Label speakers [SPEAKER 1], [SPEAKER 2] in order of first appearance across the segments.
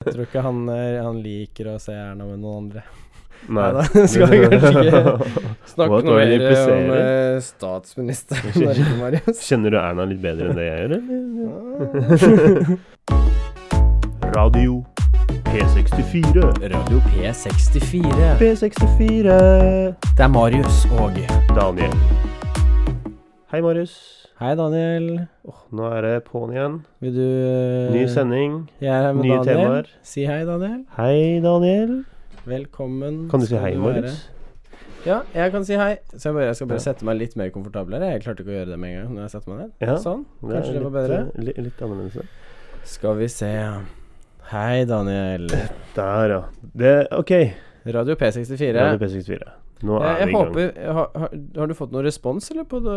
[SPEAKER 1] Jeg tror ikke han, eh, han liker å se Erna med noen andre.
[SPEAKER 2] Nei.
[SPEAKER 1] Neida, skal vi kanskje ikke snakke
[SPEAKER 2] Hva
[SPEAKER 1] noe
[SPEAKER 2] tror du
[SPEAKER 1] mer
[SPEAKER 2] det
[SPEAKER 1] om
[SPEAKER 2] impliserer?
[SPEAKER 1] eh, statsministeren i Norge, Marius.
[SPEAKER 2] Kjenner du Erna litt bedre enn det jeg gjør, eller?
[SPEAKER 1] Ah.
[SPEAKER 2] Radio P64.
[SPEAKER 1] Radio P64.
[SPEAKER 2] P64.
[SPEAKER 1] Det er Marius og
[SPEAKER 2] Daniel. Hei, Marius.
[SPEAKER 1] Hei, Daniel.
[SPEAKER 2] Nå er det på'n igjen.
[SPEAKER 1] Vil du eh,
[SPEAKER 2] Ny sending.
[SPEAKER 1] Jeg er her med
[SPEAKER 2] nye
[SPEAKER 1] Daniel.
[SPEAKER 2] temaer.
[SPEAKER 1] Si hei, Daniel.
[SPEAKER 2] Hei, Daniel.
[SPEAKER 1] Velkommen.
[SPEAKER 2] Kan du si
[SPEAKER 1] skal
[SPEAKER 2] hei,
[SPEAKER 1] være.
[SPEAKER 2] Marius?
[SPEAKER 1] Ja, jeg kan si hei. Så jeg, bare, jeg skal bare
[SPEAKER 2] Ja.
[SPEAKER 1] sette meg litt mer komfortabel her. Jeg klarte ikke å gjøre det med en gang. Når jeg setter meg ned.
[SPEAKER 2] Ja,
[SPEAKER 1] Sånn.
[SPEAKER 2] Det er
[SPEAKER 1] Kanskje det var
[SPEAKER 2] litt,
[SPEAKER 1] bedre.
[SPEAKER 2] eh, Litt, litt annerledes. ja.
[SPEAKER 1] Skal vi se. Hei, Daniel.
[SPEAKER 2] Der, ja. Det, ok.
[SPEAKER 1] Radio P64.
[SPEAKER 2] Radio P64. Nå
[SPEAKER 1] jeg,
[SPEAKER 2] er
[SPEAKER 1] jeg
[SPEAKER 2] vi i gang.
[SPEAKER 1] håper har, har, har du fått noen respons, eller? På det?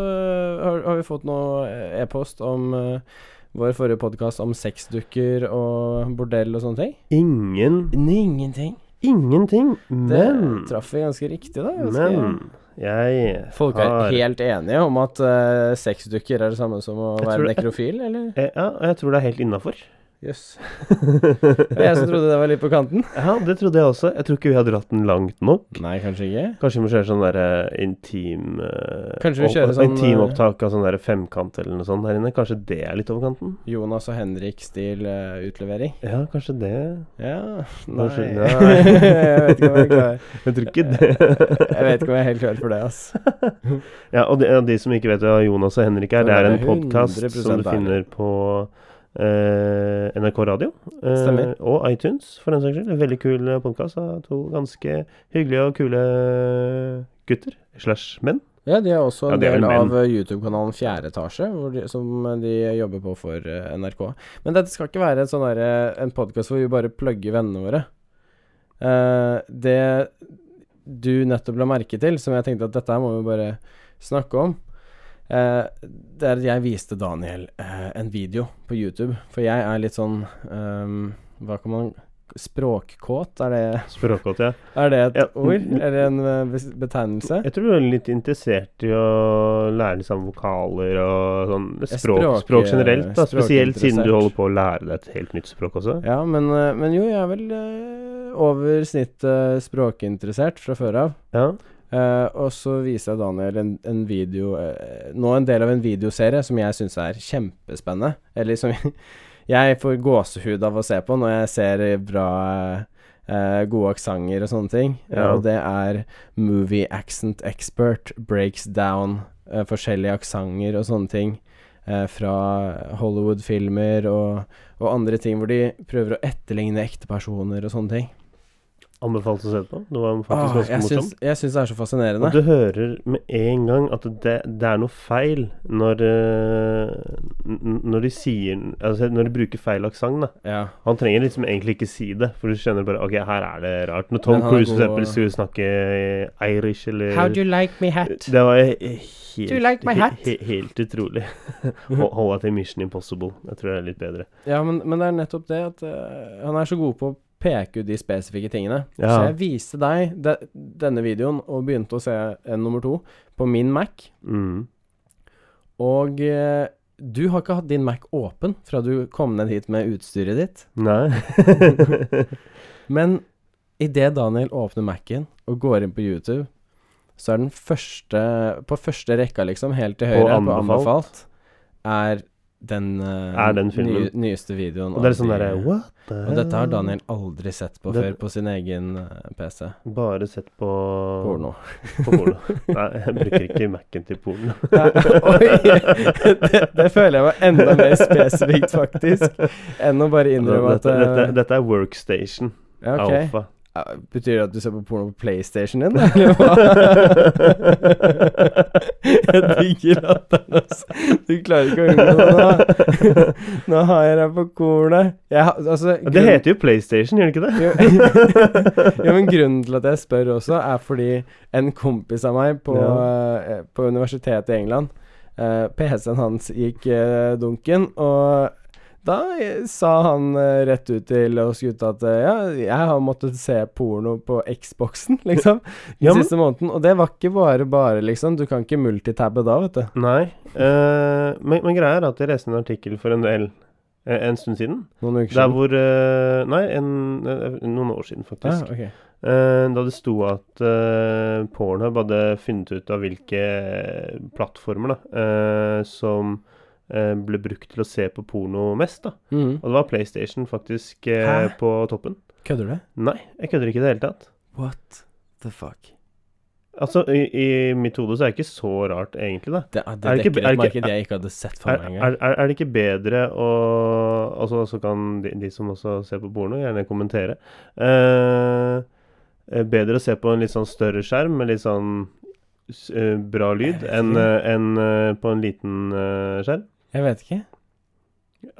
[SPEAKER 1] Har, har vi fått noe eh, e-post om eh, vår forrige podkast om sexdukker og bordell og sånne ting?
[SPEAKER 2] Ingen
[SPEAKER 1] Ingenting.
[SPEAKER 2] Ingenting.
[SPEAKER 1] Det
[SPEAKER 2] Men
[SPEAKER 1] traff vi ganske riktig, da. Ganske,
[SPEAKER 2] Men jeg
[SPEAKER 1] Folk er
[SPEAKER 2] har
[SPEAKER 1] helt enige om at eh, sexdukker er det samme som å
[SPEAKER 2] Jeg
[SPEAKER 1] være
[SPEAKER 2] tror det-
[SPEAKER 1] nekrofil, eller?
[SPEAKER 2] Eh, Ja, og jeg tror det er helt innafor.
[SPEAKER 1] Jøss. Det var jeg som trodde det var litt på kanten.
[SPEAKER 2] Ja, det trodde jeg også. Jeg tror ikke vi har dratt den langt nok.
[SPEAKER 1] Nei, kanskje ikke.
[SPEAKER 2] Kanskje vi må kjøre sånn der eh, intim eh,
[SPEAKER 1] Kanskje vi
[SPEAKER 2] opp-
[SPEAKER 1] kjører sånn,
[SPEAKER 2] Intimopptak av sånn der femkant eller noe sånt her inne. Kanskje det er litt over kanten?
[SPEAKER 1] Jonas og Henrik-stil eh, utlevering.
[SPEAKER 2] Ja, kanskje det.
[SPEAKER 1] Ja Nei.
[SPEAKER 2] Kanskje-
[SPEAKER 1] jeg vet ikke om jeg er klar.
[SPEAKER 2] Jeg tror ikke det.
[SPEAKER 1] Jeg vet ikke om jeg er helt klar for det, ass.
[SPEAKER 2] Ja, og de, og de som ikke vet hva Jonas og Henrik er,
[SPEAKER 1] Nå
[SPEAKER 2] det er
[SPEAKER 1] er
[SPEAKER 2] en
[SPEAKER 1] det
[SPEAKER 2] podkast
[SPEAKER 1] 100%
[SPEAKER 2] som du
[SPEAKER 1] ærlig.
[SPEAKER 2] finner på eh, NRK Radio. eh,
[SPEAKER 1] Stemmer.
[SPEAKER 2] Og iTunes, for den saks skyld. En veldig kul podkast av to ganske hyggelige og kule gutter slash menn.
[SPEAKER 1] Ja, de er også
[SPEAKER 2] Ja,
[SPEAKER 1] en
[SPEAKER 2] de er vel
[SPEAKER 1] del
[SPEAKER 2] menn.
[SPEAKER 1] av eh, YouTube-kanalen Fjerde etasje, hvor de, som eh, de jobber på for eh, NRK. Men dette skal ikke være en, sånn derre- en podkast hvor vi bare plugger vennene våre. Eh, det du nettopp la merke til, som jeg tenkte at dette her må vi bare snakke om, eh, det er at jeg viste Daniel eh, en video på YouTube. For jeg er litt sånn ehm, Hva kan man Språkkåt, er det,
[SPEAKER 2] Språkgodt, ja.
[SPEAKER 1] er det et
[SPEAKER 2] Ja.
[SPEAKER 1] ord? Eller en eh, bes- betegnelse?
[SPEAKER 2] Jeg tror du er litt interessert i å lære litt sånn vokaler og sånn
[SPEAKER 1] Jeg
[SPEAKER 2] språk,
[SPEAKER 1] språk-
[SPEAKER 2] språk generelt. da, Spesielt siden
[SPEAKER 1] språkinteressert.
[SPEAKER 2] du holder på å lære deg et helt nytt språk også.
[SPEAKER 1] Ja, men, eh, men jo, jeg er vel eh, over snittet språkinteressert fra før av.
[SPEAKER 2] Ja.
[SPEAKER 1] Eh, og så viser jeg Daniel en, en video eh, Nå en del av en videoserie som jeg syns er kjempespennende. Eller som jeg får gåsehud av å se på når jeg ser bra eh, gode aksenter og sånne ting. Eh,
[SPEAKER 2] Ja.
[SPEAKER 1] og det er Movie Accent Expert breaks down eh, forskjellige aksenter og sånne ting eh, fra Hollywood-filmer og, og andre ting hvor de prøver å etterligne ekte personer og sånne ting.
[SPEAKER 2] Anbefalt å se det på. Det var faktisk
[SPEAKER 1] Åh,
[SPEAKER 2] ganske
[SPEAKER 1] Ah, jeg
[SPEAKER 2] morsomt.
[SPEAKER 1] syns jeg syns det er så fascinerende.
[SPEAKER 2] Og du hører med en gang at det, det er noe feil når eh, n- Når de sier Altså når de bruker feil aksent, da.
[SPEAKER 1] ja.
[SPEAKER 2] Han trenger liksom egentlig ikke si det, for du skjønner bare Ok, her er det rart. Når Tom
[SPEAKER 1] Men han er
[SPEAKER 2] Cruise for
[SPEAKER 1] god-
[SPEAKER 2] eksempel skulle snakke irish eller
[SPEAKER 1] How do you like me hat?
[SPEAKER 2] Det var he- helt,
[SPEAKER 1] Do you like my
[SPEAKER 2] he-
[SPEAKER 1] hat?
[SPEAKER 2] He, helt utrolig. Hol- Hold deg til Mission Impossible. Jeg tror det er litt bedre.
[SPEAKER 1] Ja, men, men det er nettopp det at eh, han er så god på å peke ut de spesifikke tingene. Så
[SPEAKER 2] Ja.
[SPEAKER 1] jeg viste deg de, denne videoen og begynte å se en nummer to på min Mac.
[SPEAKER 2] Mm.
[SPEAKER 1] Og eh, du har ikke hatt din Mac åpen fra du kom ned hit med utstyret ditt.
[SPEAKER 2] Nei.
[SPEAKER 1] Men idet Daniel åpner Mac-en og går inn på YouTube, så er den første På første rekka, liksom, helt til høyre, på anbefalt,
[SPEAKER 2] anbefalt.
[SPEAKER 1] er den, eh,
[SPEAKER 2] Er den filmen.
[SPEAKER 1] ny- nyeste videoen.
[SPEAKER 2] Og
[SPEAKER 1] av
[SPEAKER 2] det er litt sånn
[SPEAKER 1] de-
[SPEAKER 2] derre What? the
[SPEAKER 1] Og dette har
[SPEAKER 2] hell?
[SPEAKER 1] Daniel aldri sett på
[SPEAKER 2] Det-
[SPEAKER 1] før på sin egen eh, PC.
[SPEAKER 2] Bare sett på
[SPEAKER 1] Porno.
[SPEAKER 2] på porno. Nei, jeg bruker ikke Mac-en til porno.
[SPEAKER 1] Oi! Det, det føler jeg var enda mer spesifikt, faktisk, enn å bare innrømme at
[SPEAKER 2] dette, dette,
[SPEAKER 1] eh,
[SPEAKER 2] dette er workstation.
[SPEAKER 1] ja, ok.
[SPEAKER 2] Alfa.
[SPEAKER 1] Ja, Betyr det at du ser på porno på PlayStation din, eller hva? Jeg digger latteren, altså. Du klarer ikke å unngå det. Nå, nå har jeg deg på kornet. Jeg, har- altså,
[SPEAKER 2] Det heter jo PlayStation, gjør det ikke det?
[SPEAKER 1] Jo, jo, men grunnen til at jeg spør også, er fordi en kompis av meg på, eh, på universitetet i England eh, PC-en hans gikk eh, dunken, og da eh, sa han eh, rett ut til oss gutta at eh, ja, jeg har måttet se porno på Xboxen, liksom, den
[SPEAKER 2] Ja, men-
[SPEAKER 1] siste måneden. Og det var ikke bare bare, liksom. Du kan ikke multitabbe da, vet du.
[SPEAKER 2] Nei. eh, men, men greia er at jeg leste en artikkel for en del eh, en stund siden.
[SPEAKER 1] Noen uker
[SPEAKER 2] Der
[SPEAKER 1] siden?
[SPEAKER 2] hvor eh, Nei, en, eh, noen år siden,
[SPEAKER 1] Ja,
[SPEAKER 2] faktisk.
[SPEAKER 1] ok.
[SPEAKER 2] Eh, Da det sto at eh, Pornhub hadde funnet ut av hvilke plattformer da, eh, som eh, ble brukt til å se på porno mest. da.
[SPEAKER 1] Mhm.
[SPEAKER 2] Og det var PlayStation faktisk eh,
[SPEAKER 1] Hæ?
[SPEAKER 2] på toppen.
[SPEAKER 1] Kødder du?
[SPEAKER 2] Nei, jeg kødder ikke i det hele tatt.
[SPEAKER 1] What the fuck?
[SPEAKER 2] Altså, i, i mitt hode så er det ikke så rart, egentlig. da.
[SPEAKER 1] Det, ah, det
[SPEAKER 2] Er det ikke-
[SPEAKER 1] dekker
[SPEAKER 2] er det
[SPEAKER 1] et
[SPEAKER 2] ikke-
[SPEAKER 1] marked jeg ikke hadde sett for
[SPEAKER 2] Er,
[SPEAKER 1] meg engang.
[SPEAKER 2] er, er er det ikke bedre å Og så- så kan de, de som også ser på porno, gjerne kommentere. Eh, eh, bedre å se på en litt sånn større skjerm med litt sånn s- eh, bra lyd
[SPEAKER 1] Jeg vet
[SPEAKER 2] enn
[SPEAKER 1] ikke.
[SPEAKER 2] eh, enn, eh, på en liten eh, skjerm.
[SPEAKER 1] Jeg vet ikke.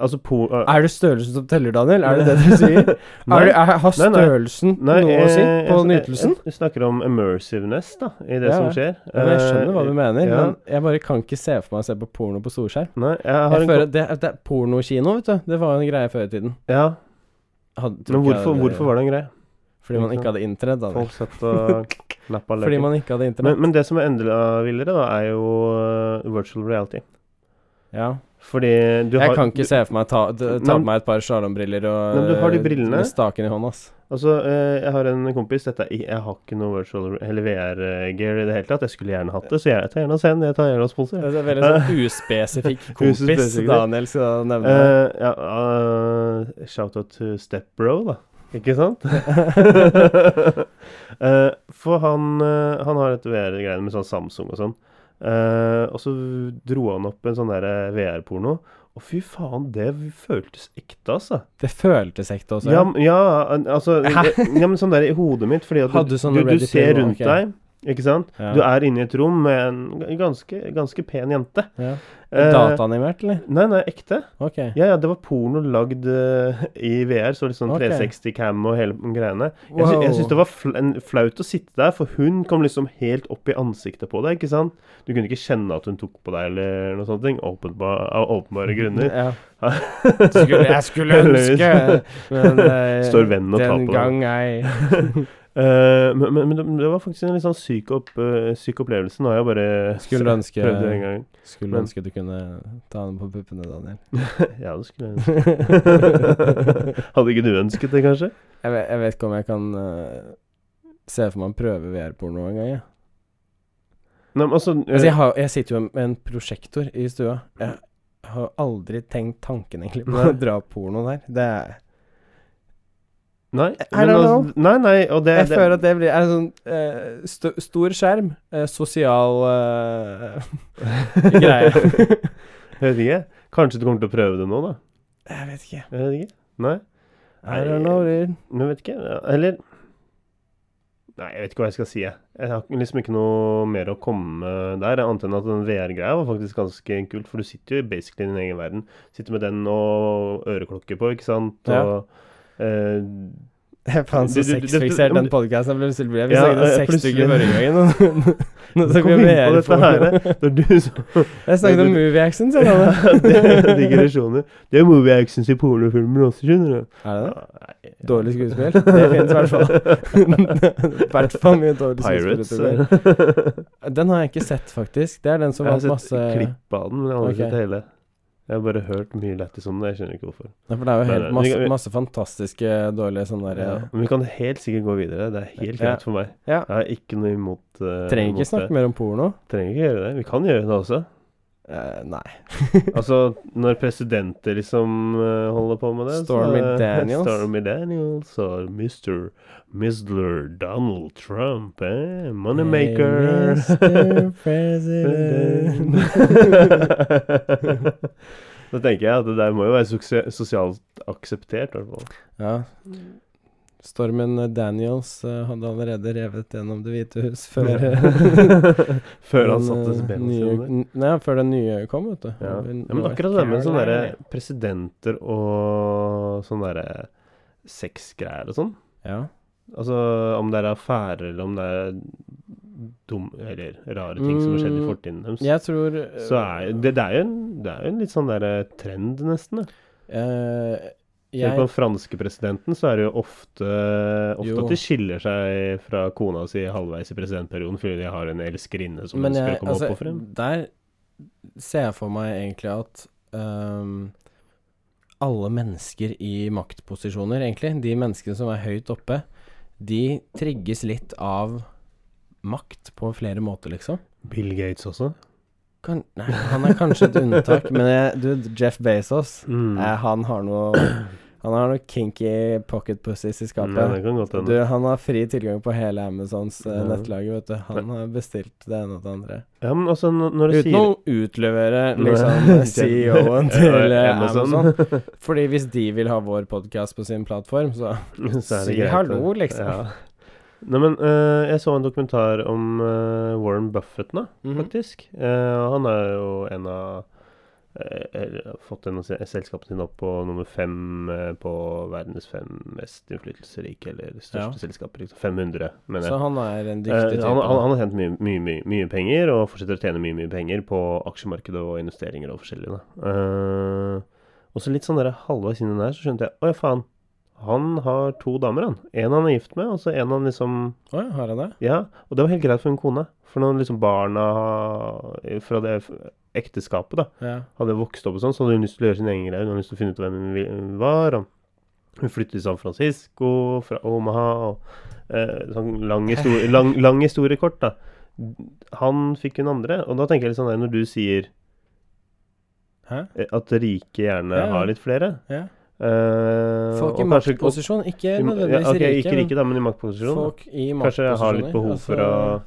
[SPEAKER 2] Altså por... eh,
[SPEAKER 1] Er det størrelsen som teller, Daniel? Er det det du sier?
[SPEAKER 2] nei,
[SPEAKER 1] er det, er, har
[SPEAKER 2] Nei, nei.
[SPEAKER 1] størrelsen
[SPEAKER 2] nei,
[SPEAKER 1] noe å si
[SPEAKER 2] eh,
[SPEAKER 1] på
[SPEAKER 2] jeg-
[SPEAKER 1] nytelsen?
[SPEAKER 2] Jeg, jeg snakker om immersiveness da, i det
[SPEAKER 1] Ja,
[SPEAKER 2] som
[SPEAKER 1] ja.
[SPEAKER 2] skjer.
[SPEAKER 1] Ja, men jeg skjønner hva du
[SPEAKER 2] Eh,
[SPEAKER 1] mener,
[SPEAKER 2] ja.
[SPEAKER 1] men jeg bare kan ikke se for meg å se på porno på storskjerm.
[SPEAKER 2] Nei, jeg har
[SPEAKER 1] Jeg
[SPEAKER 2] en
[SPEAKER 1] føler at det, at det er Pornokino, vet du. Det var jo en greie før i tiden.
[SPEAKER 2] ko- Ja,
[SPEAKER 1] Hadde- tror
[SPEAKER 2] men
[SPEAKER 1] ikke jeg
[SPEAKER 2] hvorfor, hvorfor var det en greie?
[SPEAKER 1] Fordi man ikke hadde internett, Daniel.
[SPEAKER 2] Folk satt og nappa
[SPEAKER 1] Fordi man ikke hadde internett.
[SPEAKER 2] Men, men det som er enda villere, da, er jo eh, virtual reality.
[SPEAKER 1] Ja.
[SPEAKER 2] Fordi du har
[SPEAKER 1] Jeg kan ikke
[SPEAKER 2] du,
[SPEAKER 1] se for meg ta, ta
[SPEAKER 2] Nei,
[SPEAKER 1] på
[SPEAKER 2] men-
[SPEAKER 1] meg et par slalåmbriller og
[SPEAKER 2] Nei, men du har de
[SPEAKER 1] eh,
[SPEAKER 2] brillene.
[SPEAKER 1] med staken i hånda, ass.
[SPEAKER 2] Altså, eh, jeg har en kompis Dette er, i- Jeg har ikke noe virtual eller VR-gear i det hele tatt. Jeg skulle gjerne hatt det, så jeg tar gjerne oss en. Jeg tar gjerne oss sponsor.
[SPEAKER 1] Det er veldig sånn uspesifikk kompis
[SPEAKER 2] Uspesifikk.
[SPEAKER 1] Daniel skal nevne.
[SPEAKER 2] Uh, ja, eh, Shout-out to Stepbro, da. Ikke sant? Eh, for han, eh, han har et VR-greiene med sånn Samsung og sånn. Eh, og så dro han opp en sånn der VR-porno. Og fy faen, det føltes ekte, altså.
[SPEAKER 1] Det føltes ekte også.
[SPEAKER 2] Ja, m- ja, an- altså
[SPEAKER 1] Hæ?
[SPEAKER 2] det- Ja, men sånn der i hodet mitt, fordi at
[SPEAKER 1] Hadde du
[SPEAKER 2] du,
[SPEAKER 1] sånne
[SPEAKER 2] du,
[SPEAKER 1] Ready
[SPEAKER 2] du ser
[SPEAKER 1] Player One,
[SPEAKER 2] rundt
[SPEAKER 1] ok.
[SPEAKER 2] deg, ikke sant?
[SPEAKER 1] Ja.
[SPEAKER 2] Du er inne i et rom med en g- ganske, ganske pen jente.
[SPEAKER 1] Ja.
[SPEAKER 2] Eh,
[SPEAKER 1] Dataanimert, eller?
[SPEAKER 2] Nei, nei, ekte.
[SPEAKER 1] Ok.
[SPEAKER 2] Ja, ja, det var porno lagd eh, i VR, så litt sånn
[SPEAKER 1] Ok.
[SPEAKER 2] 360-cam og hele greiene. Jeg, sy jeg syns det var fl en, flaut å sitte der, for hun kom liksom helt opp i ansiktet på deg, ikke sant? Du kunne ikke kjenne at hun tok på deg eller noe sånt, ting, åpenbar av åpenbare grunner.
[SPEAKER 1] Ja. Mm. Skulle, jeg skulle ønske Men eh,
[SPEAKER 2] Står vennen og tar
[SPEAKER 1] den
[SPEAKER 2] på deg.
[SPEAKER 1] gang ei
[SPEAKER 2] Eh, men, men, men det- det var faktisk en litt sånn syk, opp, eh, syk opplevelse. Nå har jeg bare
[SPEAKER 1] Skulle ønske-
[SPEAKER 2] prøvd det en gang.
[SPEAKER 1] Skulle
[SPEAKER 2] Men-
[SPEAKER 1] ønske du kunne ta den på puppene, Daniel.
[SPEAKER 2] ja, det skulle jeg ønske.
[SPEAKER 1] jeg,
[SPEAKER 2] Hadde ikke du ønsket det, kanskje?
[SPEAKER 1] vet, jeg vet ikke om jeg kan eh, se for meg en prøve VR-porno en gang, jeg.
[SPEAKER 2] Eh. Nei, men altså, eh,
[SPEAKER 1] Altså, jeg, har, jeg sitter jo med en prosjektor i stua. Jeg har aldri tenkt tanken egentlig på
[SPEAKER 2] Nei.
[SPEAKER 1] å dra porno der. Det er,
[SPEAKER 2] nei,
[SPEAKER 1] I
[SPEAKER 2] men
[SPEAKER 1] don't
[SPEAKER 2] altså, nei, nei, og det,
[SPEAKER 1] jeg
[SPEAKER 2] det
[SPEAKER 1] føler at det blir er sånn eh, sto, stor skjerm, eh, sosial eh, greie.
[SPEAKER 2] Jeg vet ikke. Kanskje du kommer til å prøve det nå, da?
[SPEAKER 1] jeg vet ikke.
[SPEAKER 2] Jeg vet ikke. Nei,
[SPEAKER 1] I don't know, dude.
[SPEAKER 2] men jeg vet ikke. Ja, Eller Nei, jeg vet ikke hva jeg skal si. Jeg Jeg har liksom ikke noe mer å komme med der, annet enn at den VR-greia var faktisk ganske kult. For du sitter jo basically i din egen verden. Sitter med den og øreklokke på, ikke sant.
[SPEAKER 1] Ja.
[SPEAKER 2] Og, eh,
[SPEAKER 1] Faen, så
[SPEAKER 2] Du- du- du-
[SPEAKER 1] sexfiksert
[SPEAKER 2] du-
[SPEAKER 1] den podkasten ble. Sylvi. Jeg vil
[SPEAKER 2] Ja,
[SPEAKER 1] snakke
[SPEAKER 2] eh,
[SPEAKER 1] om sex
[SPEAKER 2] plutselig.
[SPEAKER 1] stykker forrige gangen. og Nå
[SPEAKER 2] Kom
[SPEAKER 1] snakker vi
[SPEAKER 2] inn
[SPEAKER 1] om
[SPEAKER 2] på dette
[SPEAKER 1] VR-porno.
[SPEAKER 2] det er du som
[SPEAKER 1] Jeg snakket om movie action, sier han.
[SPEAKER 2] Ja, Digresjoner. Det er movie actions i pornofilmer også, skjønner du.
[SPEAKER 1] Er det det?
[SPEAKER 2] Nei.
[SPEAKER 1] Dårlig skuespill? Det finnes i hvert fall. I hvert fall mye dårlig
[SPEAKER 2] Pirates. eh.
[SPEAKER 1] skuespill. ute der. Den har jeg ikke sett, faktisk. Det er den som
[SPEAKER 2] Jeg har
[SPEAKER 1] vant
[SPEAKER 2] sett
[SPEAKER 1] masse
[SPEAKER 2] klipp av den, men jeg har aldri
[SPEAKER 1] Ok.
[SPEAKER 2] sett hele. Jeg har bare hørt mye lættis om det. Jeg skjønner ikke hvorfor.
[SPEAKER 1] Nei, for det er jo
[SPEAKER 2] Nei,
[SPEAKER 1] helt
[SPEAKER 2] nei, vi
[SPEAKER 1] masse,
[SPEAKER 2] kan- vi-
[SPEAKER 1] masse fantastiske dårlige sånne der eh,
[SPEAKER 2] Ja. Men vi kan helt sikkert gå videre. Det er helt
[SPEAKER 1] Ja.
[SPEAKER 2] greit for meg.
[SPEAKER 1] Ja.
[SPEAKER 2] Jeg har ikke noe imot eh,
[SPEAKER 1] Trenger
[SPEAKER 2] imot
[SPEAKER 1] ikke snakke mer om porno.
[SPEAKER 2] det. Trenger ikke gjøre det. Vi kan gjøre det også.
[SPEAKER 1] Eh, nei.
[SPEAKER 2] Altså, når presidenter liksom eh, holder på med det så-
[SPEAKER 1] Stormy Daniels.
[SPEAKER 2] Stormy Daniels og Mr. Misler Donald Trump. Eh? Moneymaker.
[SPEAKER 1] Mr. President.
[SPEAKER 2] da tenker jeg at det der må jo være sukse- sosialt akseptert, i hvert fall.
[SPEAKER 1] Ja. Stormen Daniels eh, hadde allerede revet gjennom Det hvite hus før
[SPEAKER 2] Før
[SPEAKER 1] den,
[SPEAKER 2] han satte
[SPEAKER 1] eh,
[SPEAKER 2] bena
[SPEAKER 1] nye,
[SPEAKER 2] sine der.
[SPEAKER 1] n- Nei, før den nye kom, vet du.
[SPEAKER 2] Ja.
[SPEAKER 1] Vi-
[SPEAKER 2] ja, men
[SPEAKER 1] North
[SPEAKER 2] akkurat sånn det med sånne
[SPEAKER 1] Carolina.
[SPEAKER 2] der presidenter og sånne derre sexgreier og sånn.
[SPEAKER 1] Ja.
[SPEAKER 2] Altså om det er affærer, eller om det er dum, eller rare ting som har skjedd i
[SPEAKER 1] Mm,
[SPEAKER 2] fortiden deres.
[SPEAKER 1] Jeg tror eh,
[SPEAKER 2] Så er jo det, det er jo en, det er jo en litt sånn derre trend, nesten. da.
[SPEAKER 1] eh,
[SPEAKER 2] Ser du på
[SPEAKER 1] jeg,
[SPEAKER 2] den franske presidenten, så er det jo ofte, ofte
[SPEAKER 1] Jo.
[SPEAKER 2] at de skiller seg fra kona si halvveis i presidentperioden fordi de har en elskerinne som
[SPEAKER 1] Men
[SPEAKER 2] ønsker
[SPEAKER 1] jeg,
[SPEAKER 2] å komme
[SPEAKER 1] altså,
[SPEAKER 2] opp og frem.
[SPEAKER 1] der ser jeg for meg egentlig at ehm, alle mennesker i maktposisjoner, egentlig. De menneskene som er høyt oppe, de trigges litt av makt på flere måter, liksom.
[SPEAKER 2] Bill Gates også.
[SPEAKER 1] Kan, nei, han er kanskje et unntak, men jeg, du, Jeff Bezos
[SPEAKER 2] Mm.
[SPEAKER 1] eh, Han har noe Han har noe kinky pocket pussies i skapet.
[SPEAKER 2] Nei, Mm, det kan godt
[SPEAKER 1] Du,
[SPEAKER 2] hende.
[SPEAKER 1] han har fri tilgang på hele Amazons eh,
[SPEAKER 2] Ja.
[SPEAKER 1] nettlager, vet du. Han har bestilt det ene og det andre.
[SPEAKER 2] Ja, men altså, n- når du
[SPEAKER 1] Uten å
[SPEAKER 2] sier
[SPEAKER 1] utlevere
[SPEAKER 2] Nei.
[SPEAKER 1] liksom CEO-en til eh,
[SPEAKER 2] Amazon.
[SPEAKER 1] Amazon. Fordi hvis de vil ha vår podkast på sin plattform, så
[SPEAKER 2] så er det
[SPEAKER 1] Si
[SPEAKER 2] greit.
[SPEAKER 1] hallo,
[SPEAKER 2] det.
[SPEAKER 1] liksom.
[SPEAKER 2] Ja. Nei, men eh, jeg så en dokumentar om eh, Warren Buffett nå,
[SPEAKER 1] Mhm.
[SPEAKER 2] faktisk. Eh, han er jo en av eh, eller fått en av se- selskapene sine opp på nummer fem eh, på verdens fem mest innflytelsesrike, eller største
[SPEAKER 1] Ja.
[SPEAKER 2] selskaper. Liksom. 500, mener jeg.
[SPEAKER 1] Så han er en dyktig
[SPEAKER 2] Eh,
[SPEAKER 1] type.
[SPEAKER 2] han, han, han har tjent mye, mye, mye, mye penger og fortsetter å tjene mye, mye penger på aksjemarkedet og investeringer og forskjellig. Da. Eh, og så litt sånn der halvveis inn i den her, så skjønte jeg Å ja, faen. Han har to damer, han. En han er gift med, og så en han liksom
[SPEAKER 1] Å ja, har han det?
[SPEAKER 2] Ja. Og det var helt greit for en kone. For når liksom barna fra det ekteskapet, da
[SPEAKER 1] Ja.
[SPEAKER 2] hadde vokst opp og sånn, så hadde hun lyst til å gjøre sin egen greie. Hun hadde lyst til å finne ut hvem hun vil- hun var. Og hun flyttet til San Francisco fra Omaha. Og, eh, sånn lang, historie, lang, lang historie kort, da. Han fikk hun andre. Og da tenker jeg litt sånn der, når du sier
[SPEAKER 1] Hæ?
[SPEAKER 2] eh, at rike gjerne
[SPEAKER 1] Ja, ja.
[SPEAKER 2] har litt flere
[SPEAKER 1] Ja.
[SPEAKER 2] eh,
[SPEAKER 1] Folk i
[SPEAKER 2] og kanskje- og-
[SPEAKER 1] maktposisjon, ikke
[SPEAKER 2] i ma-
[SPEAKER 1] nødvendigvis
[SPEAKER 2] ja, ok,
[SPEAKER 1] rike,
[SPEAKER 2] Ikke
[SPEAKER 1] men
[SPEAKER 2] rike, da, men i maktposisjon. da.
[SPEAKER 1] folk i maktposisjoner.
[SPEAKER 2] Kanskje jeg har litt behov for å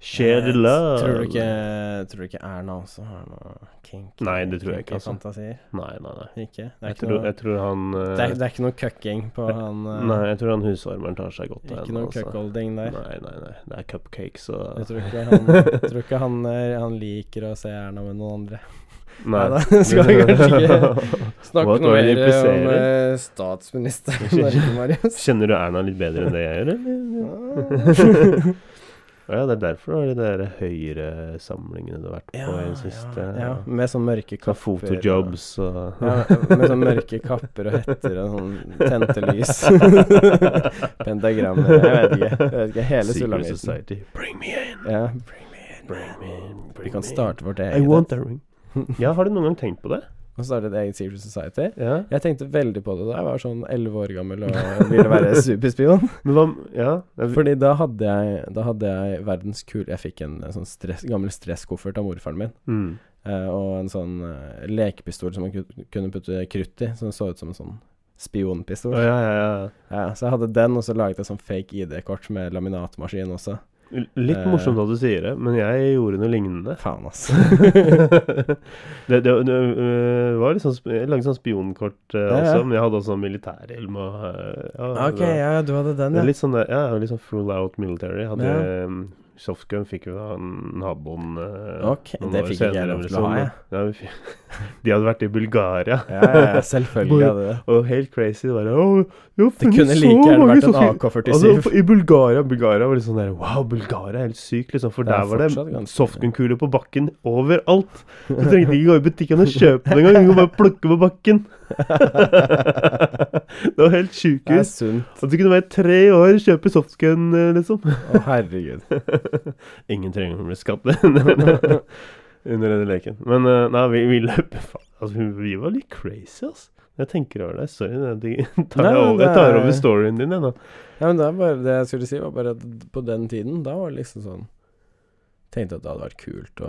[SPEAKER 2] share the
[SPEAKER 1] altså, Jeg
[SPEAKER 2] love.
[SPEAKER 1] Tror du ikke, tror du ikke Erna også har noe kinky
[SPEAKER 2] Nei, det tror jeg ikke,
[SPEAKER 1] kinky
[SPEAKER 2] altså.
[SPEAKER 1] fantasier?
[SPEAKER 2] Nei, nei, nei.
[SPEAKER 1] Ikke? Det er
[SPEAKER 2] Jeg
[SPEAKER 1] ikke
[SPEAKER 2] tror,
[SPEAKER 1] noe,
[SPEAKER 2] jeg tror han eh,
[SPEAKER 1] det er, det er ikke noe cucking på han eh,
[SPEAKER 2] Nei, jeg tror han husvarmeren tar seg godt
[SPEAKER 1] Ikke noe
[SPEAKER 2] altså.
[SPEAKER 1] cuckolding der.
[SPEAKER 2] Nei, nei, nei. Det er cupcakes
[SPEAKER 1] Jeg
[SPEAKER 2] og
[SPEAKER 1] tror ikke, han, jeg tror ikke han, er- han liker å se Erna med noen andre.
[SPEAKER 2] Nei.
[SPEAKER 1] Neida, skal vi kanskje ikke
[SPEAKER 2] Hva
[SPEAKER 1] snakke
[SPEAKER 2] kan
[SPEAKER 1] noe mer
[SPEAKER 2] vi
[SPEAKER 1] om
[SPEAKER 2] impliserer?
[SPEAKER 1] eh, statsministeren i Norge, Marius?
[SPEAKER 2] Kjenner du Erna litt bedre enn det jeg gjør, eller?
[SPEAKER 1] Ah.
[SPEAKER 2] Å ja, det er derfor det er de der høyresamlingene du har vært på i det siste.
[SPEAKER 1] ja, ja, med sånn mørke
[SPEAKER 2] Sånn
[SPEAKER 1] kapper. og-
[SPEAKER 2] Fotojobs og
[SPEAKER 1] Ja, med sånn mørke kapper og hetter og sånn tente lys. Pentagrammer. Jeg vet ikke. Jeg vet ikke hele
[SPEAKER 2] Secret
[SPEAKER 1] Sullamitten.
[SPEAKER 2] Society. Bring me in,
[SPEAKER 1] Ja.
[SPEAKER 2] bring me in. Bring
[SPEAKER 1] Vi kan
[SPEAKER 2] me in.
[SPEAKER 1] starte vårt
[SPEAKER 2] I want
[SPEAKER 1] eget.
[SPEAKER 2] that ring. Ja, har du noen gang tenkt på det?
[SPEAKER 1] Vi kan starte et eget Secret Society.
[SPEAKER 2] Ja.
[SPEAKER 1] Jeg tenkte veldig på det da jeg var sånn 11 år gammel og ville være superspion.
[SPEAKER 2] Men hva Ja. det er-
[SPEAKER 1] Fordi da hadde jeg, da hadde jeg verdens kul Jeg fikk en, eh, sånn stress, gammel stresskoffert av morfaren min.
[SPEAKER 2] Mm.
[SPEAKER 1] eh, og en sånn eh, lekepistol som man ku- kunne putte krutt i, som så ut som en sånn
[SPEAKER 2] Å,
[SPEAKER 1] spionpistol.
[SPEAKER 2] ja, ja, ja.
[SPEAKER 1] Ja, så jeg hadde den, og så laget jeg sånn fake ID-kort med laminatmaskin også.
[SPEAKER 2] L- Litt
[SPEAKER 1] Eh.
[SPEAKER 2] morsomt at du sier det, men jeg gjorde noe lignende.
[SPEAKER 1] Faen, ass.
[SPEAKER 2] det, det, det øh, var litt sånn sp- Jeg lagde sånn spionkort øh,
[SPEAKER 1] Ja, ja.
[SPEAKER 2] også, men jeg hadde også sånn militærhjelm og øh, ja,
[SPEAKER 1] Ok,
[SPEAKER 2] det,
[SPEAKER 1] ja, du hadde den,
[SPEAKER 2] det er
[SPEAKER 1] ja.
[SPEAKER 2] litt sånn der, ja, litt sånn full out military. Hadde
[SPEAKER 1] Ja.
[SPEAKER 2] øhm, softgun fikk vi av en naboen øh,
[SPEAKER 1] Ok, det fikk ikke jeg lov
[SPEAKER 2] eller
[SPEAKER 1] til å ha,
[SPEAKER 2] sånn,
[SPEAKER 1] jeg.
[SPEAKER 2] da. Ja, vi fikk, de hadde vært i Bulgaria.
[SPEAKER 1] Ja, ja, ja, selvfølgelig hadde det.
[SPEAKER 2] Og helt crazy. Det, bare, «Å, vi har
[SPEAKER 1] Det
[SPEAKER 2] funnet
[SPEAKER 1] kunne
[SPEAKER 2] så
[SPEAKER 1] like gjerne vært
[SPEAKER 2] mange
[SPEAKER 1] en
[SPEAKER 2] softgun- Altså,
[SPEAKER 1] AK-47.
[SPEAKER 2] I Bulgaria Bulgaria var det sånn der Wow, Bulgaria er helt sykt, liksom. For
[SPEAKER 1] Det er
[SPEAKER 2] der var
[SPEAKER 1] fortsatt ganske-
[SPEAKER 2] det softgun-kuler på bakken overalt. Du trengte ikke gå i butikken og kjøpe den engang. Du kunne bare plukke på bakken. det var helt
[SPEAKER 1] Det er
[SPEAKER 2] sjukehus.
[SPEAKER 1] sunt.
[SPEAKER 2] At du kunne være tre år og kjøpe softgun, eh, liksom.
[SPEAKER 1] Å, herregud.
[SPEAKER 2] Ingen trenger å bli skadd under under denne leken. Men eh, nei, vi, vi løp faen. Altså, vi var litt crazy, altså. Når jeg tenker over det. Sorry, det- det tar
[SPEAKER 1] Nei, men
[SPEAKER 2] jeg, over, jeg
[SPEAKER 1] det
[SPEAKER 2] tar
[SPEAKER 1] er-
[SPEAKER 2] over storyen din, jeg, nå.
[SPEAKER 1] Ja, men det, er bare, det jeg skulle si, var bare at på den tiden, da var det liksom sånn Tenkte at det hadde vært kult å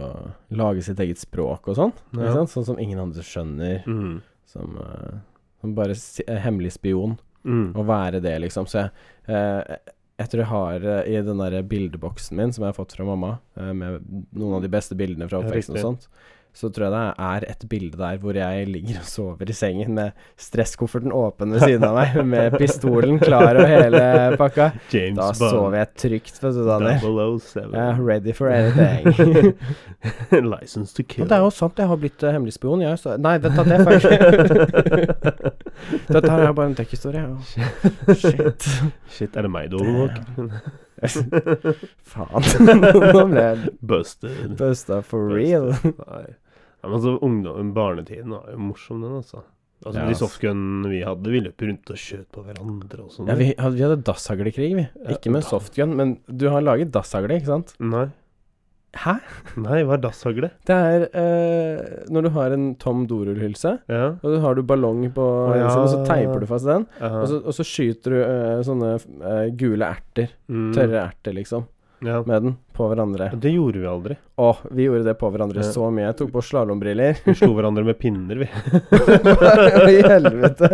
[SPEAKER 1] lage sitt eget språk og sånn. Ikke sant? Sånn som ingen andre skjønner.
[SPEAKER 2] Mm.
[SPEAKER 1] Som, eh, som bare si, eh, hemmelig spion.
[SPEAKER 2] Mm.
[SPEAKER 1] å være det, liksom. Så jeg, eh, jeg tror jeg har eh, i den der bildeboksen min, som jeg har fått fra mamma, eh, med noen av de beste bildene fra
[SPEAKER 2] Ja,
[SPEAKER 1] oppveksten
[SPEAKER 2] riktig.
[SPEAKER 1] og sånt, så tror jeg det er et bilde der hvor jeg ligger og sover i sengen med stresskofferten åpen ved siden av meg, med pistolen klar og hele pakka.
[SPEAKER 2] James
[SPEAKER 1] Da sover jeg trygt, vet du, Daniel.
[SPEAKER 2] 007.
[SPEAKER 1] Jeg er ready for anything.
[SPEAKER 2] License to kill.
[SPEAKER 1] Men det er jo sant, jeg har blitt eh, hemmelig spion, jeg. Så nei, vet du, det er feil. Dette her er bare en dekkhistorie. ja. Shit.
[SPEAKER 2] Shit, er det meg du overvåker?
[SPEAKER 1] Faen. Nå ble jeg
[SPEAKER 2] Busted.
[SPEAKER 1] busta for real.
[SPEAKER 2] Nei. Ja, men altså, ungdom, barnetiden var jo morsom, den, altså. Altså,
[SPEAKER 1] Ja,
[SPEAKER 2] De
[SPEAKER 1] ass.
[SPEAKER 2] softgunene vi hadde, vi løp rundt og skjøt på hverandre og sånn.
[SPEAKER 1] Ja, vi, hadde- vi hadde dasshaglekrig, vi.
[SPEAKER 2] Ja,
[SPEAKER 1] Ikke med
[SPEAKER 2] da-
[SPEAKER 1] softgun, men du har laget dasshagle, ikke sant?
[SPEAKER 2] Nei.
[SPEAKER 1] Hæ?
[SPEAKER 2] Nei, hva er dasshagle?
[SPEAKER 1] Det er eh, når du har en tom dorullhylse,
[SPEAKER 2] Ja.
[SPEAKER 1] og så har du ballong på
[SPEAKER 2] Å, ja.
[SPEAKER 1] innsiden, og så teiper du fast den,
[SPEAKER 2] aha.
[SPEAKER 1] og så, og så skyter du eh, sånne eh, gule erter,
[SPEAKER 2] Mm,
[SPEAKER 1] tørre erter, liksom,
[SPEAKER 2] Ja.
[SPEAKER 1] med den på hverandre.
[SPEAKER 2] Det gjorde vi aldri.
[SPEAKER 1] Å, vi gjorde det på hverandre
[SPEAKER 2] Ja.
[SPEAKER 1] så mye. Jeg tok på slalåmbriller.
[SPEAKER 2] Vi slo hverandre med pinner, vi.
[SPEAKER 1] Hva i helvete?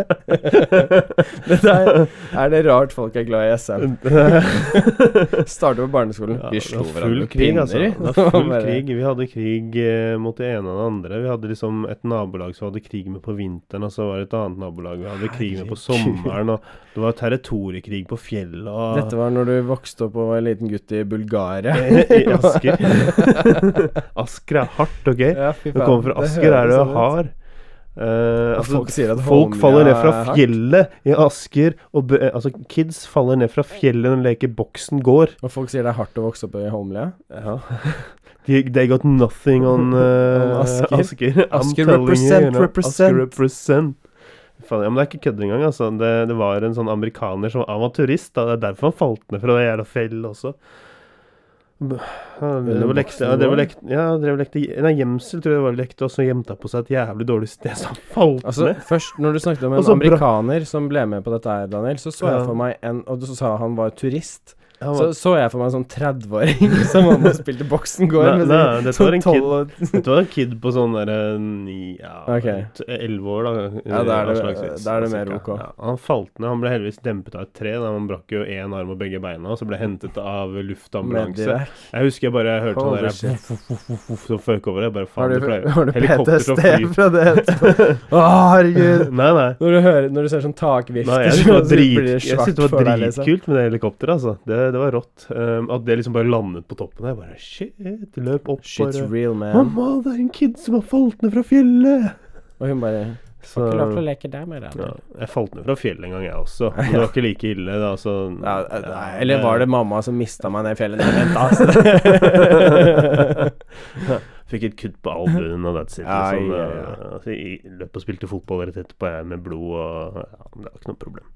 [SPEAKER 1] Dette er, er det rart folk er glad i SM? Starter på barneskolen.
[SPEAKER 2] Ja,
[SPEAKER 1] vi
[SPEAKER 2] det
[SPEAKER 1] slo
[SPEAKER 2] var
[SPEAKER 1] hverandre
[SPEAKER 2] full
[SPEAKER 1] med
[SPEAKER 2] krig,
[SPEAKER 1] pinner.
[SPEAKER 2] altså.
[SPEAKER 1] i.
[SPEAKER 2] Det var full
[SPEAKER 1] Bare-
[SPEAKER 2] krig. Vi hadde krig eh, mot det ene og det andre. Vi hadde liksom et nabolag som vi hadde krig med på vinteren, og så var det et annet nabolag vi hadde krig med på
[SPEAKER 1] Herregud.
[SPEAKER 2] sommeren, og det var territoriekrig på fjellet og
[SPEAKER 1] Dette var når du vokste opp og var en liten gutt i Bulgaria.
[SPEAKER 2] I Asker. Asker er hardt, OK?
[SPEAKER 1] Ja, fy
[SPEAKER 2] Du kommer fra Asker, er du hard? Eh, altså,
[SPEAKER 1] folk sier at
[SPEAKER 2] folk
[SPEAKER 1] Holmlia
[SPEAKER 2] faller ned
[SPEAKER 1] er
[SPEAKER 2] fra
[SPEAKER 1] hardt.
[SPEAKER 2] fjellet i Asker. Og bø- eh, altså, kids faller ned fra fjellet når de leker Boksen gård.
[SPEAKER 1] Og folk sier det er hardt å vokse opp i Holmlia.
[SPEAKER 2] They, they got nothing on, eh,
[SPEAKER 1] On Asker.
[SPEAKER 2] Asker. Asker, I'm
[SPEAKER 1] Asker
[SPEAKER 2] telling
[SPEAKER 1] represent,
[SPEAKER 2] know.
[SPEAKER 1] represent.
[SPEAKER 2] Asker represent. Faen, ja, men det er ikke kødd engang. Altså. Det, det var en sånn amerikaner som han var turist. Da. Det er derfor han falt ned fra det jævla fjellet også. B- Han
[SPEAKER 1] Er det
[SPEAKER 2] drev og lekte, han drev og
[SPEAKER 1] voksen
[SPEAKER 2] lekte, ja, han drev og lekte Nei, gjemsel tror jeg det var lekte, og så gjemte han på seg et jævlig dårlig sted, så han falt
[SPEAKER 1] Altså,
[SPEAKER 2] ned.
[SPEAKER 1] først når du snakket om en
[SPEAKER 2] Og så Altså, bra-
[SPEAKER 1] amerikaner som ble med på dette her, Daniel, så så jeg
[SPEAKER 2] Ja.
[SPEAKER 1] for meg en Og du sa han var turist.
[SPEAKER 2] Han
[SPEAKER 1] Så
[SPEAKER 2] var,
[SPEAKER 1] så jeg for meg en sånn 30-åring som var med og spilte boksen gård.
[SPEAKER 2] Nei,
[SPEAKER 1] med
[SPEAKER 2] nei,
[SPEAKER 1] sånn-
[SPEAKER 2] dette
[SPEAKER 1] sånn
[SPEAKER 2] var en kid.
[SPEAKER 1] 12 og-
[SPEAKER 2] det var en kid på sånn der eh, ni- ja,
[SPEAKER 1] Ok.
[SPEAKER 2] t- 11 år, da.
[SPEAKER 1] Ja, da er det-
[SPEAKER 2] anslagsvis,
[SPEAKER 1] da er det mer
[SPEAKER 2] cirka.
[SPEAKER 1] ok.
[SPEAKER 2] Ja, han falt ned. Han ble heldigvis dempet av et tre. Da han brakk jo én arm og begge beina, og så ble hentet av luftambulanse.
[SPEAKER 1] Medivac.
[SPEAKER 2] Jeg husker jeg bare hørte
[SPEAKER 1] Holy
[SPEAKER 2] sånn der
[SPEAKER 1] shit.
[SPEAKER 2] voff, voff, voff, voff, voff, som føk over det. Jeg Bare
[SPEAKER 1] Har
[SPEAKER 2] faen,
[SPEAKER 1] du,
[SPEAKER 2] det pleier
[SPEAKER 1] har du
[SPEAKER 2] helikopter til å
[SPEAKER 1] PTSD
[SPEAKER 2] fly.
[SPEAKER 1] fra det? Å, herregud.
[SPEAKER 2] Nei, nei.
[SPEAKER 1] Når du, hører, når du ser sånn takvifter,
[SPEAKER 2] Nei, jeg syntes det var,
[SPEAKER 1] så
[SPEAKER 2] drit,
[SPEAKER 1] blir det
[SPEAKER 2] jeg synes
[SPEAKER 1] svart
[SPEAKER 2] det
[SPEAKER 1] for
[SPEAKER 2] var
[SPEAKER 1] deg, liksom.
[SPEAKER 2] dritkult med det helikopteret, altså. Det, det var rått. Um, at det liksom bare landet på toppen der. Jeg Bare shit, løp opp
[SPEAKER 1] Shit's
[SPEAKER 2] bare
[SPEAKER 1] real, man.
[SPEAKER 2] Mamma, det er en kid som har falt ned fra fjellet!
[SPEAKER 1] Og hun bare
[SPEAKER 2] Så
[SPEAKER 1] Ikke lov til å leke der med
[SPEAKER 2] ja,
[SPEAKER 1] deg.
[SPEAKER 2] Jeg falt ned fra fjellet en gang, jeg også. Men det var ikke like ille, da. Så,
[SPEAKER 1] Ja, eh, nei, eller var det mamma som mista meg ned i fjellet? Nei, vent, altså.
[SPEAKER 2] Fikk et kutt på albuen, og that's it.
[SPEAKER 1] Ai,
[SPEAKER 2] Liksom.
[SPEAKER 1] ja, ja.
[SPEAKER 2] Eh, Så jeg løp og spilte fotball rett etterpå, jeg, med blod og ja, Det var ikke noe problem.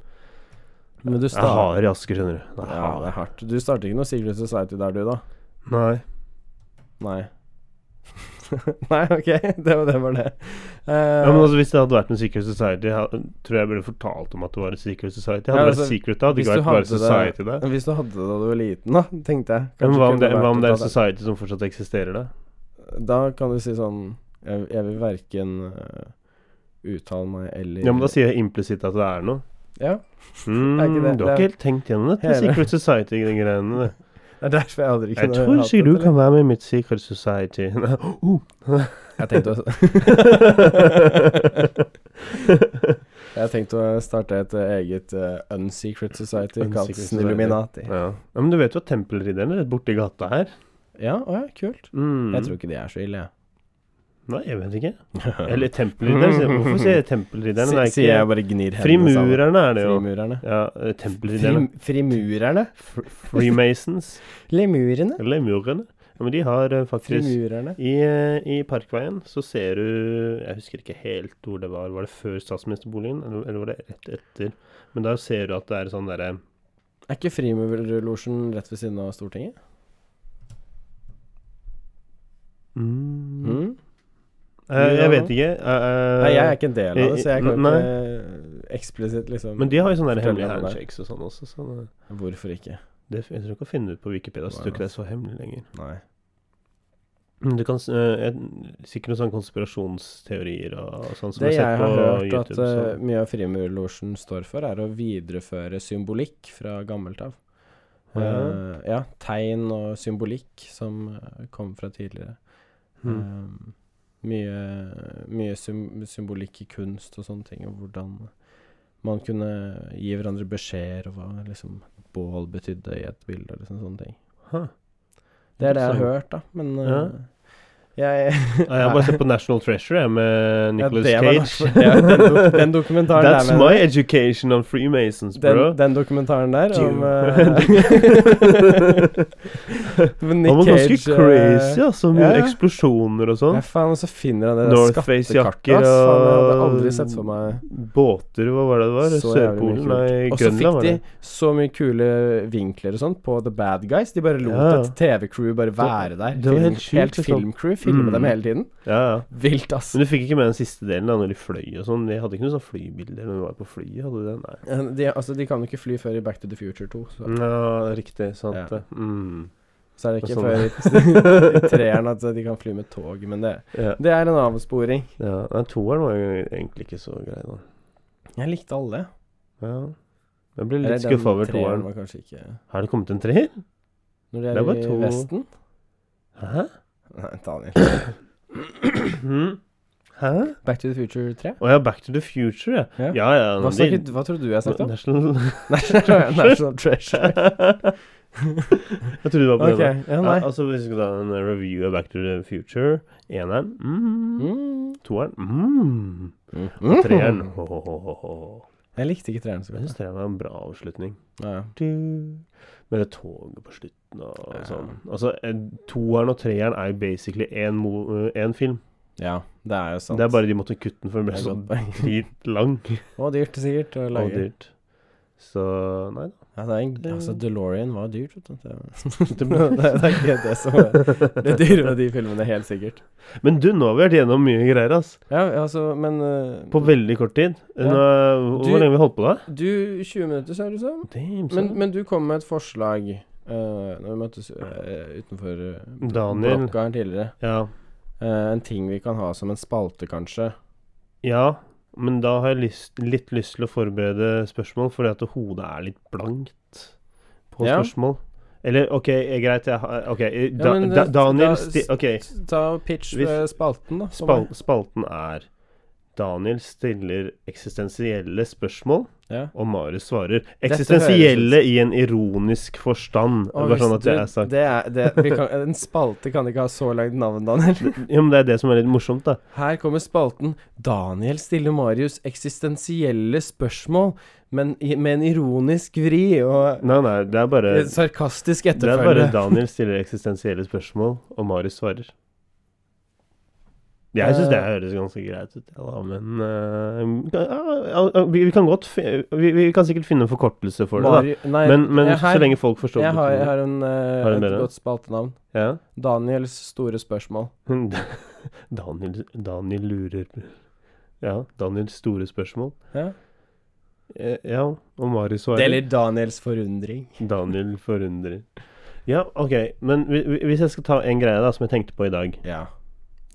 [SPEAKER 1] Men du
[SPEAKER 2] Jeg er
[SPEAKER 1] starter
[SPEAKER 2] hard i Asker, skjønner du. Det er
[SPEAKER 1] Ja, det
[SPEAKER 2] hard.
[SPEAKER 1] er hardt. Du starter ikke noe Secret Society der, du, da?
[SPEAKER 2] Nei.
[SPEAKER 1] Nei. Nei, ok. Det var det. Var det. Eh,
[SPEAKER 2] Ja, men altså, Hvis det hadde vært en Secret Society, ha- tror jeg jeg burde fortalt om at det var en Secret Society. Hadde
[SPEAKER 1] Ja,
[SPEAKER 2] det
[SPEAKER 1] altså,
[SPEAKER 2] vært Secret da, hadde
[SPEAKER 1] hvis
[SPEAKER 2] ikke
[SPEAKER 1] du
[SPEAKER 2] vært bare
[SPEAKER 1] hadde det-
[SPEAKER 2] Society der.
[SPEAKER 1] men hvis du hadde det da du var liten, da, tenkte jeg
[SPEAKER 2] Ja, men
[SPEAKER 1] kanskje
[SPEAKER 2] hva
[SPEAKER 1] kunne
[SPEAKER 2] om det, hva
[SPEAKER 1] vært
[SPEAKER 2] om det er
[SPEAKER 1] å
[SPEAKER 2] en
[SPEAKER 1] ta
[SPEAKER 2] Society som fortsatt eksisterer, da?
[SPEAKER 1] Da kan du si sånn Jeg, jeg vil verken eh, uttale meg eller
[SPEAKER 2] Ja, men da sier jeg implisitt at det er noe.
[SPEAKER 1] Ja.
[SPEAKER 2] Mm,
[SPEAKER 1] Det er ikke det.
[SPEAKER 2] Du
[SPEAKER 1] Det
[SPEAKER 2] har
[SPEAKER 1] er-
[SPEAKER 2] ikke helt tenkt gjennom dette
[SPEAKER 1] Hele-
[SPEAKER 2] Secret Society-greiene. det.
[SPEAKER 1] Det er derfor jeg aldri
[SPEAKER 2] Jeg
[SPEAKER 1] kunne
[SPEAKER 2] tror
[SPEAKER 1] hatt
[SPEAKER 2] ikke
[SPEAKER 1] det,
[SPEAKER 2] du
[SPEAKER 1] eller?
[SPEAKER 2] kan være med i mitt Secret Society. Oh.
[SPEAKER 1] Jeg tenkte å, jeg tenkte å starte et eh, eget eh, Unsecret Society kalt
[SPEAKER 2] Unsecret
[SPEAKER 1] Snilluminati.
[SPEAKER 2] ja. ja, Men du vet jo at Tempelridderne er rett borti gata her.
[SPEAKER 1] Ja, å ja, kult.
[SPEAKER 2] Mm.
[SPEAKER 1] Jeg tror ikke de er så ille,
[SPEAKER 2] Nei, jeg vet ikke. Eller Tempelridderne. sier- Hvorfor sier jeg Tempelridderne? Det er
[SPEAKER 1] jeg.
[SPEAKER 2] ikke-
[SPEAKER 1] Sier jeg og bare gnir hendene sammen.
[SPEAKER 2] Frimurerne er det jo.
[SPEAKER 1] Frimurerne.
[SPEAKER 2] Ja, eh, Tempelridderne.
[SPEAKER 1] Frim, frimurerne?
[SPEAKER 2] Fr- Freemasons.
[SPEAKER 1] Lemurene?
[SPEAKER 2] Lemurene. Ja, men de har eh, faktisk
[SPEAKER 1] Frimurerne.
[SPEAKER 2] I, eh, I Parkveien så ser du Jeg husker ikke helt hvor det var. Var det før statsministerboligen, eller, eller var det rett etter? Men der ser du at det er sånn derre
[SPEAKER 1] Er ikke Frimurlosjen rett ved siden av Stortinget?
[SPEAKER 2] mm.
[SPEAKER 1] Mm?
[SPEAKER 2] Eh, Jeg vet ikke. eh, eh,
[SPEAKER 1] Nei, jeg er ikke en del av det, så jeg kan
[SPEAKER 2] Nei.
[SPEAKER 1] ikke eksplisitt liksom
[SPEAKER 2] Men de har jo sånne der
[SPEAKER 1] Fortell
[SPEAKER 2] hemmelige
[SPEAKER 1] meg om det.
[SPEAKER 2] handshakes og sånn også. Så det-
[SPEAKER 1] Hvorfor ikke?
[SPEAKER 2] det, jeg tror ikke å finne ut på Wikipedia. Så
[SPEAKER 1] Nei,
[SPEAKER 2] tror ikke det er så hemmelig lenger.
[SPEAKER 1] Nei.
[SPEAKER 2] Men Du kan, s- eh, en- sikkert noen sånne konspirasjonsteorier og, og sånn som
[SPEAKER 1] Det
[SPEAKER 2] jeg
[SPEAKER 1] jeg
[SPEAKER 2] har
[SPEAKER 1] har hørt
[SPEAKER 2] sett på YouTube.
[SPEAKER 1] at eh,
[SPEAKER 2] så-
[SPEAKER 1] mye av frimurlosjen står for, er å videreføre symbolikk fra gammelt av. Eh,
[SPEAKER 2] Ja.
[SPEAKER 1] ja, tegn og symbolikk som eh, kom fra tidligere.
[SPEAKER 2] Mm.
[SPEAKER 1] Eh, mye mye sym symbolikk i kunst og sånne ting, og hvordan man kunne gi hverandre beskjeder, og hva liksom bål betydde i et bilde, og liksom sånne ting.
[SPEAKER 2] Huh.
[SPEAKER 1] Det er det jeg har
[SPEAKER 2] Interessant.
[SPEAKER 1] hørt, da. Men eh, Jeg,
[SPEAKER 2] Ja, jeg har bare sett på National Treasure jeg, med Nicolas
[SPEAKER 1] det var
[SPEAKER 2] Cage.
[SPEAKER 1] derfor- ja, den, dok den dokumentaren
[SPEAKER 2] That's
[SPEAKER 1] der med-
[SPEAKER 2] my education on Freemasons, bro.
[SPEAKER 1] den, den dokumentaren der om eh, med Nick
[SPEAKER 2] Han var ganske
[SPEAKER 1] Cage, eh,
[SPEAKER 2] crazy, ja. Så mye
[SPEAKER 1] ja, ja.
[SPEAKER 2] eksplosjoner og
[SPEAKER 1] Ja,
[SPEAKER 2] sånn.
[SPEAKER 1] faen, og så finner han det der skattekartet.
[SPEAKER 2] Northface-jakker
[SPEAKER 1] ass. Faen, jeg hadde
[SPEAKER 2] og
[SPEAKER 1] aldri sett for meg
[SPEAKER 2] Båter, hva var det det var?
[SPEAKER 1] Så jævlig mye
[SPEAKER 2] Sørpolen? Nei,
[SPEAKER 1] Og så
[SPEAKER 2] Grønland,
[SPEAKER 1] fikk
[SPEAKER 2] var
[SPEAKER 1] de
[SPEAKER 2] det.
[SPEAKER 1] så mye kule vinkler og sånn på The Bad Guys. De bare lot
[SPEAKER 2] Ja.
[SPEAKER 1] et TV-crew bare være der.
[SPEAKER 2] det var helt sjukt,
[SPEAKER 1] helt
[SPEAKER 2] liksom.
[SPEAKER 1] filmcrew filme
[SPEAKER 2] Mm.
[SPEAKER 1] dem hele tiden.
[SPEAKER 2] Ja, ja.
[SPEAKER 1] Vilt, ass.
[SPEAKER 2] Men du fikk ikke med den siste delen, da, når de fløy og sånn. De hadde ikke noe sånn flybilder når de var på flyet, hadde de det? Nei.
[SPEAKER 1] Eh, De, altså, de kan jo ikke fly før i Back to the Future 2. Så,
[SPEAKER 2] Mm. Ja, riktig. Sant
[SPEAKER 1] Ja.
[SPEAKER 2] det. Mm.
[SPEAKER 1] så er det ikke
[SPEAKER 2] Og sånn.
[SPEAKER 1] før i i treeren at de kan fly med tog. Men det,
[SPEAKER 2] Ja.
[SPEAKER 1] det er en avsporing.
[SPEAKER 2] ja. Nei, toeren var jo egentlig ikke så grei, da.
[SPEAKER 1] Jeg likte alle.
[SPEAKER 2] Ja. Jeg ble
[SPEAKER 1] Eller
[SPEAKER 2] litt
[SPEAKER 1] den
[SPEAKER 2] skuffa over
[SPEAKER 1] treeren
[SPEAKER 2] toeren.
[SPEAKER 1] var kanskje ikke
[SPEAKER 2] Har det kommet en treer?
[SPEAKER 1] Når de
[SPEAKER 2] Det var
[SPEAKER 1] er i
[SPEAKER 2] to-
[SPEAKER 1] Vesten?
[SPEAKER 2] Hæ?
[SPEAKER 1] Nei, Daniel.
[SPEAKER 2] Mhm. Hæ?
[SPEAKER 1] Back to the Future 3?
[SPEAKER 2] Å ja, Back to the Future, ja.
[SPEAKER 1] Ja.
[SPEAKER 2] Ja, ja.
[SPEAKER 1] Hva,
[SPEAKER 2] de-
[SPEAKER 1] snakket, hva trodde du jeg snakket om?
[SPEAKER 2] National
[SPEAKER 1] National National Treasure.
[SPEAKER 2] Jeg trodde det var på
[SPEAKER 1] Ok,
[SPEAKER 2] det.
[SPEAKER 1] ja,
[SPEAKER 2] Ja,
[SPEAKER 1] nei.
[SPEAKER 2] altså, hvis vi skal ta en review av Back to the Future, eneren mm.
[SPEAKER 1] Mm.
[SPEAKER 2] Toeren mm.
[SPEAKER 1] Mm.
[SPEAKER 2] Treeren ho, ho, ho, ho, ho.
[SPEAKER 1] Jeg likte ikke treeren så
[SPEAKER 2] Jeg
[SPEAKER 1] godt.
[SPEAKER 2] syns treeren var en bra avslutning.
[SPEAKER 1] Ja, ja.
[SPEAKER 2] Du. Med det toget på slutten og
[SPEAKER 1] Ja.
[SPEAKER 2] sånn. Altså, eh, toeren og treeren er jo basically én mo- eh, én film.
[SPEAKER 1] ja, det er jo sant.
[SPEAKER 2] Det er bare de måtte kutte den, for den
[SPEAKER 1] Det
[SPEAKER 2] ble
[SPEAKER 1] er
[SPEAKER 2] så
[SPEAKER 1] godt poeng.
[SPEAKER 2] dritlang
[SPEAKER 1] Og dyrt, sikkert. Å
[SPEAKER 2] og
[SPEAKER 1] lage.
[SPEAKER 2] dyrt. Så nei da.
[SPEAKER 1] Ja, det er en, altså, DeLorean var dyrt. vet du. Det,
[SPEAKER 2] Det
[SPEAKER 1] det,
[SPEAKER 2] ble-
[SPEAKER 1] det er ikke det som er det dyre med de filmene, helt sikkert.
[SPEAKER 2] Men du, nå har vi vært gjennom mye greier, ass.
[SPEAKER 1] Ja, altså, men eh,
[SPEAKER 2] På veldig kort tid.
[SPEAKER 1] Ja.
[SPEAKER 2] Nå, hvor
[SPEAKER 1] Du-
[SPEAKER 2] hvor lenge har vi holdt på da?
[SPEAKER 1] Du, 20 minutter, ser du som.
[SPEAKER 2] Damn,
[SPEAKER 1] Men,
[SPEAKER 2] men,
[SPEAKER 1] men du kom med et forslag eh, Når vi møttes eh, utenfor eh,
[SPEAKER 2] Daniel.
[SPEAKER 1] blokka her tidligere.
[SPEAKER 2] ja.
[SPEAKER 1] Eh, en ting vi kan ha som en spalte, kanskje.
[SPEAKER 2] ja, men da har jeg lyst, litt lyst til å forberede spørsmål, fordi at hodet er litt blankt på
[SPEAKER 1] Ja.
[SPEAKER 2] spørsmål. Eller OK, eh, greit, jeg har OK. eh, Da,
[SPEAKER 1] men
[SPEAKER 2] da,
[SPEAKER 1] det- da-
[SPEAKER 2] Daniel sti, OK.
[SPEAKER 1] Ta og pitch
[SPEAKER 2] Hvis-
[SPEAKER 1] eh, spalten, da. for
[SPEAKER 2] Spal,
[SPEAKER 1] meg.
[SPEAKER 2] spalten er Daniel stiller eksistensielle spørsmål,
[SPEAKER 1] Ja.
[SPEAKER 2] og Marius svarer.
[SPEAKER 1] høres ut-
[SPEAKER 2] Eksistensielle i en ironisk forstand.
[SPEAKER 1] Å,
[SPEAKER 2] bare
[SPEAKER 1] hvis
[SPEAKER 2] sånn at det
[SPEAKER 1] du-
[SPEAKER 2] er sagt.
[SPEAKER 1] Det er, det, vi kan, en spalte kan ikke ha så langt navn, Daniel.
[SPEAKER 2] Ja, men det er det som er litt morsomt, da.
[SPEAKER 1] Her kommer spalten 'Daniel stiller Marius eksistensielle spørmål', men i- med en ironisk vri og
[SPEAKER 2] Nei, nei, det er bare
[SPEAKER 1] et sarkastisk
[SPEAKER 2] Det er bare
[SPEAKER 1] etterfølge.
[SPEAKER 2] Daniel stiller eksistensielle spørsmål, og Marius svarer. Jeg syns
[SPEAKER 1] Eh.
[SPEAKER 2] det høres ganske greit ut, ja, da, men eh, ja, ja, vi, vi kan godt fi- vi, vi kan sikkert finne en forkortelse for det, da.
[SPEAKER 1] Mari- nei,
[SPEAKER 2] Men, men
[SPEAKER 1] jeg- her-
[SPEAKER 2] så lenge folk forstår
[SPEAKER 1] Jeg har, jeg
[SPEAKER 2] betydningen.
[SPEAKER 1] har en, eh,
[SPEAKER 2] Har du en
[SPEAKER 1] et
[SPEAKER 2] bedre?
[SPEAKER 1] godt spaltenavn.
[SPEAKER 2] Ja.
[SPEAKER 1] Daniels store spørsmål.
[SPEAKER 2] Daniel, Daniel lurer Ja, Daniels store spørsmål.
[SPEAKER 1] Ja.
[SPEAKER 2] Eh, Ja, og Marius svarer.
[SPEAKER 1] Eller Daniels forundring.
[SPEAKER 2] Daniel forundrer. Ja, OK. Men hvi- hvi- hvis jeg skal ta en greie da, som jeg tenkte på i dag
[SPEAKER 1] Ja.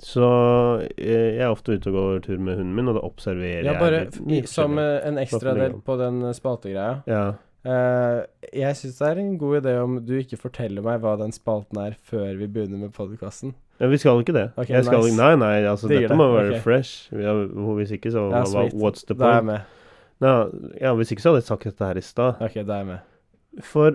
[SPEAKER 2] Så eh, jeg er ofte ute og går tur med hunden min, og da observerer
[SPEAKER 1] ja
[SPEAKER 2] jeg
[SPEAKER 1] bare
[SPEAKER 2] litt-
[SPEAKER 1] f-
[SPEAKER 2] mye
[SPEAKER 1] i, som
[SPEAKER 2] forskjellig.
[SPEAKER 1] eh, en ekstra
[SPEAKER 2] Spalten
[SPEAKER 1] del på den eh, spaltegreia.
[SPEAKER 2] Ja.
[SPEAKER 1] Eh, jeg syns det er en god idé om du ikke forteller meg hva den spalten er, før vi begynner med podkasten.
[SPEAKER 2] ja, vi skal ikke det.
[SPEAKER 1] Ok,
[SPEAKER 2] jeg skal,
[SPEAKER 1] nice.
[SPEAKER 2] Nei, nei, altså
[SPEAKER 1] Digger
[SPEAKER 2] dette må
[SPEAKER 1] det,
[SPEAKER 2] være
[SPEAKER 1] ok.
[SPEAKER 2] fresh. Vi har, hvis ikke, så
[SPEAKER 1] Ja,
[SPEAKER 2] hva-
[SPEAKER 1] sweet.
[SPEAKER 2] What's the
[SPEAKER 1] Da er jeg
[SPEAKER 2] point?
[SPEAKER 1] med.
[SPEAKER 2] Nei, ja, hvis ikke så hadde jeg sagt dette her i stad.
[SPEAKER 1] Ok, da er jeg med.
[SPEAKER 2] For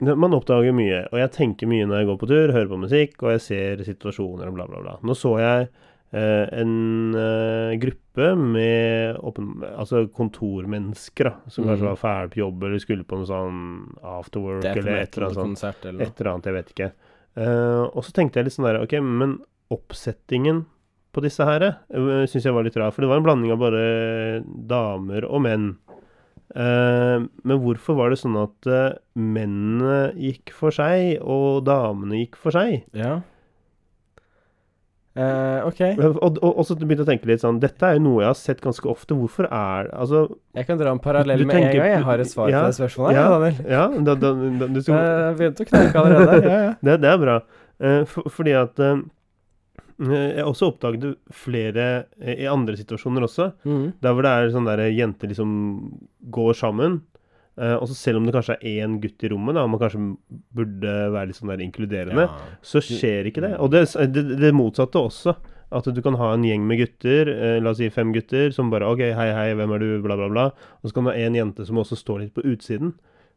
[SPEAKER 2] ne- man oppdager mye, og jeg tenker mye når jeg går på tur, hører på musikk, og jeg ser situasjoner og bla, bla, bla. Nå så jeg eh, en eh, gruppe med åpen, altså kontormennesker da, som
[SPEAKER 1] Mhm.
[SPEAKER 2] kanskje var ferdig på jobb eller skulle på noe sånn afterwork
[SPEAKER 1] Det er
[SPEAKER 2] eller et eller annet sånt.
[SPEAKER 1] konsert eller noe.
[SPEAKER 2] Et eller annet, jeg vet ikke. Eh, og så tenkte jeg litt sånn der Ok, men oppsettingen på disse her uh, syns jeg var litt rar. For det var en blanding av bare damer og menn. Eh, men hvorfor var det sånn at eh, mennene gikk for seg, og damene gikk for seg?
[SPEAKER 1] Ja. Eh, ok,
[SPEAKER 2] Og, og, og så begynte jeg å tenke litt sånn Dette er jo noe jeg har sett ganske ofte. Hvorfor er Altså,
[SPEAKER 1] jeg kan dra en parallell
[SPEAKER 2] Du
[SPEAKER 1] med en
[SPEAKER 2] tenker-
[SPEAKER 1] gang. Jeg har et svar
[SPEAKER 2] Ja,
[SPEAKER 1] på det spørsmålet.
[SPEAKER 2] ja.
[SPEAKER 1] Ja. Daniel.
[SPEAKER 2] ja da, da, da, du
[SPEAKER 1] Eh,
[SPEAKER 2] skal,
[SPEAKER 1] Jeg begynte å knekke allerede. Ja, ja.
[SPEAKER 2] Det, det er bra. Eh, for, fordi at eh, Jeg også oppdaget flere eh, i andre situasjoner også.
[SPEAKER 1] Mhm.
[SPEAKER 2] Der hvor det er sånn der jenter liksom går sammen. eh, og så selv om det kanskje er én gutt i rommet, da, og man kanskje burde være litt sånn der inkluderende, så skjer ikke det. Og det, det, det motsatte også. At du kan ha en gjeng med gutter, eh, la oss si fem gutter, som bare OK, hei, hei, hvem er du, bla, bla, bla. Og så kan du ha en jente som også står litt på utsiden.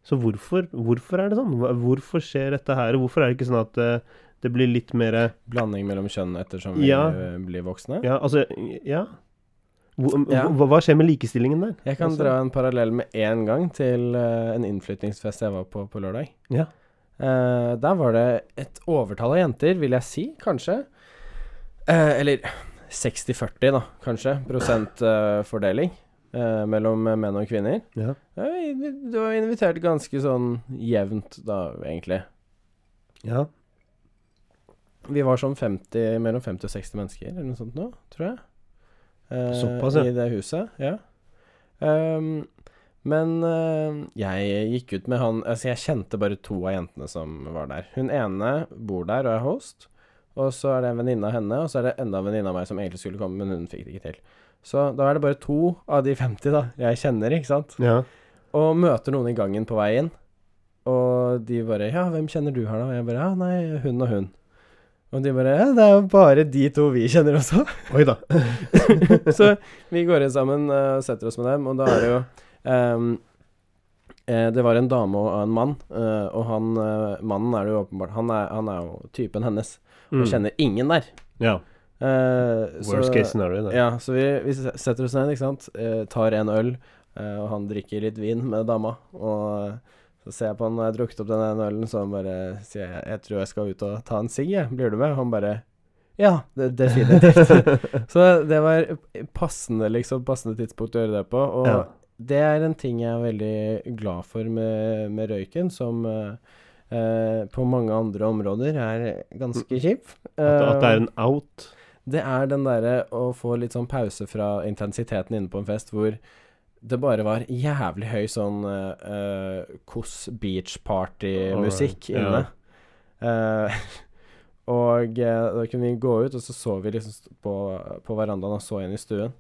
[SPEAKER 2] Så hvorfor, hvorfor er det sånn? Hva- Hvorfor skjer dette her? Hvorfor er det ikke sånn at eh, det blir litt mer eh,
[SPEAKER 1] Blanding mellom kjønn ettersom vi
[SPEAKER 2] Ja.
[SPEAKER 1] eh, blir voksne.
[SPEAKER 2] Ja, altså Ja. Hvor-
[SPEAKER 1] Ja.
[SPEAKER 2] Hva, hva skjer med likestillingen der?
[SPEAKER 1] Jeg kan
[SPEAKER 2] Altså-
[SPEAKER 1] dra en parallell med en gang til eh, en innflytningsfest jeg var på på lørdag.
[SPEAKER 2] Ja.
[SPEAKER 1] Eh, der var det et overtall av jenter, vil jeg si, kanskje. Eh, eller 60-40, da, kanskje, prosentfordeling eh, mellom menn og kvinner.
[SPEAKER 2] Ja.
[SPEAKER 1] Eh, Du var invitert ganske sånn jevnt, da, egentlig.
[SPEAKER 2] ja.
[SPEAKER 1] Vi var sånn 50, mellom 50 og 60 mennesker eller noe sånt nå, tror jeg. Eh,
[SPEAKER 2] Såpass, ja.
[SPEAKER 1] I det huset, ja. Ehm, men eh, jeg gikk ut med han Altså, jeg kjente bare to av jentene som var der. Hun ene bor der og er host, og så er det en venninne av henne, og så er det enda en venninne av meg som egentlig skulle komme, men hun fikk det ikke til. Så da er det bare to av de 50 da jeg kjenner, ikke sant?
[SPEAKER 2] ja.
[SPEAKER 1] Og møter noen i gangen på vei inn. Og de bare 'Ja, hvem kjenner du her, da?' Og jeg bare 'Ja, nei, hun og hun'. Og de bare 'Ja, det er jo bare de to vi kjenner også'.
[SPEAKER 2] Oi da.
[SPEAKER 1] Så vi går inn sammen eh, og setter oss med dem, og da er det jo ehm, eh, Det var en dame og en mann, eh, og han eh, mannen er det jo åpenbart Han er, han er jo typen hennes, og
[SPEAKER 2] Mm.
[SPEAKER 1] kjenner ingen der.
[SPEAKER 2] Ja.
[SPEAKER 1] Eh, så-
[SPEAKER 2] Worst case scenario. Det.
[SPEAKER 1] ja, så vi, vi s- setter oss ned, ikke sant. Eh, tar en øl, eh, og han drikker litt vin med dama. Og eh, så ser jeg på han når jeg har drukket opp den ene ølen, så han bare sier jeg, 'Jeg tror jeg skal ut og ta en sigg, jeg. Blir du med?' Og han bare 'Ja, det, definitivt'. så det var passende, liksom. Passende tidspunkt å gjøre det på. Og
[SPEAKER 2] Ja.
[SPEAKER 1] det er en ting jeg er veldig glad for med, med røyken, som eh, eh, på mange andre områder er ganske kjip.
[SPEAKER 2] Mm. At, at det
[SPEAKER 1] Eh,
[SPEAKER 2] er en out.
[SPEAKER 1] det er den derre å få litt sånn pause fra intensiteten inne på en fest hvor det bare var jævlig høy sånn uh, Koss beach party-musikk
[SPEAKER 2] Alright,
[SPEAKER 1] inne. Eh, og eh, da kunne vi gå ut, og så så vi liksom st- på, på verandaen og så inn i stuen.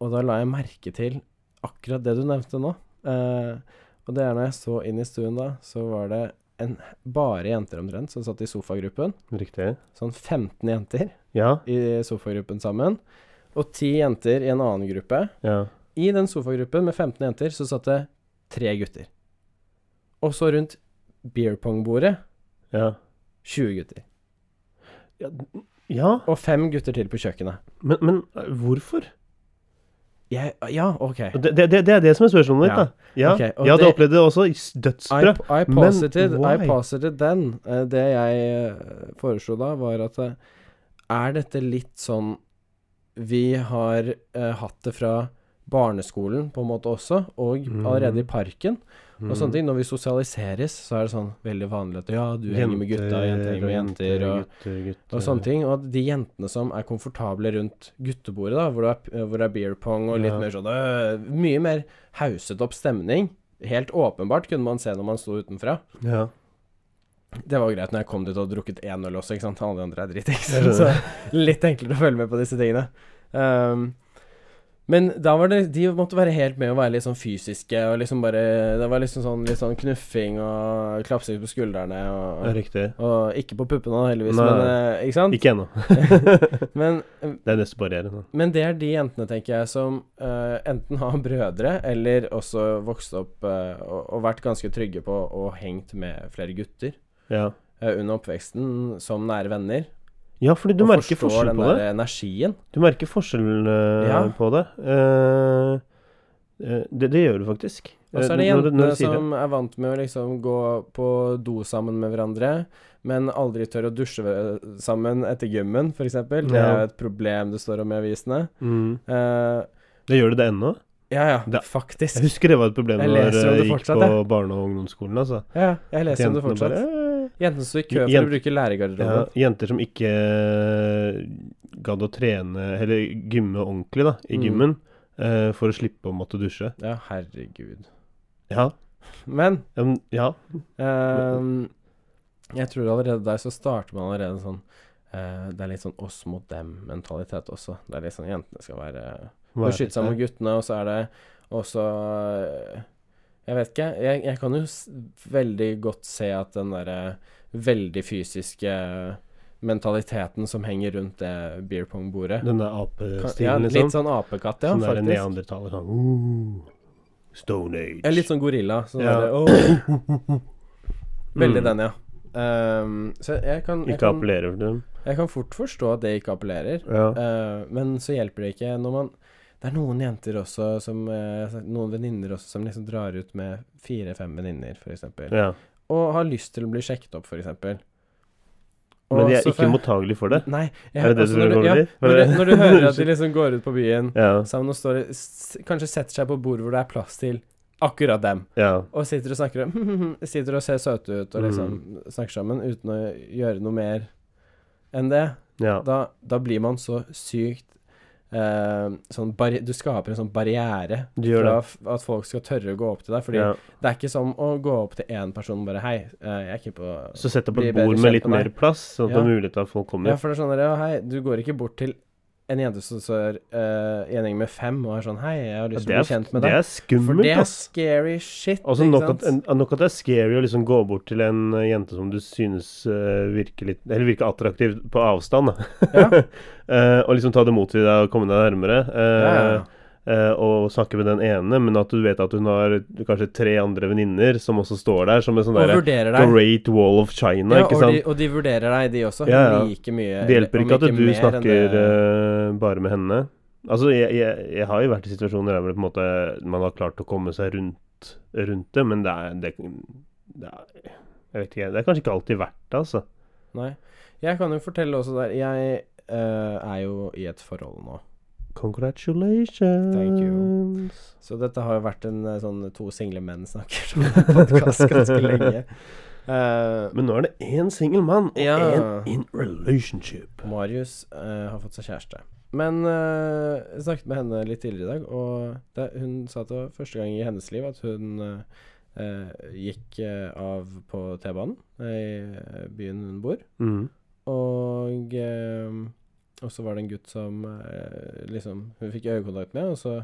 [SPEAKER 1] Og da la jeg merke til akkurat det du nevnte nå. Eh, og det er når jeg så inn i stuen da, så var det en, bare jenter omtrent som satt i sofagruppen.
[SPEAKER 2] Riktig.
[SPEAKER 1] Sånn 15 jenter
[SPEAKER 2] Ja.
[SPEAKER 1] i sofagruppen sammen, og ti jenter i en annen gruppe.
[SPEAKER 2] Ja.
[SPEAKER 1] I den sofagruppen med 15 jenter så satt det tre gutter. Og så rundt beer pong-bordet
[SPEAKER 2] Ja.
[SPEAKER 1] 20 gutter.
[SPEAKER 2] Ja. ja.
[SPEAKER 1] Og fem gutter til på kjøkkenet.
[SPEAKER 2] Men, men eh, hvorfor?
[SPEAKER 1] Jeg, ja, OK.
[SPEAKER 2] Det, det, det det er det som er spørsmålet
[SPEAKER 1] Ja.
[SPEAKER 2] ditt, da. Ja,
[SPEAKER 1] Ok, og
[SPEAKER 2] jeg hadde
[SPEAKER 1] det-
[SPEAKER 2] opplevd det også. i s-
[SPEAKER 1] I,
[SPEAKER 2] Dødsbra.
[SPEAKER 1] I
[SPEAKER 2] Men
[SPEAKER 1] posited, I
[SPEAKER 2] why?
[SPEAKER 1] posited den. Eh, Det jeg eh, foreslo da, var at eh, er dette litt sånn Vi har eh, hatt det fra barneskolen på en måte også, og
[SPEAKER 2] Mhm.
[SPEAKER 1] allerede i parken. Og
[SPEAKER 2] Mm.
[SPEAKER 1] sånne ting. Når vi sosialiseres, så er det sånn veldig vanlig at ja, du henger med gutta, jenter henger med jenter, og,
[SPEAKER 2] gutter, gutter.
[SPEAKER 1] og sånne ting. Og at de jentene som er komfortable rundt guttebordet, da, hvor det er, hvor det er beer pong og litt
[SPEAKER 2] Ja.
[SPEAKER 1] mer sånn øh, Mye mer hauset opp stemning. Helt åpenbart kunne man se når man sto utenfra.
[SPEAKER 2] Ja.
[SPEAKER 1] Det var jo greit når jeg kom dit og hadde drukket én øl også, ikke sant. Alle de andre er dritings.
[SPEAKER 2] Jeg
[SPEAKER 1] Så
[SPEAKER 2] skjønner.
[SPEAKER 1] litt enklere å følge med på disse tingene. Ehm, men da var det De måtte være helt med å være litt sånn fysiske og liksom bare Det var liksom sånn litt sånn knuffing og klapsing på skuldrene
[SPEAKER 2] Ja,
[SPEAKER 1] og
[SPEAKER 2] Riktig.
[SPEAKER 1] og ikke på puppene, da, heldigvis,
[SPEAKER 2] Nei.
[SPEAKER 1] men eh, Ikke sant?
[SPEAKER 2] Ikke ennå.
[SPEAKER 1] Men,
[SPEAKER 2] Det er neste barriere. da.
[SPEAKER 1] men det er de jentene, tenker jeg, som eh, enten har brødre, eller også vokst opp eh, og, og vært ganske trygge på og hengt med flere gutter
[SPEAKER 2] Ja.
[SPEAKER 1] eh, under oppveksten som nære venner.
[SPEAKER 2] ja, fordi du
[SPEAKER 1] og
[SPEAKER 2] merker
[SPEAKER 1] forstår
[SPEAKER 2] forskjell
[SPEAKER 1] den
[SPEAKER 2] på
[SPEAKER 1] der
[SPEAKER 2] det.
[SPEAKER 1] energien.
[SPEAKER 2] Du merker forskjell eh,
[SPEAKER 1] Ja.
[SPEAKER 2] på det. Eh, eh, det. Det gjør du faktisk.
[SPEAKER 1] Og så
[SPEAKER 2] Eh,
[SPEAKER 1] er det
[SPEAKER 2] når du-
[SPEAKER 1] jentene
[SPEAKER 2] når du sier det.
[SPEAKER 1] som er vant med å liksom gå på do sammen med hverandre, men aldri tør å dusje ve- sammen etter gymmen, f.eks. Det er
[SPEAKER 2] Ja.
[SPEAKER 1] jo et problem det står om i avisene.
[SPEAKER 2] mm.
[SPEAKER 1] Eh,
[SPEAKER 2] Det gjør du det ennå?
[SPEAKER 1] ja, ja,
[SPEAKER 2] Det- Jeg
[SPEAKER 1] faktisk.
[SPEAKER 2] husker det var et problem
[SPEAKER 1] Jeg
[SPEAKER 2] når
[SPEAKER 1] leser om
[SPEAKER 2] jeg
[SPEAKER 1] det
[SPEAKER 2] gikk
[SPEAKER 1] fortsatt,
[SPEAKER 2] på barne- og ungdomsskolen. Altså.
[SPEAKER 1] Ja, ja, jeg leser om det
[SPEAKER 2] Jentene
[SPEAKER 1] fortsatt.
[SPEAKER 2] bare, eh,
[SPEAKER 1] Jentene står i kø for
[SPEAKER 2] Jent-
[SPEAKER 1] å bruke
[SPEAKER 2] Ja,
[SPEAKER 1] lærergarderoben.
[SPEAKER 2] jenter som ikke eh, gadd å trene eller gymme ordentlig da, i
[SPEAKER 1] Mm.
[SPEAKER 2] gymmen eh, for å slippe å måtte dusje.
[SPEAKER 1] Ja, herregud.
[SPEAKER 2] Ja.
[SPEAKER 1] Men
[SPEAKER 2] ja, men- ja.
[SPEAKER 1] ehm, jeg tror allerede der så starter man allerede en sånn eh, Det er litt sånn oss mot dem-mentalitet også. Det er litt sånn jentene skal være
[SPEAKER 2] hva er
[SPEAKER 1] beskytte seg mot guttene, og så er det også eh, Jeg vet ikke. Jeg, jeg kan jo s veldig godt se at den derre veldig fysiske mentaliteten som henger rundt det beer pong-bordet
[SPEAKER 2] Den der
[SPEAKER 1] Kan-
[SPEAKER 2] apestilen,
[SPEAKER 1] ja,
[SPEAKER 2] liksom.
[SPEAKER 1] Litt sånn apekatt, ja,
[SPEAKER 2] sånn der
[SPEAKER 1] faktisk.
[SPEAKER 2] neandertaler sånn uh. Stone Age.
[SPEAKER 1] Ja, litt sånn gorilla. Sånn
[SPEAKER 2] Ja.
[SPEAKER 1] derre, «Åh». Veldig
[SPEAKER 2] Mm.
[SPEAKER 1] den, ja. Ehm, så jeg kan, jeg,
[SPEAKER 2] Ikke
[SPEAKER 1] kan,
[SPEAKER 2] appellerer til dem.
[SPEAKER 1] jeg kan fort forstå at det ikke appellerer.
[SPEAKER 2] Ja.
[SPEAKER 1] Eh, men så hjelper det ikke når man Det er noen jenter også som eh, Noen venninner også som liksom drar ut med fire-fem venninner, f.eks. eksempel
[SPEAKER 2] ja.
[SPEAKER 1] Og har lyst til å bli sjekket opp, f.eks.
[SPEAKER 2] Men de er ikke mottagelige for det.
[SPEAKER 1] Nei. jeg-
[SPEAKER 2] Er det det
[SPEAKER 1] altså,
[SPEAKER 2] du
[SPEAKER 1] når
[SPEAKER 2] prøver å
[SPEAKER 1] ja,
[SPEAKER 2] si?
[SPEAKER 1] når, du, når du hører at de liksom går ut på byen
[SPEAKER 2] Ja.
[SPEAKER 1] sammen og står s- Kanskje setter seg på bord hvor det er plass til akkurat dem,
[SPEAKER 2] Ja.
[SPEAKER 1] og sitter og snakker om Sitter og ser søte ut og
[SPEAKER 2] Mm.
[SPEAKER 1] liksom snakker sammen uten å gjøre noe mer enn det
[SPEAKER 2] ja.
[SPEAKER 1] da, da blir man så sykt eh, sånn barri Du skaper en sånn barriere
[SPEAKER 2] Du gjør
[SPEAKER 1] fra
[SPEAKER 2] det.
[SPEAKER 1] f- at folk skal tørre å gå opp til deg. Fordi
[SPEAKER 2] ja.
[SPEAKER 1] det er ikke som å gå opp til én person og bare Hei, eh, jeg er ikke på
[SPEAKER 2] Så sett opp
[SPEAKER 1] Bli
[SPEAKER 2] et
[SPEAKER 1] bedre
[SPEAKER 2] bord
[SPEAKER 1] kjent
[SPEAKER 2] med litt
[SPEAKER 1] med
[SPEAKER 2] mer plass, sånn at det
[SPEAKER 1] Ja.
[SPEAKER 2] er mulighet til at folk
[SPEAKER 1] Ja,
[SPEAKER 2] kommer.
[SPEAKER 1] for det er sånn der, ja, hei, du går ikke bort til en jente som står eh, i en gjeng med fem og er sånn Hei, jeg har lyst til å
[SPEAKER 2] det,
[SPEAKER 1] bli kjent
[SPEAKER 2] er,
[SPEAKER 1] med
[SPEAKER 2] det
[SPEAKER 1] deg.
[SPEAKER 2] er skummelt,
[SPEAKER 1] For det er
[SPEAKER 2] ass.
[SPEAKER 1] scary shit.
[SPEAKER 2] Altså,
[SPEAKER 1] ikke
[SPEAKER 2] nok, at,
[SPEAKER 1] sant?
[SPEAKER 2] en- nok at det er scary å liksom gå bort til en eh, jente som du synes eh, virker litt Eller virker attraktiv på avstand, da.
[SPEAKER 1] Ja.
[SPEAKER 2] Eh, og liksom ta det mot til deg og komme deg nærmere. eh,
[SPEAKER 1] ja, ja.
[SPEAKER 2] eh, og snakke med den ene, men at du vet at hun har kanskje tre andre venninner som også står der, som en sånn
[SPEAKER 1] Og
[SPEAKER 2] derre
[SPEAKER 1] vurderer deg.
[SPEAKER 2] Great Wall of China,
[SPEAKER 1] Ja,
[SPEAKER 2] ikke
[SPEAKER 1] og, de,
[SPEAKER 2] sant?
[SPEAKER 1] og de vurderer deg, de også.
[SPEAKER 2] Ja, ja.
[SPEAKER 1] Like mye.
[SPEAKER 2] det hjelper
[SPEAKER 1] om
[SPEAKER 2] ikke at du
[SPEAKER 1] mer enn
[SPEAKER 2] snakker
[SPEAKER 1] det-
[SPEAKER 2] eh, bare med henne. Altså, jeg, jeg, jeg har jo vært i situasjoner der hvor det på en måte man har klart å komme seg rundt, rundt det, men det er, det, det er Jeg vet ikke, det er kanskje ikke alltid verdt det, altså.
[SPEAKER 1] Nei. Jeg kan jo fortelle også der Jeg eh, er jo i et forhold nå.
[SPEAKER 2] Congratulations.
[SPEAKER 1] Thank you. Så dette har jo vært en eh, sånn to single menn snakker som podkast ganske lenge. Eh,
[SPEAKER 2] Men nå er det én singel mann, og én
[SPEAKER 1] Ja.
[SPEAKER 2] in relationship.
[SPEAKER 1] Marius eh, har fått seg kjæreste. Men eh, jeg snakket med henne litt tidligere i dag, og det, hun sa at det var første gang i hennes liv at hun eh, eh, gikk eh, av på T-banen eh, i byen hun bor.
[SPEAKER 2] Mm.
[SPEAKER 1] Og eh, og så var det en gutt som eh, liksom hun fikk øyekontakt med, og så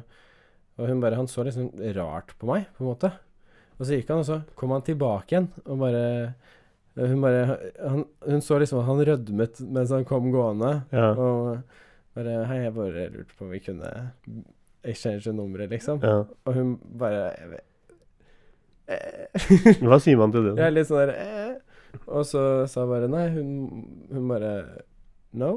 [SPEAKER 1] Og hun bare Han så liksom rart på meg, på en måte. Og så gikk han, og så kom han tilbake igjen, og bare Hun bare han, Hun så liksom at han rødmet mens han kom gående,
[SPEAKER 2] Ja.
[SPEAKER 1] og bare Hei, jeg bare lurte på om vi kunne exchange nummeret, liksom.
[SPEAKER 2] ja.
[SPEAKER 1] Og hun bare jeg vet- eh.
[SPEAKER 2] Hva sier man til det?
[SPEAKER 1] Jeg
[SPEAKER 2] da?
[SPEAKER 1] er litt sånn der eh. Og så sa jeg bare nei. Hun, hun bare No.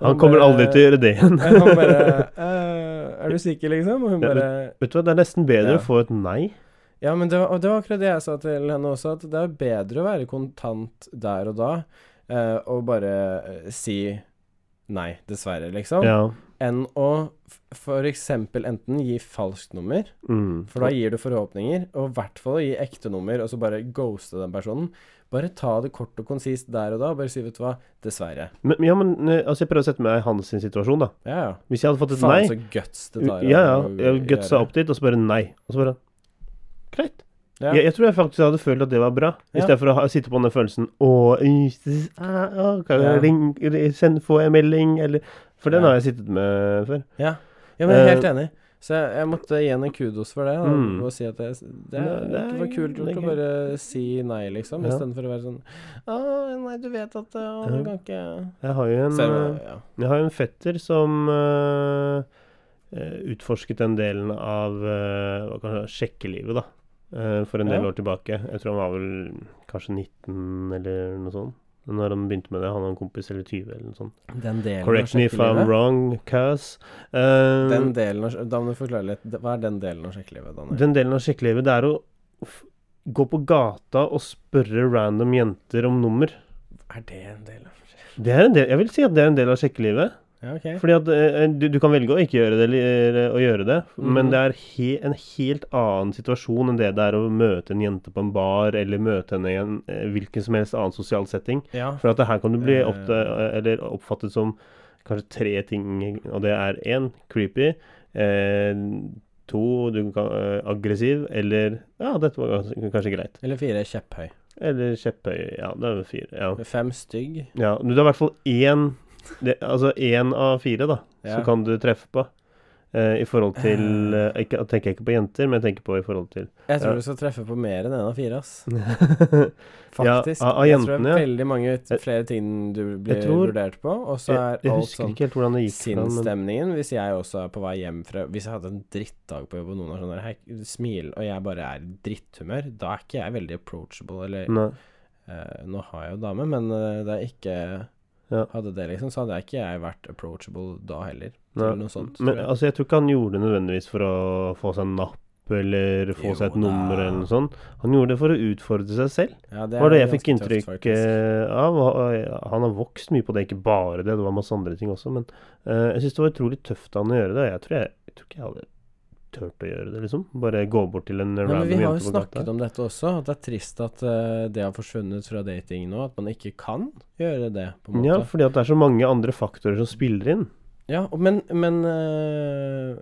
[SPEAKER 2] Han kommer aldri til å gjøre det igjen.
[SPEAKER 1] Han bare eh, Er du sikker, liksom? Og hun
[SPEAKER 2] Ja,
[SPEAKER 1] bare
[SPEAKER 2] Vet du hva, det er nesten bedre
[SPEAKER 1] Ja.
[SPEAKER 2] å få et nei.
[SPEAKER 1] Ja, men det var, og det var akkurat det jeg sa til henne også, at det er bedre å være kontant der og da eh, og bare eh, si nei, dessverre, liksom,
[SPEAKER 2] Ja.
[SPEAKER 1] enn å f- for eksempel enten gi falskt nummer
[SPEAKER 2] Mm.
[SPEAKER 1] For da gir du forhåpninger, og i hvert fall å gi ekte nummer, og så bare ghoste den personen. Bare ta det kort og konsist der og da, bare si 'vet du hva, dessverre'.
[SPEAKER 2] men, ja, men eh, altså, jeg prøver å sette meg i hans sin situasjon, da.
[SPEAKER 1] Ja, ja.
[SPEAKER 2] Hvis jeg hadde fått et
[SPEAKER 1] Faen så
[SPEAKER 2] nei
[SPEAKER 1] guts det tar. å-
[SPEAKER 2] Ja, ja.
[SPEAKER 1] å
[SPEAKER 2] Jeg gutsa
[SPEAKER 1] gjøre.
[SPEAKER 2] opp dit, og så bare nei. Og så bare Greit.
[SPEAKER 1] Ja.
[SPEAKER 2] Jeg, jeg tror jeg faktisk hadde følt at det var bra,
[SPEAKER 1] Ja.
[SPEAKER 2] istedenfor å ha, sitte på den følelsen Å, øh, ah, ah, kan jeg
[SPEAKER 1] Ja.
[SPEAKER 2] ring- send, Få en melding, eller For den
[SPEAKER 1] Ja.
[SPEAKER 2] har jeg sittet med før.
[SPEAKER 1] ja. ja, men jeg er helt
[SPEAKER 2] Eh,
[SPEAKER 1] enig. Så jeg, jeg måtte gi henne en kudos for det, da,
[SPEAKER 2] Mm.
[SPEAKER 1] og si at det, det,
[SPEAKER 2] Ja, det er-
[SPEAKER 1] det var kult
[SPEAKER 2] det
[SPEAKER 1] gjort
[SPEAKER 2] er
[SPEAKER 1] å bare si nei, liksom,
[SPEAKER 2] Ja.
[SPEAKER 1] istedenfor å være sånn 'Å, nei, du vet at eh, Å,
[SPEAKER 2] Ja.
[SPEAKER 1] du kan ikke
[SPEAKER 2] Jeg har jo en
[SPEAKER 1] Så jeg
[SPEAKER 2] eh,
[SPEAKER 1] bare, ja.
[SPEAKER 2] Jeg har jo en fetter som eh, eh, utforsket den delen av eh, hva kan man si, sjekkelivet, da. eh, for en del
[SPEAKER 1] Ja.
[SPEAKER 2] år tilbake. Jeg tror han var vel kanskje 19 eller noe sånt. Når han begynte med det, han og en kompis eller 20 eller noe sånt.
[SPEAKER 1] Den delen
[SPEAKER 2] Correct me if I'm
[SPEAKER 1] sjekkelivet.
[SPEAKER 2] wrong, Kaz. Eh,
[SPEAKER 1] Den delen av, da må du forklare litt. Hva er den delen av sjekkelivet, Daniel?
[SPEAKER 2] den delen av sjekkelivet, det er å f gå på gata og spørre random jenter om nummer.
[SPEAKER 1] Er det en del av
[SPEAKER 2] Det er en del, jeg vil si at det er en del av sjekkelivet.
[SPEAKER 1] Ja, ok.
[SPEAKER 2] Fordi at eh, du, du kan velge å ikke gjøre det, eller eh, å gjøre det, men
[SPEAKER 1] Mhm.
[SPEAKER 2] det er he, en helt annen situasjon enn det det er å møte en jente på en bar, eller møte henne i en eh, hvilken som helst annen sosial setting.
[SPEAKER 1] Ja.
[SPEAKER 2] For at det her kan du bli
[SPEAKER 1] Eh.
[SPEAKER 2] oppd eller oppfattet som kanskje tre ting, og det er én creepy, eh, to du kan, eh, aggressiv, eller ja, dette var kanskje, kanskje greit.
[SPEAKER 1] Eller fire kjepphøy.
[SPEAKER 2] Eller kjepphøy. Ja, det er vel fire. Ja.
[SPEAKER 1] Fem stygg.
[SPEAKER 2] Ja, men du har i hvert fall én det, Altså én av fire, da,
[SPEAKER 1] Ja.
[SPEAKER 2] som kan du treffe på. eh, i forhold til eh, ikke, Jeg tenker ikke på jenter, men jeg tenker på i forhold til
[SPEAKER 1] Jeg tror
[SPEAKER 2] Ja.
[SPEAKER 1] du skal treffe på mer enn én av fire, ass.
[SPEAKER 2] Ja,
[SPEAKER 1] Faktisk.
[SPEAKER 2] av- av
[SPEAKER 1] jeg tror det
[SPEAKER 2] jentene,
[SPEAKER 1] er
[SPEAKER 2] ja.
[SPEAKER 1] veldig mange t- flere ting du blir
[SPEAKER 2] tror-
[SPEAKER 1] vurdert på, og så
[SPEAKER 2] Jeg,
[SPEAKER 1] er
[SPEAKER 2] jeg
[SPEAKER 1] alt
[SPEAKER 2] husker
[SPEAKER 1] sånn
[SPEAKER 2] ikke helt hvordan det gikk. for han,
[SPEAKER 1] sinnsstemningen. Hvis jeg også er på vei hjem fra Hvis jeg hadde en drittdag på jobb, og noen har sånn der «Hei, smil, og jeg bare er i dritthumør, da er ikke jeg veldig approachable, eller
[SPEAKER 2] men- Nei.
[SPEAKER 1] eh, Nå har jeg jo dame, men eh, det er ikke
[SPEAKER 2] Ja.
[SPEAKER 1] Hadde det liksom, så hadde jeg ikke jeg vært approachable da heller,
[SPEAKER 2] Nei,
[SPEAKER 1] eller noe sånt.
[SPEAKER 2] Men
[SPEAKER 1] tror jeg.
[SPEAKER 2] altså, jeg tror ikke han gjorde det nødvendigvis for å få seg en napp eller få
[SPEAKER 1] Jo
[SPEAKER 2] seg et
[SPEAKER 1] da.
[SPEAKER 2] nummer eller noe sånt. Han gjorde det for å utfordre seg selv.
[SPEAKER 1] Ja,
[SPEAKER 2] Det
[SPEAKER 1] er
[SPEAKER 2] var det jeg fikk
[SPEAKER 1] ganske tøft,
[SPEAKER 2] inntrykk
[SPEAKER 1] faktisk.
[SPEAKER 2] eh, av. og, eh, Han har vokst mye på det, ikke bare det. Det var masse andre ting også. Men eh, jeg syns det var utrolig tøft av han å gjøre det. og Jeg tror, jeg, jeg tror ikke jeg hadde turt å gjøre det, liksom. Bare gå bort til en
[SPEAKER 1] Ja, men
[SPEAKER 2] random
[SPEAKER 1] vi har jo
[SPEAKER 2] jente på
[SPEAKER 1] snakket
[SPEAKER 2] gata.
[SPEAKER 1] om dette også, at det er trist at eh, det har forsvunnet fra dating nå. At man ikke kan gjøre det, på en måte.
[SPEAKER 2] Ja, fordi at det er så mange andre faktorer som spiller inn.
[SPEAKER 1] Ja, og- men, men eh,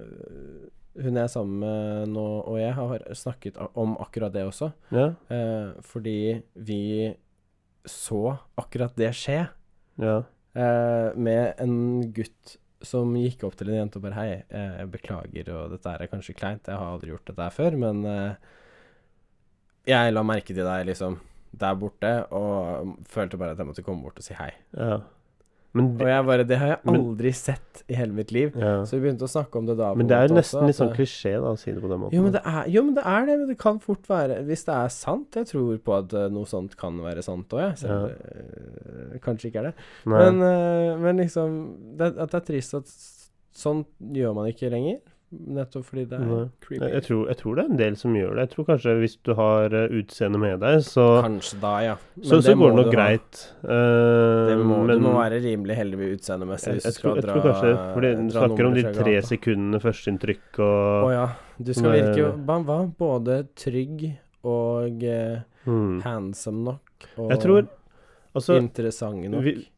[SPEAKER 1] hun jeg er sammen med nå, og jeg har snakket a- om akkurat det også.
[SPEAKER 2] Ja,
[SPEAKER 1] eh, fordi vi så akkurat det skje
[SPEAKER 2] ja.
[SPEAKER 1] eh, med en gutt som gikk opp til en jente og bare Hei, eh, jeg beklager, og dette her er kanskje kleint, jeg har aldri gjort dette her før, men eh, jeg la merke til deg, liksom, der borte, og mm, følte bare at jeg måtte komme bort og si hei.
[SPEAKER 2] ja. Men,
[SPEAKER 1] Og
[SPEAKER 2] det,
[SPEAKER 1] jeg bare Det har jeg
[SPEAKER 2] Men-
[SPEAKER 1] aldri sett i hele mitt liv.
[SPEAKER 2] ja.
[SPEAKER 1] Så vi begynte å snakke om det da. på
[SPEAKER 2] men
[SPEAKER 1] en
[SPEAKER 2] det er
[SPEAKER 1] måte
[SPEAKER 2] jo nesten
[SPEAKER 1] også,
[SPEAKER 2] litt
[SPEAKER 1] at
[SPEAKER 2] sånn
[SPEAKER 1] det-
[SPEAKER 2] klisjé, da, å si det på den måten.
[SPEAKER 1] jo men, det er, jo, men det er det. Men det kan fort være Hvis det er sant Jeg tror på at eh, noe sånt kan være sant òg, jeg. Selv om
[SPEAKER 2] Ja.
[SPEAKER 1] det, eh, kanskje ikke er det.
[SPEAKER 2] Nei.
[SPEAKER 1] Men, eh, men liksom det, At det er trist at s- sånn gjør man ikke lenger. Nettopp fordi det er
[SPEAKER 2] Nei.
[SPEAKER 1] creepy.
[SPEAKER 2] Jeg, jeg, tror, jeg tror det er en del som gjør det. Jeg tror kanskje hvis du har eh, utseende med deg, så,
[SPEAKER 1] Kanskje da, ja. Men
[SPEAKER 2] så, så
[SPEAKER 1] det
[SPEAKER 2] går
[SPEAKER 1] må
[SPEAKER 2] det
[SPEAKER 1] du
[SPEAKER 2] nok
[SPEAKER 1] ha.
[SPEAKER 2] greit. Eh,
[SPEAKER 1] Det må,
[SPEAKER 2] men
[SPEAKER 1] du må være rimelig heldig med utseendemessig
[SPEAKER 2] jeg,
[SPEAKER 1] hvis du
[SPEAKER 2] jeg, tror,
[SPEAKER 1] skal
[SPEAKER 2] jeg
[SPEAKER 1] dra
[SPEAKER 2] tror kanskje Fordi du
[SPEAKER 1] dra
[SPEAKER 2] snakker om de
[SPEAKER 1] nummeret fra
[SPEAKER 2] tre
[SPEAKER 1] gata.
[SPEAKER 2] sekundene førsteinntrykk
[SPEAKER 1] Å
[SPEAKER 2] og
[SPEAKER 1] ja. Du skal
[SPEAKER 2] Nei.
[SPEAKER 1] virke ba- hva? både trygg og eh,
[SPEAKER 2] hmm.
[SPEAKER 1] handsome nok. Og
[SPEAKER 2] Jeg tror Altså,
[SPEAKER 1] interessant nok.
[SPEAKER 2] vi- eh,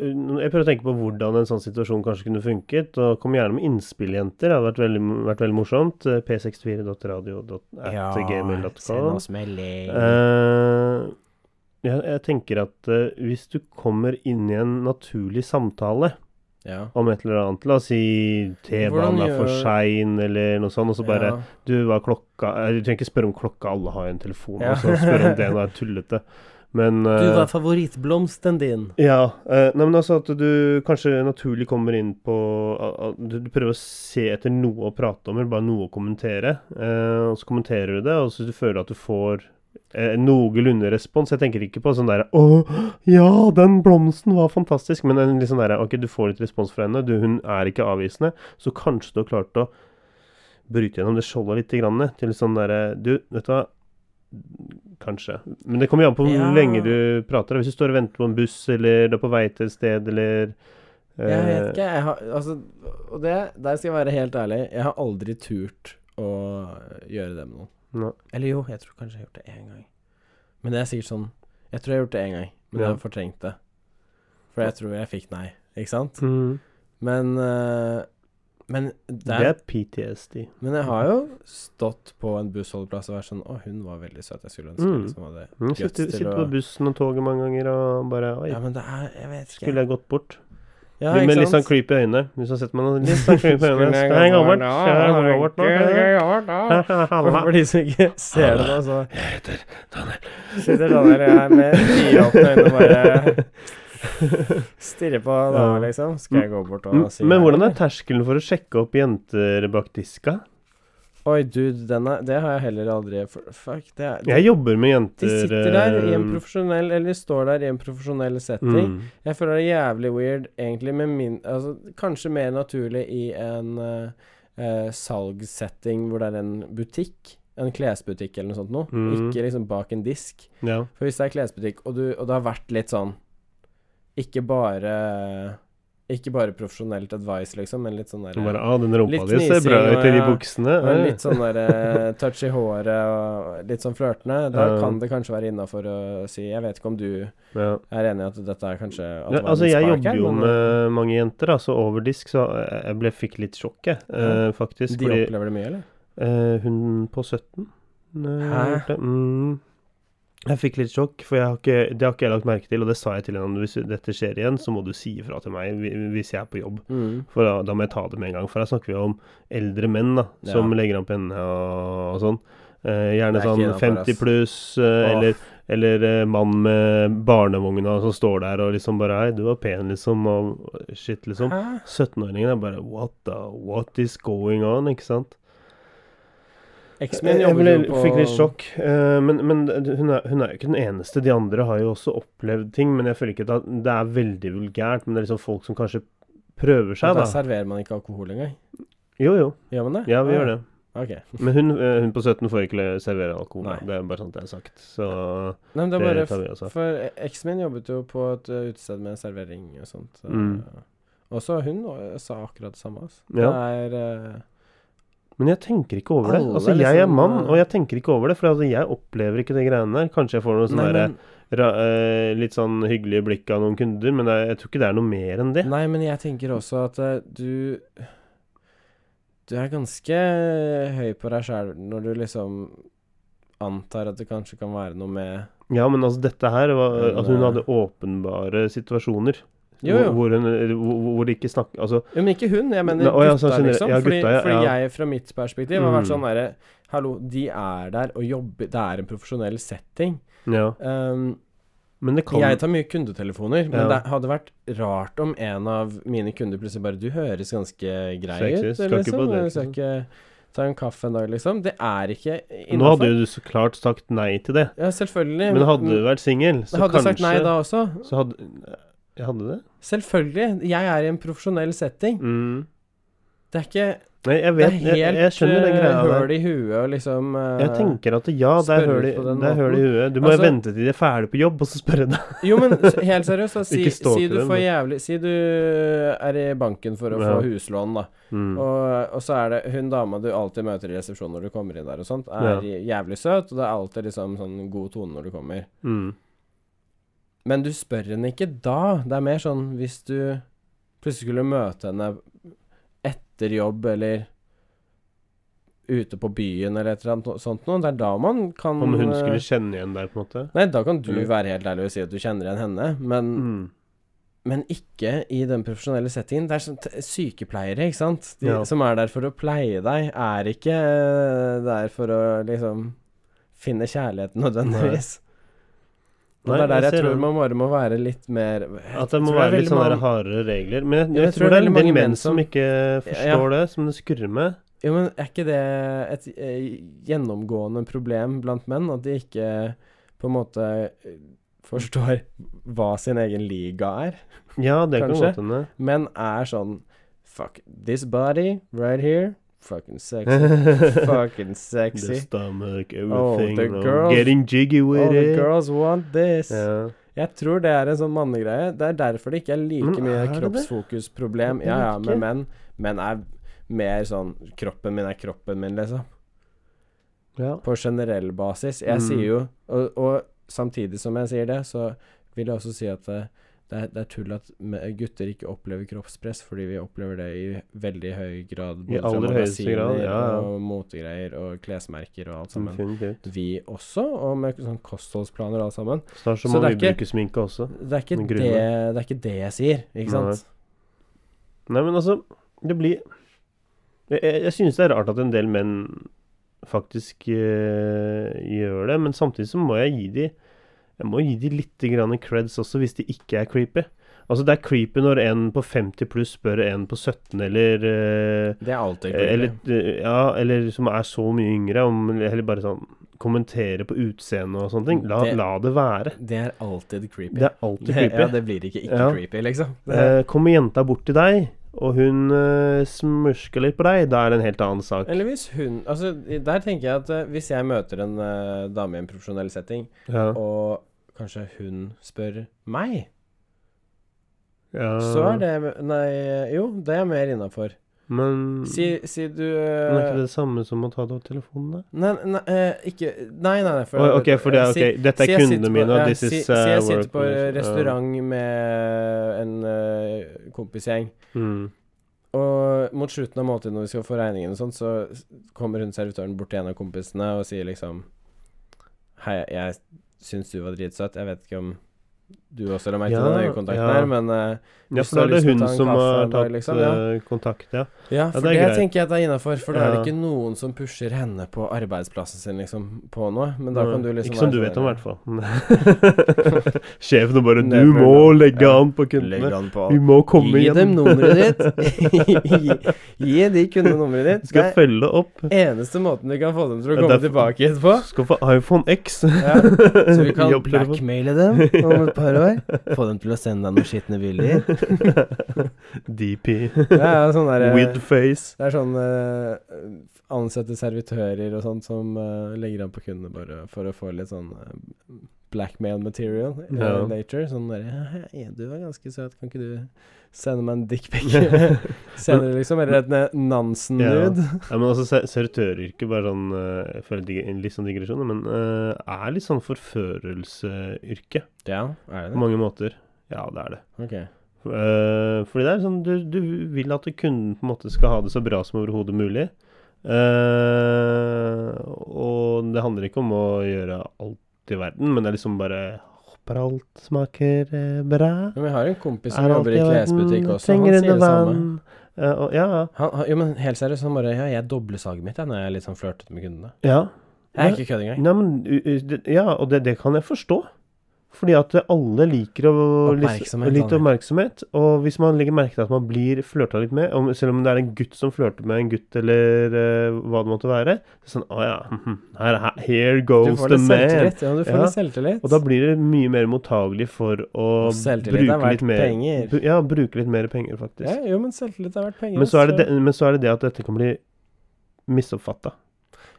[SPEAKER 2] jeg prøver å tenke på hvordan en sånn situasjon kanskje kunne funket. Og kom gjerne med innspill, jenter. Det hadde vært veldig, vært veldig morsomt. Eh,
[SPEAKER 1] send
[SPEAKER 2] p64.radio.atgmail.com.
[SPEAKER 1] oss melding.
[SPEAKER 2] Eh, jeg, jeg tenker at eh, hvis du kommer inn i en naturlig samtale
[SPEAKER 1] ja.
[SPEAKER 2] om et eller annet, la oss si T-banen
[SPEAKER 1] Hvordan
[SPEAKER 2] er for
[SPEAKER 1] gjør-
[SPEAKER 2] sein eller noe sånt, og så bare
[SPEAKER 1] ja.
[SPEAKER 2] Du, hva er klokka? Eh, Du trenger ikke spørre om klokka, alle har jo en telefon, altså,
[SPEAKER 1] Ja.
[SPEAKER 2] og så spørre om det nå er tullete. Men
[SPEAKER 1] Du,
[SPEAKER 2] eh,
[SPEAKER 1] hva er favorittblomsten din?
[SPEAKER 2] ja. eh, nei, men altså at du kanskje naturlig kommer inn på a- a- du, du prøver å se etter noe å prate om, eller bare noe å kommentere. eh, og så kommenterer du det, og så du føler at du får eh, noenlunde respons. Jeg tenker ikke på sånn derre Å, ja, den blomsten var fantastisk. Men en litt sånn derre Ok, du får litt respons fra henne. Du, hun er ikke avvisende. Så kanskje du har klart å bryte gjennom det skjoldet litt grann, til sånn derre Du, vet du hva. Kanskje. Men det kommer jo an på hvor
[SPEAKER 1] Ja.
[SPEAKER 2] lenge du prater. da. Hvis du står og venter på en buss, eller du er på vei til et sted, eller eh,
[SPEAKER 1] Jeg vet ikke. Jeg har, altså, og det, der skal jeg være helt ærlig, jeg har aldri turt å gjøre det med noen.
[SPEAKER 2] Nei.
[SPEAKER 1] Eller jo, jeg tror kanskje jeg har gjort det én gang. Men det er sikkert sånn Jeg tror jeg har gjort det én gang, men jeg
[SPEAKER 2] Ja.
[SPEAKER 1] har fortrengt det. For jeg tror jeg fikk nei, ikke sant?
[SPEAKER 2] Mm.
[SPEAKER 1] Men eh, Men
[SPEAKER 2] Det
[SPEAKER 1] det er
[SPEAKER 2] er PTSD.
[SPEAKER 1] Men jeg har jo stått på en bussholdeplass og vært sånn Å, hun var veldig søt. Jeg skulle ønske jeg
[SPEAKER 2] Mm.
[SPEAKER 1] liksom hadde
[SPEAKER 2] Mm,
[SPEAKER 1] guts
[SPEAKER 2] Sitter,
[SPEAKER 1] til
[SPEAKER 2] sitter
[SPEAKER 1] å-
[SPEAKER 2] på bussen og toget mange ganger og bare Oi,
[SPEAKER 1] Ja, men det er Jeg vet ikke.
[SPEAKER 2] skulle jeg gått bort?
[SPEAKER 1] ja,
[SPEAKER 2] Litt- med
[SPEAKER 1] ikke
[SPEAKER 2] litt sånn
[SPEAKER 1] sant?
[SPEAKER 2] creepy øyne. Hvis du har sett meg med litt sånn creepy øyne
[SPEAKER 1] Skulle jeg
[SPEAKER 2] Skal
[SPEAKER 1] gått
[SPEAKER 2] jeg gå bort?
[SPEAKER 1] bort da?
[SPEAKER 2] Skal jeg gå bort nå?
[SPEAKER 1] For- For de som ikke ser det, da, så Sitter sånn der jeg er med nyåpne øyne og bare stirrer på dama,
[SPEAKER 2] Ja.
[SPEAKER 1] liksom. Skal jeg gå bort og si
[SPEAKER 2] Mm, Men
[SPEAKER 1] hei,
[SPEAKER 2] hvordan er
[SPEAKER 1] eller?
[SPEAKER 2] terskelen for å sjekke opp jenter bak diska?
[SPEAKER 1] Oi, dude, den er, det har jeg heller aldri for- Fuck, det er
[SPEAKER 2] Jeg jobber med
[SPEAKER 1] De
[SPEAKER 2] jenter
[SPEAKER 1] sitter der i en
[SPEAKER 2] eh,
[SPEAKER 1] profesjonell Eller de står der i en profesjonell setting.
[SPEAKER 2] mm.
[SPEAKER 1] Jeg føler det er jævlig weird, egentlig, med min altså, Kanskje mer naturlig i en eh, eh, salgssetting hvor det er en butikk. En klesbutikk eller noe sånt noe.
[SPEAKER 2] Mhm.
[SPEAKER 1] Ikke liksom bak en disk.
[SPEAKER 2] Ja.
[SPEAKER 1] For hvis det er klesbutikk, og, du, og det har vært litt sånn Ikke bare Ikke bare profesjonelt advice, liksom, men litt sånn der
[SPEAKER 2] Og bare ah, den rumpa
[SPEAKER 1] Litt
[SPEAKER 2] di ser bra
[SPEAKER 1] fnising,
[SPEAKER 2] ut i de
[SPEAKER 1] ja.
[SPEAKER 2] buksene.
[SPEAKER 1] og
[SPEAKER 2] Ja.
[SPEAKER 1] litt sånn der eh, touch i håret og litt sånn flørtende. Da
[SPEAKER 2] Ja.
[SPEAKER 1] kan det kanskje være innafor å si Jeg vet ikke om du
[SPEAKER 2] Ja.
[SPEAKER 1] er enig i at dette er kanskje at
[SPEAKER 2] Ja,
[SPEAKER 1] det var
[SPEAKER 2] altså,
[SPEAKER 1] en
[SPEAKER 2] jeg
[SPEAKER 1] spark her,
[SPEAKER 2] jobber jo
[SPEAKER 1] men, eh,
[SPEAKER 2] med mange jenter, da, så over disk så eh, jeg ble, fikk litt sjokk, jeg, eh, faktisk.
[SPEAKER 1] De
[SPEAKER 2] Fordi
[SPEAKER 1] opplever det mye, eller?
[SPEAKER 2] eh, hun på 17 eh,
[SPEAKER 1] Hæ?
[SPEAKER 2] gjorde det. Mm. Jeg fikk litt sjokk, for jeg har ikke, det har ikke jeg lagt merke til, og det sa jeg til henne. Hvis dette skjer igjen, så må du si ifra til meg hvi- hvis jeg er på jobb.
[SPEAKER 1] Mm.
[SPEAKER 2] For da, da må jeg ta det med en gang. For her snakker vi om eldre menn da, som
[SPEAKER 1] Ja.
[SPEAKER 2] legger an penne og, og sånn. Eh, gjerne
[SPEAKER 1] Det er ikke
[SPEAKER 2] sånn
[SPEAKER 1] innenfor,
[SPEAKER 2] 50
[SPEAKER 1] ass.
[SPEAKER 2] pluss, eh,
[SPEAKER 1] Åh.
[SPEAKER 2] eller, eller eh, mann med barnevogna som står der og liksom bare Hei, du var pen, liksom, og shit, liksom.
[SPEAKER 1] Hæ?
[SPEAKER 2] 17-åringen er bare What the What is going on? Ikke sant?
[SPEAKER 1] X-Men
[SPEAKER 2] Eh, Jeg
[SPEAKER 1] jobber
[SPEAKER 2] ble,
[SPEAKER 1] jo på
[SPEAKER 2] fikk litt sjokk. eh, men men hun, er, hun er jo ikke den eneste. De andre har jo også opplevd ting. Men jeg føler ikke at det er veldig vulgært. Men det er liksom folk som kanskje prøver
[SPEAKER 1] Og Da
[SPEAKER 2] seg, da.
[SPEAKER 1] serverer man ikke alkohol engang.
[SPEAKER 2] Jo, jo.
[SPEAKER 1] Gjør man det?
[SPEAKER 2] Ja, vi gjør det.
[SPEAKER 1] Ok.
[SPEAKER 2] Men hun, eh, hun på 17 får ikke le- servere alkohol. da.
[SPEAKER 1] Nei.
[SPEAKER 2] Det er bare sånt jeg har sagt. Så
[SPEAKER 1] Nei, men det
[SPEAKER 2] det,
[SPEAKER 1] er bare
[SPEAKER 2] tar vi også.
[SPEAKER 1] For eksen min jobbet jo på et ø, utested med servering og sånt. ø,
[SPEAKER 2] Mm.
[SPEAKER 1] Og så hun ø, sa akkurat det samme. Altså.
[SPEAKER 2] Ja.
[SPEAKER 1] Det er eh, ø,
[SPEAKER 2] Men jeg tenker ikke over det.
[SPEAKER 1] Alle
[SPEAKER 2] Altså, jeg er
[SPEAKER 1] liksom,
[SPEAKER 2] mann,
[SPEAKER 1] eh,
[SPEAKER 2] og jeg tenker ikke over det. For altså, jeg opplever ikke de greiene der. Kanskje jeg får noen sånne
[SPEAKER 1] nei,
[SPEAKER 2] derre
[SPEAKER 1] men,
[SPEAKER 2] ra- eh, litt sånn hyggelige blikk av noen kunder, men jeg, jeg tror ikke det er noe mer enn det.
[SPEAKER 1] nei, men jeg tenker også at ø, du Du er ganske høy på deg sjæl når du liksom antar at det kanskje kan være noe med
[SPEAKER 2] Ja, men altså dette her var
[SPEAKER 1] Men,
[SPEAKER 2] Altså, hun
[SPEAKER 1] eh,
[SPEAKER 2] hadde åpnbare situasjoner.
[SPEAKER 1] Jo, jo.
[SPEAKER 2] Hvor, hvor hun hvor, hvor de ikke snakker Altså,
[SPEAKER 1] Jo, men ikke hun. Jeg mener
[SPEAKER 2] Nei, å, ja,
[SPEAKER 1] gutta,
[SPEAKER 2] sånn generelt.
[SPEAKER 1] liksom.
[SPEAKER 2] Ja,
[SPEAKER 1] fordi,
[SPEAKER 2] gutta, ja,
[SPEAKER 1] fordi
[SPEAKER 2] ja.
[SPEAKER 1] jeg, fra mitt perspektiv, har vært
[SPEAKER 2] Mm.
[SPEAKER 1] sånn derre Hallo, de er der og jobber Det er en profesjonell setting.
[SPEAKER 2] ja.
[SPEAKER 1] Um,
[SPEAKER 2] Men det kan
[SPEAKER 1] Jeg tar mye kundetelefoner, men
[SPEAKER 2] Ja.
[SPEAKER 1] det hadde vært rart om en av mine kunder plutselig bare Du høres ganske grei
[SPEAKER 2] Sexy,
[SPEAKER 1] ut,
[SPEAKER 2] skal ikke
[SPEAKER 1] liksom.
[SPEAKER 2] på det,
[SPEAKER 1] Du skal ikke ta en kaffe en dag, liksom. Det er ikke
[SPEAKER 2] Nå hadde
[SPEAKER 1] innenfor.
[SPEAKER 2] jo du så klart sagt nei til det.
[SPEAKER 1] Ja, selvfølgelig.
[SPEAKER 2] Men hadde du vært singel, så
[SPEAKER 1] Jeg hadde
[SPEAKER 2] kanskje
[SPEAKER 1] sagt nei da også.
[SPEAKER 2] Så hadde Jeg hadde det?
[SPEAKER 1] Selvfølgelig. Jeg er i en profesjonell setting.
[SPEAKER 2] Mm.
[SPEAKER 1] Det er ikke
[SPEAKER 2] Nei,
[SPEAKER 1] Det
[SPEAKER 2] jeg vet
[SPEAKER 1] er
[SPEAKER 2] jeg, jeg,
[SPEAKER 1] helt
[SPEAKER 2] jeg skjønner den
[SPEAKER 1] eh,
[SPEAKER 2] greia der.
[SPEAKER 1] høl i huet og liksom eh,
[SPEAKER 2] Jeg tenker at ja, det er
[SPEAKER 1] spørre
[SPEAKER 2] høl i-
[SPEAKER 1] på den
[SPEAKER 2] det er høl i huet. Du må
[SPEAKER 1] Altså-
[SPEAKER 2] vente til de er ferdig på jobb, og så spørre deg.
[SPEAKER 1] Jo, men s- helt seriøst, da. Si,
[SPEAKER 2] Ikke stalke
[SPEAKER 1] si du får
[SPEAKER 2] dem, men-
[SPEAKER 1] jævlig Si du er i banken for å
[SPEAKER 2] Ja.
[SPEAKER 1] få huslån, da.
[SPEAKER 2] Mm.
[SPEAKER 1] Og, og så er det hun dama du alltid møter i resepsjonen når du kommer inn der og sånt, er jævlig søt, og det er alltid liksom sånn god tone når du kommer.
[SPEAKER 2] Mm.
[SPEAKER 1] Men du spør henne ikke da. Det er mer sånn hvis du plutselig skulle møte henne etter jobb eller ute på byen eller et eller annet sånt noe, det er da man kan
[SPEAKER 2] Om hun
[SPEAKER 1] eh,
[SPEAKER 2] skulle kjenne igjen deg, på en måte.
[SPEAKER 1] Nei, da kan du
[SPEAKER 2] Eller-
[SPEAKER 1] være helt ærlig og si at du kjenner igjen henne, men,
[SPEAKER 2] Mm.
[SPEAKER 1] men ikke i den profesjonelle settingen. Det er sånn t- sykepleiere, ikke sant? De
[SPEAKER 2] Ja.
[SPEAKER 1] som er der for å pleie deg, er ikke eh, der for å liksom finne kjærligheten nødvendigvis. Og
[SPEAKER 2] Nei,
[SPEAKER 1] det er der
[SPEAKER 2] jeg
[SPEAKER 1] jeg
[SPEAKER 2] ser
[SPEAKER 1] tror
[SPEAKER 2] den.
[SPEAKER 1] man bare må være litt mer jeg
[SPEAKER 2] At det må
[SPEAKER 1] tror er
[SPEAKER 2] være litt
[SPEAKER 1] veldig
[SPEAKER 2] sånne
[SPEAKER 1] mange-
[SPEAKER 2] der hardere regler. Men jeg, jeg,
[SPEAKER 1] jeg tror
[SPEAKER 2] tror det er
[SPEAKER 1] veldig
[SPEAKER 2] mange
[SPEAKER 1] mange menn
[SPEAKER 2] menn som
[SPEAKER 1] som-
[SPEAKER 2] ikke forstår det, som det skurrer med.
[SPEAKER 1] Jo, men er ikke det et eh, gjennomgående problem blant menn? At de ikke på en måte eh, forstår hva sin egen liga er,
[SPEAKER 2] Ja, det kan
[SPEAKER 1] Kanskje.
[SPEAKER 2] godt hende.
[SPEAKER 1] men er sånn Fuck this body right here. Fucking sexy.
[SPEAKER 2] The
[SPEAKER 1] Fucking sexy.
[SPEAKER 2] stomach,
[SPEAKER 1] Oh, the
[SPEAKER 2] everything, no.
[SPEAKER 1] girls-
[SPEAKER 2] getting jiggy
[SPEAKER 1] All
[SPEAKER 2] with
[SPEAKER 1] the
[SPEAKER 2] it.
[SPEAKER 1] girls want this.
[SPEAKER 2] Ja.
[SPEAKER 1] Jeg tror det er en sånn mannegreie. Det er derfor det ikke er like mye
[SPEAKER 2] Men Mm, er det det?
[SPEAKER 1] kroppsfokusproblem
[SPEAKER 2] Jeg
[SPEAKER 1] ja, ja,
[SPEAKER 2] vet
[SPEAKER 1] med
[SPEAKER 2] ikke.
[SPEAKER 1] menn, men er mer sånn Kroppen min er kroppen min, liksom.
[SPEAKER 2] Ja.
[SPEAKER 1] på generell basis. Jeg
[SPEAKER 2] Mm.
[SPEAKER 1] sier jo og, og samtidig som jeg sier det, så vil jeg også si at det, det, er, det er tull at me- gutter ikke opplever kroppspress, fordi vi opplever det i veldig høy grad. både fra
[SPEAKER 2] aller høyeste grad,
[SPEAKER 1] magasiner
[SPEAKER 2] ja, ja.
[SPEAKER 1] Og motegreier og klesmerker og alt sammen.
[SPEAKER 2] Definitivt.
[SPEAKER 1] Vi også, og med sånn kostholdsplaner og alt sammen.
[SPEAKER 2] Snart så
[SPEAKER 1] Så
[SPEAKER 2] må
[SPEAKER 1] det
[SPEAKER 2] vi
[SPEAKER 1] er ikke-
[SPEAKER 2] bruke sminke også.
[SPEAKER 1] Det er ikke,
[SPEAKER 2] Men
[SPEAKER 1] det,
[SPEAKER 2] grunnen
[SPEAKER 1] det er ikke det jeg sier, ikke
[SPEAKER 2] Nei.
[SPEAKER 1] sant?
[SPEAKER 2] Nei, men altså, det blir Jeg, jeg, jeg synes det er rart at en del menn faktisk eh, gjør det, men samtidig så må jeg gi de Jeg må gi de litt grann creds også, hvis de ikke er creepy. Altså, det er creepy når en på 50 pluss spør en på 17 eller eh,
[SPEAKER 1] Det er alltid
[SPEAKER 2] eller,
[SPEAKER 1] creepy.
[SPEAKER 2] eh, ja, eller som er så mye yngre, om, eller bare sånn kommentere på utseendet og sånne ting. La
[SPEAKER 1] Det-
[SPEAKER 2] det, la det være.
[SPEAKER 1] Det er alltid creepy.
[SPEAKER 2] Det er alltid
[SPEAKER 1] Det-
[SPEAKER 2] creepy.
[SPEAKER 1] Ja, det blir ikke ikke
[SPEAKER 2] Ja.
[SPEAKER 1] creepy, liksom. Det,
[SPEAKER 2] Eh, kommer jenta bort til deg, og hun eh, smørsker litt på deg, da er det en helt annen sak.
[SPEAKER 1] Eller hvis hun Altså, i- der tenker jeg at eh, hvis jeg møter en eh, dame i en profesjonell setting,
[SPEAKER 2] Ja.
[SPEAKER 1] og kanskje hun spør meg,
[SPEAKER 2] Ja.
[SPEAKER 1] så er det Nei, jo, det er mer innafor.
[SPEAKER 2] Men
[SPEAKER 1] Si, si du
[SPEAKER 2] Mm. men er ikke
[SPEAKER 1] eh,
[SPEAKER 2] det det samme som å ta det av telefonen, da?
[SPEAKER 1] Nei, nei, eh, ikke Nei, nei, nei.
[SPEAKER 2] Oi, ok, for det er
[SPEAKER 1] eh,
[SPEAKER 2] ok.
[SPEAKER 1] si-
[SPEAKER 2] Dette
[SPEAKER 1] si
[SPEAKER 2] er
[SPEAKER 1] jeg sitter
[SPEAKER 2] kundene
[SPEAKER 1] på-
[SPEAKER 2] mine, og
[SPEAKER 1] ja,
[SPEAKER 2] this
[SPEAKER 1] si,
[SPEAKER 2] is
[SPEAKER 1] si
[SPEAKER 2] uh,
[SPEAKER 1] jeg sitter
[SPEAKER 2] work.
[SPEAKER 1] på restaurant med en eh, kompisgjeng,
[SPEAKER 2] Ja. Mm.
[SPEAKER 1] Og mot slutten av måltidet når vi skal få regningen og sånt, så s- kommer hun servitøren bort til en av kompisene og sier liksom Hei, jeg syns du var dritsøt. Jeg vet ikke om du også la merke
[SPEAKER 2] Ja,
[SPEAKER 1] til den øyekontakten
[SPEAKER 2] ja.
[SPEAKER 1] her, men eh,
[SPEAKER 2] Ja,
[SPEAKER 1] Hvis du
[SPEAKER 2] for da
[SPEAKER 1] har
[SPEAKER 2] er det
[SPEAKER 1] lyst til å
[SPEAKER 2] hun
[SPEAKER 1] ta en
[SPEAKER 2] som
[SPEAKER 1] kaffe
[SPEAKER 2] har
[SPEAKER 1] en dag,
[SPEAKER 2] tatt
[SPEAKER 1] liksom, ja.
[SPEAKER 2] eh, kontakt, ja.
[SPEAKER 1] ja,
[SPEAKER 2] Ja,
[SPEAKER 1] for
[SPEAKER 2] det
[SPEAKER 1] det,
[SPEAKER 2] er greit.
[SPEAKER 1] tenker jeg at det er innafor. For da er det
[SPEAKER 2] Ja.
[SPEAKER 1] ikke noen som pusher henne på arbeidsplassen sin, liksom, på noe. Men da kan du liksom
[SPEAKER 2] Mm. Ikke som
[SPEAKER 1] være
[SPEAKER 2] du
[SPEAKER 1] sånn
[SPEAKER 2] vet
[SPEAKER 1] der,
[SPEAKER 2] om, i hvert fall. Sjefen og bare 'Du
[SPEAKER 1] Never
[SPEAKER 2] må
[SPEAKER 1] know.
[SPEAKER 2] legge
[SPEAKER 1] Ja.
[SPEAKER 2] an på
[SPEAKER 1] Legg
[SPEAKER 2] kundene'.
[SPEAKER 1] an på
[SPEAKER 2] Vi må komme
[SPEAKER 1] Gi
[SPEAKER 2] igjen.
[SPEAKER 1] dem nummeret ditt. gi, gi de kundene nummeret ditt.
[SPEAKER 2] Skal
[SPEAKER 1] det
[SPEAKER 2] følge opp.
[SPEAKER 1] er eneste måten du kan få dem til å
[SPEAKER 2] Det er
[SPEAKER 1] komme
[SPEAKER 2] derfor-
[SPEAKER 1] tilbake etterpå.
[SPEAKER 2] Skal få iPhone X.
[SPEAKER 1] Ja. Så vi kan
[SPEAKER 2] Jobbtelefon.
[SPEAKER 1] blackmaile dem om et par år. Få dem til å sende deg noen skitne bilder.
[SPEAKER 2] DP.
[SPEAKER 1] Det er sånn der, eh,
[SPEAKER 2] With face.
[SPEAKER 1] Det er sånn eh, ansette servitører og sånt som eh, legger an på kundene bare for å få litt sånn eh, blackmail material eh,
[SPEAKER 2] Ja.
[SPEAKER 1] later. Sånn derre «Ja, ja, Du var ganske søt, kan ikke du sende meg en dickpic senere, liksom? Eller et Nansen-nude?
[SPEAKER 2] Ja, men altså, ser- servitøryrket, bare sånn eh, Jeg føler dig- en litt sånn digresjon, men eh, er litt sånn forførelseyrke
[SPEAKER 1] Ja. er
[SPEAKER 2] på
[SPEAKER 1] det det?
[SPEAKER 2] mange måter. Ja, det er det.
[SPEAKER 1] Ok.
[SPEAKER 2] Eh, fordi det er sånn du, du vil at kunden på en måte skal ha det så bra som overhodet mulig. Eh, og det handler ikke om å gjøre alt i verden, men det er liksom bare Håper alt smaker eh, bra.
[SPEAKER 1] Ja, Men jeg har en kompis som
[SPEAKER 2] Er alt
[SPEAKER 1] jobber
[SPEAKER 2] i
[SPEAKER 1] i
[SPEAKER 2] verden?
[SPEAKER 1] klesbutikk også. Han
[SPEAKER 2] Trenger
[SPEAKER 1] sier
[SPEAKER 2] under
[SPEAKER 1] det samme.
[SPEAKER 2] vann. Eh, og, ja, ja.
[SPEAKER 1] Han, han, jo, men helt seriøst, han bare Ja, jeg dobler saget mitt jeg, når jeg er litt sånn flørtete med kundene.
[SPEAKER 2] ja.
[SPEAKER 1] Jeg er ikke kødd engang.
[SPEAKER 2] Nei, men, u- u- det- ja, og det, det kan jeg forstå. Fordi at alle liker å,
[SPEAKER 1] Oppmerksomhet,
[SPEAKER 2] litt
[SPEAKER 1] Daniel.
[SPEAKER 2] oppmerksomhet. Og hvis man legger merke til at man blir flørta litt med, om, selv om det er en gutt som flørter med en gutt, eller eh, hva det måtte være så Sånn, å ja, her, her,
[SPEAKER 1] Du
[SPEAKER 2] here goes
[SPEAKER 1] får
[SPEAKER 2] the
[SPEAKER 1] litt
[SPEAKER 2] man.
[SPEAKER 1] selvtillit. Ja, du får
[SPEAKER 2] Ja.
[SPEAKER 1] litt selvtillit.
[SPEAKER 2] Og da blir det mye mer mottagelig for å
[SPEAKER 1] Og selvtillit er
[SPEAKER 2] bruke
[SPEAKER 1] verdt
[SPEAKER 2] litt mer
[SPEAKER 1] penger.
[SPEAKER 2] bu- Ja, bruke litt mer penger, faktisk.
[SPEAKER 1] Ja, jo, men selvtillit er verdt penger.
[SPEAKER 2] Men så, er det
[SPEAKER 1] altså.
[SPEAKER 2] det, men så er det det at dette kan bli misoppfatta.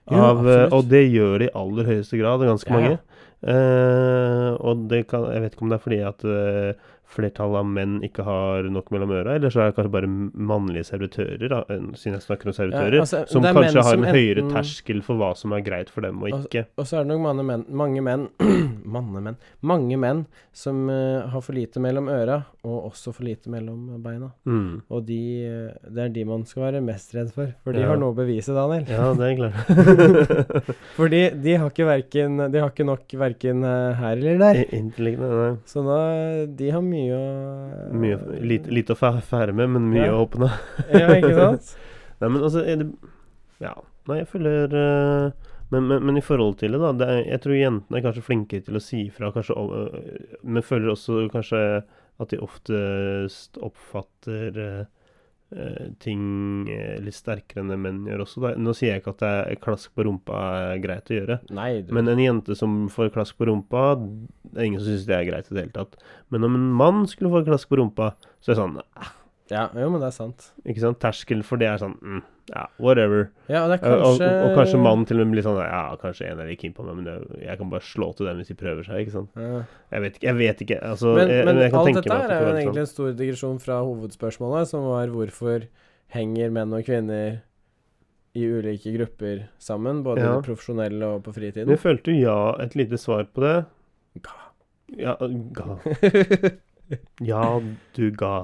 [SPEAKER 1] Jo, absolutt.
[SPEAKER 2] eh, og det gjør det i aller høyeste grad, ganske
[SPEAKER 1] Ja.
[SPEAKER 2] mange. Eh, og det kan, jeg vet ikke om det er fordi at eh, flertallet av menn ikke har nok mellom øra, eller så er det kanskje bare mannlige servitører, da, eh, siden jeg snakker om servitører,
[SPEAKER 1] Ja, altså,
[SPEAKER 2] som
[SPEAKER 1] det er menn
[SPEAKER 2] kanskje har
[SPEAKER 1] som
[SPEAKER 2] en høyere
[SPEAKER 1] enten-
[SPEAKER 2] terskel for hva som er greit for dem og
[SPEAKER 1] Altså-
[SPEAKER 2] ikke.
[SPEAKER 1] Og så er det nok mange menn, mange menn, manne menn, mange menn som eh, har for lite mellom øra, og også for lite mellom beina.
[SPEAKER 2] Mm.
[SPEAKER 1] Og de, eh, det er de man skal være mest redd for, for de
[SPEAKER 2] Ja.
[SPEAKER 1] har noe å bevise, Daniel.
[SPEAKER 2] Ja, det er klart.
[SPEAKER 1] Fordi de har ikke, verken, de har ikke nok verken eh, her eller der.
[SPEAKER 2] Intelligent, nei.
[SPEAKER 1] Så da, de har mye å
[SPEAKER 2] Mye, lite, lite å fæ- fære med, men mye
[SPEAKER 1] Ja.
[SPEAKER 2] å åpne.
[SPEAKER 1] Ja, ikke sant?
[SPEAKER 2] Nei, men altså er det, Ja. Nei, jeg føler eh, men, men, men i forhold til det, da det er, Jeg tror jentene er kanskje flinkere til å si ifra, kanskje, om, eh, men føler også kanskje at de oftest oppfatter eh, eh, ting eh, litt sterkere enn det menn gjør også. Da. Nå sier jeg ikke at det er klask på rumpa er greit å gjøre,
[SPEAKER 1] Nei, du.
[SPEAKER 2] men eh, en jente som får klask på rumpa, det er ingen som syns det er greit i det hele tatt. Men om en mann skulle få klask på rumpa, så er det sånn
[SPEAKER 1] Ja, jo, men det er sant.
[SPEAKER 2] ikke sant, Terskel for det er sånn mm, ja, whatever.
[SPEAKER 1] Ja, og det er
[SPEAKER 2] Ja, Og,
[SPEAKER 1] kanskje
[SPEAKER 2] og kanskje mannen til og med blir sånn Ja, kanskje en er litt keen på meg, men det, jeg kan bare slå til dem hvis de prøver seg. ikke sant?
[SPEAKER 1] Ja.
[SPEAKER 2] Jeg vet ikke. jeg vet ikke, altså,
[SPEAKER 1] Men,
[SPEAKER 2] jeg,
[SPEAKER 1] men
[SPEAKER 2] jeg kan
[SPEAKER 1] alt
[SPEAKER 2] tenke
[SPEAKER 1] dette her er
[SPEAKER 2] meg at det
[SPEAKER 1] jo
[SPEAKER 2] kan være
[SPEAKER 1] egentlig en stor digresjon fra hovedspørsmålet, som var hvorfor henger menn og kvinner i ulike grupper sammen, både i
[SPEAKER 2] Ja.
[SPEAKER 1] det profesjonelle og på
[SPEAKER 2] sånn. Men
[SPEAKER 1] fritiden?
[SPEAKER 2] jeg følte jo ja et lite svar på det.
[SPEAKER 1] Ga.
[SPEAKER 2] Ja, ga. ja du ga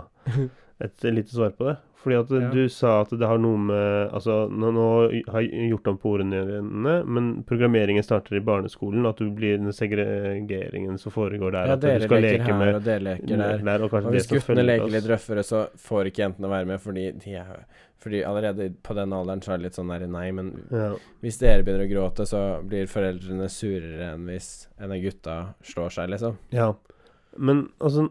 [SPEAKER 2] et lite svar på det. Fordi at
[SPEAKER 1] Ja.
[SPEAKER 2] du sa at det har noe med Altså, nå, nå har jeg gjort om på ordene dine, men programmeringen starter i barneskolen, at du blir den segregeringen som foregår der.
[SPEAKER 1] ja,
[SPEAKER 2] at du
[SPEAKER 1] dere
[SPEAKER 2] skal
[SPEAKER 1] leker
[SPEAKER 2] leke
[SPEAKER 1] her,
[SPEAKER 2] med
[SPEAKER 1] og dere leker der.
[SPEAKER 2] der, og kanskje
[SPEAKER 1] Og
[SPEAKER 2] det
[SPEAKER 1] hvis
[SPEAKER 2] som
[SPEAKER 1] guttene
[SPEAKER 2] følger
[SPEAKER 1] leker
[SPEAKER 2] oss.
[SPEAKER 1] litt røffere, så får ikke jentene være med, fordi, de er, fordi allerede på den alderen så er det litt sånn der Nei, men
[SPEAKER 2] Ja.
[SPEAKER 1] hvis dere begynner å gråte, så blir foreldrene surere enn hvis en av gutta slår seg, liksom.
[SPEAKER 2] Ja, men altså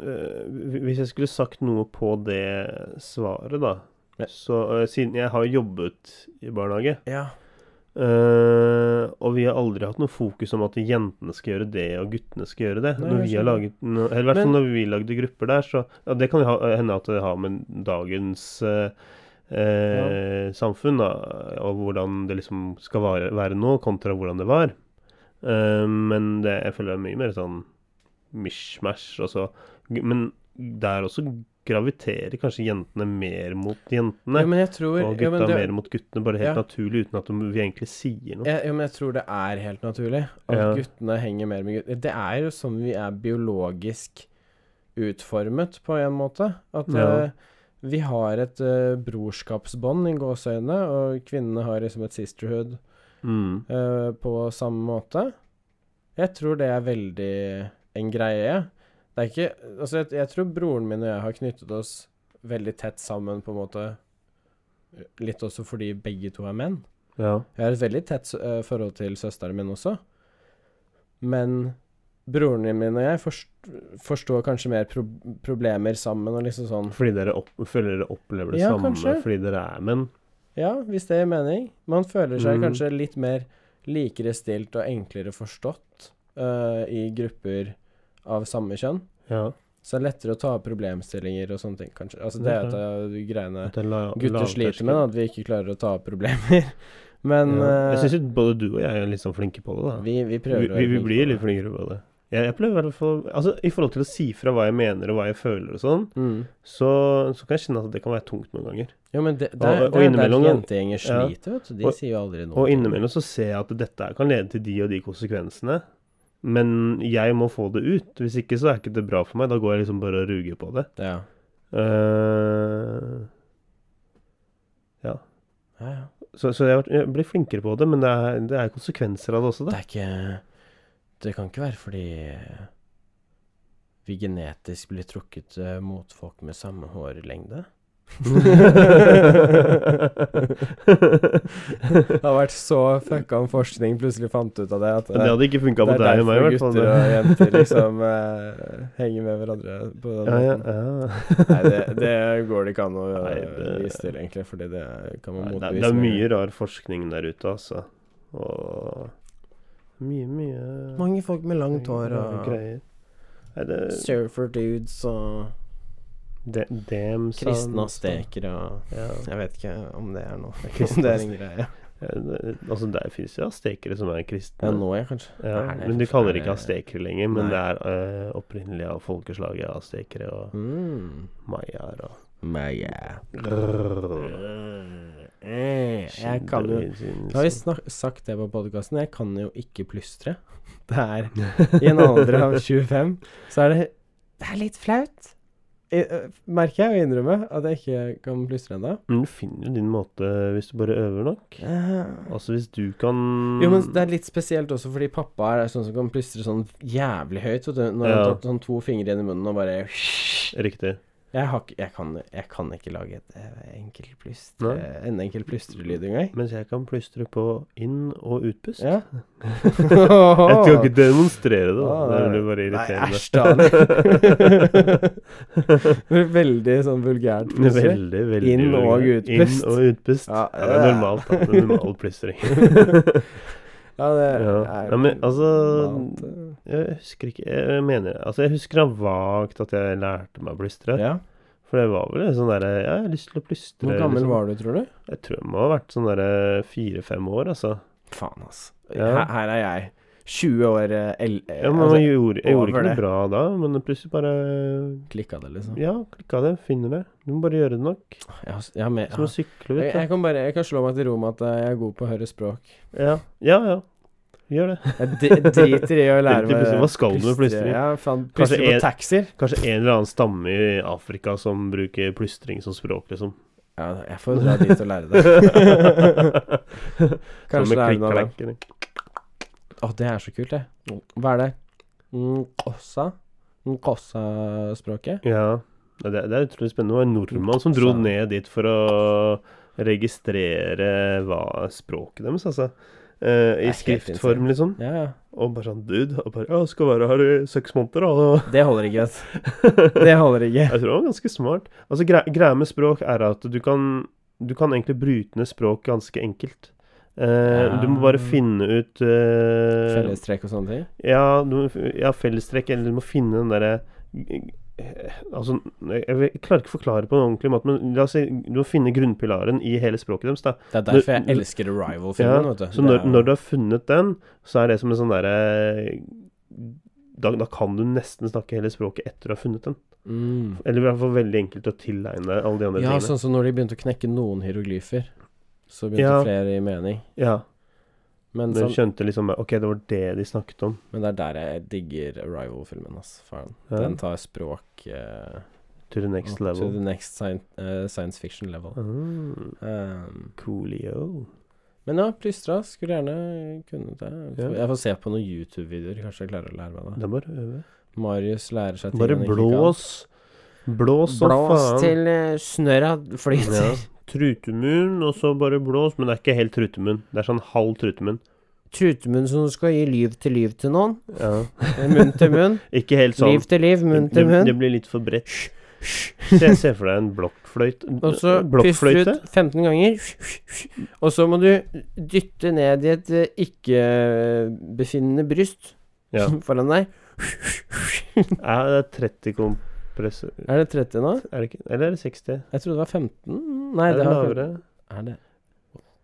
[SPEAKER 2] øh, hvi- Hvis jeg skulle sagt noe på det svaret, da
[SPEAKER 1] Ja.
[SPEAKER 2] Så øh, siden jeg har jobbet i barnehage,
[SPEAKER 1] Ja.
[SPEAKER 2] øh, og vi har aldri hatt noe fokus om at jentene skal gjøre det, og guttene skal gjøre det.
[SPEAKER 1] Nei,
[SPEAKER 2] når
[SPEAKER 1] jeg
[SPEAKER 2] vi har
[SPEAKER 1] skjønner.
[SPEAKER 2] laget no, Eller i hvert fall
[SPEAKER 1] Men-
[SPEAKER 2] når vi lagde grupper der, så ja, Det kan jo ha- hende at det har med dagens øh, øh, samfunn da, og hvordan det liksom skal være, være nå, kontra hvordan det var. Eh, men det, jeg føler det er mye mer sånn mishmash. Altså. G- Men der også graviterer kanskje jentene mer mot jentene.
[SPEAKER 1] Jo, men jeg tror
[SPEAKER 2] og
[SPEAKER 1] jo,
[SPEAKER 2] gutta
[SPEAKER 1] men det,
[SPEAKER 2] mer mot guttene, bare helt
[SPEAKER 1] Ja.
[SPEAKER 2] naturlig, uten at de, vi egentlig sier noe.
[SPEAKER 1] jeg, jo, men jeg tror det er helt naturlig at
[SPEAKER 2] Ja.
[SPEAKER 1] guttene henger mer med guttene. Det er jo sånn vi er biologisk utformet, på en måte. At
[SPEAKER 2] Ja.
[SPEAKER 1] eh, vi har et eh, brorskapsbånd i gåseøynene, og kvinnene har liksom et sisterhood
[SPEAKER 2] Mm.
[SPEAKER 1] eh, på samme måte. Jeg tror det er veldig en greie. Det er ikke Altså, jeg, jeg tror broren min og jeg har knyttet oss veldig tett sammen, på en måte. Litt også fordi begge to er menn.
[SPEAKER 2] Ja.
[SPEAKER 1] Jeg har et veldig tett s- eh, forhold til søsteren min også. Men broren min og jeg forst, forstår kanskje mer pro problemer sammen og liksom sånn
[SPEAKER 2] Fordi dere opp, føler dere opplever det
[SPEAKER 1] Ja,
[SPEAKER 2] samme
[SPEAKER 1] kanskje.
[SPEAKER 2] fordi dere er menn.
[SPEAKER 1] Ja, hvis det gir mening. Man føler seg
[SPEAKER 2] Mm.
[SPEAKER 1] kanskje litt mer likere stilt og enklere forstått eh, i grupper av samme kjønn.
[SPEAKER 2] Ja.
[SPEAKER 1] Så det er lettere å ta opp problemstillinger og sånne ting, kanskje. Altså, det er jo et av de greiene
[SPEAKER 2] At det er la,
[SPEAKER 1] gutter
[SPEAKER 2] lavterskel.
[SPEAKER 1] sliter med, da, at vi ikke klarer å ta opp problemer. Men
[SPEAKER 2] ja. Jeg
[SPEAKER 1] eh,
[SPEAKER 2] syns jo både du og jeg er litt sånn flinke på det, da.
[SPEAKER 1] vi, vi
[SPEAKER 2] Vi,
[SPEAKER 1] prøver
[SPEAKER 2] vi, vi
[SPEAKER 1] flinke på
[SPEAKER 2] blir litt
[SPEAKER 1] det.
[SPEAKER 2] flinkere på det. Jeg, jeg pleier i hvert fall Altså, i forhold til å si fra hva jeg mener og hva jeg føler og sånn,
[SPEAKER 1] mm.
[SPEAKER 2] så, så kan jeg kjenne at det kan være tungt noen ganger.
[SPEAKER 1] Jo, men det, det,
[SPEAKER 2] Og-
[SPEAKER 1] er-
[SPEAKER 2] og
[SPEAKER 1] det er der
[SPEAKER 2] innimellom-
[SPEAKER 1] jentegjenger
[SPEAKER 2] ja.
[SPEAKER 1] sliter, vet du. De
[SPEAKER 2] Og-
[SPEAKER 1] sier jo aldri noe.
[SPEAKER 2] Og innimellom så ser jeg at dette her kan lede til de og de konsekvensene, men jeg må få det ut. Hvis ikke så er ikke det bra for meg. Da går jeg liksom bare og ruger på det.
[SPEAKER 1] Ja.
[SPEAKER 2] Eh,
[SPEAKER 1] Ja, ja.
[SPEAKER 2] så, så jeg, har vært- jeg blir flinkere på det, men det er, det er konsekvenser av det også, da.
[SPEAKER 1] Det er ikke Det kan ikke være fordi vi genetisk blir trukket eh, mot folk med samme hårlengde. Det har vært så fucka om forskning plutselig fant ut av det. At
[SPEAKER 2] det hadde ikke funka på deg og meg, i hvert fall.
[SPEAKER 1] gutter og jenter liksom henger med hverandre på den
[SPEAKER 2] Ja, ja,
[SPEAKER 1] måten.
[SPEAKER 2] ja.
[SPEAKER 1] Nei, det, det går det ikke an å eh,
[SPEAKER 2] Nei, det-
[SPEAKER 1] vise til, egentlig, fordi det kan man
[SPEAKER 2] Nei, det,
[SPEAKER 1] motbevise.
[SPEAKER 2] er- det er
[SPEAKER 1] med-
[SPEAKER 2] mye rar forskning der ute, altså. Og mye, mye
[SPEAKER 1] Mange folk med langt hår
[SPEAKER 2] rare
[SPEAKER 1] og
[SPEAKER 2] greier. Nei, det
[SPEAKER 1] surfer dudes og
[SPEAKER 2] de, dem sa-
[SPEAKER 1] kristne aztekere og
[SPEAKER 2] Ja.
[SPEAKER 1] Jeg vet ikke om det er noe.
[SPEAKER 2] kristne
[SPEAKER 1] Om det er en greie.
[SPEAKER 2] Ja, det- Altså, der fins jo aztekere som er kristne.
[SPEAKER 1] Ja, nå er jeg kanskje
[SPEAKER 2] Ja,
[SPEAKER 1] Er det-
[SPEAKER 2] men de kaller
[SPEAKER 1] er
[SPEAKER 2] det ikke
[SPEAKER 1] det-
[SPEAKER 2] aztekere lenger,
[SPEAKER 1] Nei.
[SPEAKER 2] men det er eh, opprinnelig av folkeslaget aztekere og
[SPEAKER 1] mm.
[SPEAKER 2] mayaer og
[SPEAKER 1] Mega.
[SPEAKER 2] Grrrr.
[SPEAKER 1] Eh, Jeg kan jo Har vi snak sagt det på podkasten? Jeg kan jo ikke plystre. Det er I en alder av 25 så er det Det er litt flaut. I, ø, merker jeg å innrømme at jeg ikke kan plystre ennå.
[SPEAKER 2] Men du finner jo din måte hvis du bare øver nok.
[SPEAKER 1] Eh,
[SPEAKER 2] Altså, hvis du kan
[SPEAKER 1] Jo, men
[SPEAKER 2] Mm.
[SPEAKER 1] det er litt spesielt også fordi pappa er sånn som kan plystre sånn jævlig høyt. Vet du, når han har
[SPEAKER 2] Ja.
[SPEAKER 1] tatt sånn to fingre inn i munnen og bare
[SPEAKER 2] Riktig.
[SPEAKER 1] Jeg, har, ikke- jeg, kan, jeg kan ikke lage et eh, enkelt plystre,
[SPEAKER 2] Nei.
[SPEAKER 1] en enkel plystrelyd engang.
[SPEAKER 2] Mens jeg kan plystre på inn- og utpust.
[SPEAKER 1] Ja.
[SPEAKER 2] Jeg skal ikke demonstrere det, da.
[SPEAKER 1] Ah,
[SPEAKER 2] det
[SPEAKER 1] nei.
[SPEAKER 2] blir bare
[SPEAKER 1] Nei,
[SPEAKER 2] irriterende.
[SPEAKER 1] æsj, da. Det er Veldig sånn vulgært plystre.
[SPEAKER 2] veldig, veldig
[SPEAKER 1] Inn og
[SPEAKER 2] vulgært.
[SPEAKER 1] utpust.
[SPEAKER 2] Inn og utpust. Ja,
[SPEAKER 1] Ja,
[SPEAKER 2] det er normalt. Da. Det er normal plystring.
[SPEAKER 1] Ja, det
[SPEAKER 2] Ja.
[SPEAKER 1] er
[SPEAKER 2] Ja, men, altså,
[SPEAKER 1] normalt, eh.
[SPEAKER 2] Jeg husker ikke Jeg mener Altså, jeg husker da vagt at jeg lærte meg å plystre.
[SPEAKER 1] ja.
[SPEAKER 2] For det var vel en sånn derre Ja, jeg har lyst til å plystre.
[SPEAKER 1] Hvor gammel
[SPEAKER 2] liksom.
[SPEAKER 1] var du, tror du?
[SPEAKER 2] Jeg tror jeg må ha vært sånn derre fire-fem år, altså.
[SPEAKER 1] Faen, altså.
[SPEAKER 2] Ja.
[SPEAKER 1] Her, her er jeg. 20 år eh, el... eh,
[SPEAKER 2] Ja, men
[SPEAKER 1] altså,
[SPEAKER 2] jeg gjorde, jeg gjorde
[SPEAKER 1] over
[SPEAKER 2] ikke noe
[SPEAKER 1] det.
[SPEAKER 2] bra da, men plutselig bare
[SPEAKER 1] Klikka det, liksom.
[SPEAKER 2] Ja, klikka det. Finner det. Du må bare gjøre det nok.
[SPEAKER 1] Jeg, har s- jeg, har med,
[SPEAKER 2] Som å
[SPEAKER 1] jeg,
[SPEAKER 2] sykle, vet du.
[SPEAKER 1] jeg kan bare jeg kan slå meg til ro med at eh, jeg er god på å høre språk.
[SPEAKER 2] Ja, ja. ja. Gjør det.
[SPEAKER 1] Jeg dri- driter i å lære
[SPEAKER 2] Driter i plystring. Hva skal du med plystring?
[SPEAKER 1] Ja, faen,
[SPEAKER 2] Kanskje
[SPEAKER 1] plystre på
[SPEAKER 2] en-
[SPEAKER 1] taxier.
[SPEAKER 2] Kanskje en eller annen stamme i Afrika som bruker plystring som språk, liksom.
[SPEAKER 1] Ja, jeg får dra dit og lære det.
[SPEAKER 2] Sånn
[SPEAKER 1] Kanskje det er noe av det.
[SPEAKER 2] klikkalakkene.
[SPEAKER 1] Å, det er så kult, det. Hva er det? Nkossa? Nkossa-språket?
[SPEAKER 2] Ja. Nei, Det, det er utrolig spennende. Det var en nordmann som dro
[SPEAKER 1] Så-
[SPEAKER 2] ned dit for å registrere hva språket deres, altså. Eh,
[SPEAKER 1] er
[SPEAKER 2] I
[SPEAKER 1] helt
[SPEAKER 2] skriftform, liksom.
[SPEAKER 1] Ja, ja.
[SPEAKER 2] Og bare sånn dude. Og bare, ja, skal være her i seks måneder, da.
[SPEAKER 1] Det holder ikke, vet du. Det holder ikke.
[SPEAKER 2] Jeg tror det var ganske smart. Altså, gre greia med språk er at du kan, du kan egentlig bryte ned språk ganske enkelt. Eh, Du må bare
[SPEAKER 1] Ah.
[SPEAKER 2] finne ut eh,
[SPEAKER 1] Fellestrekk og sånne ting.
[SPEAKER 2] Ja, du må, f- ja, fellestrekk, eller du må finne den derre eh, Altså, jeg, vet- jeg klarer ikke å forklare på en ordentlig måte, men la oss si du må finne grunnpilaren i hele språket deres, da.
[SPEAKER 1] Det er derfor jeg
[SPEAKER 2] Når-
[SPEAKER 1] elsker The Rival-filmen, vet du.
[SPEAKER 2] Så når, når du har funnet den, så er det som en sånn derre da, da kan du nesten snakke hele språket etter du har funnet den.
[SPEAKER 1] mm.
[SPEAKER 2] Eller i hvert fall veldig enkelt å tilegne deg alle de andre
[SPEAKER 1] Ja,
[SPEAKER 2] tingene.
[SPEAKER 1] sånn som når de begynte å knekke noen hieroglyfer, så begynte
[SPEAKER 2] Ja.
[SPEAKER 1] flere i mening.
[SPEAKER 2] Ja,
[SPEAKER 1] Men,
[SPEAKER 2] Du
[SPEAKER 1] sånn,
[SPEAKER 2] skjønte liksom OK, det var det de snakket om.
[SPEAKER 1] men det er der jeg digger Arrival-filmen, ass. Faen.
[SPEAKER 2] Ja.
[SPEAKER 1] Den tar språk eh,
[SPEAKER 2] To the next
[SPEAKER 1] up to
[SPEAKER 2] level.
[SPEAKER 1] the next sci eh, science fiction level.
[SPEAKER 2] Mm,
[SPEAKER 1] Um,
[SPEAKER 2] coolio.
[SPEAKER 1] Men ja, plystra. Skulle gjerne kunne det.
[SPEAKER 2] Ja.
[SPEAKER 1] Jeg får se på noen YouTube-videoer. Kanskje jeg klarer å lære meg det.
[SPEAKER 2] Det er bare å øve.
[SPEAKER 1] Marius lærer seg ting
[SPEAKER 2] Bare
[SPEAKER 1] han ikke kan.
[SPEAKER 2] blås. Blås som
[SPEAKER 1] Blås
[SPEAKER 2] faen.
[SPEAKER 1] til eh, snørra flyter.
[SPEAKER 2] Ja. Trutemunn, og så bare blås. Men det er ikke helt trutemunn. Det er sånn halv trutemunn.
[SPEAKER 1] Trutemunn som skal gi liv til liv til noen.
[SPEAKER 2] Ja.
[SPEAKER 1] Eh, Munn til munn.
[SPEAKER 2] Ikke helt sånn.
[SPEAKER 1] Liv til liv, munn
[SPEAKER 2] det,
[SPEAKER 1] til munn.
[SPEAKER 2] det blir litt for bredt. Se, se for deg en blokkfløyte.
[SPEAKER 1] Og så puster du
[SPEAKER 2] blokkfløyte.
[SPEAKER 1] ut 15 ganger. Og så må du dytte ned i et eh, ikke-befinnende bryst
[SPEAKER 2] Ja.
[SPEAKER 1] foran deg.
[SPEAKER 2] ja, det er 30 kompresser
[SPEAKER 1] Er det 30 nå?
[SPEAKER 2] Er det ikke? Eller er det 60?
[SPEAKER 1] Jeg trodde det var 15. Nei,
[SPEAKER 2] er
[SPEAKER 1] det
[SPEAKER 2] det
[SPEAKER 1] har
[SPEAKER 2] lavere?
[SPEAKER 1] Er det?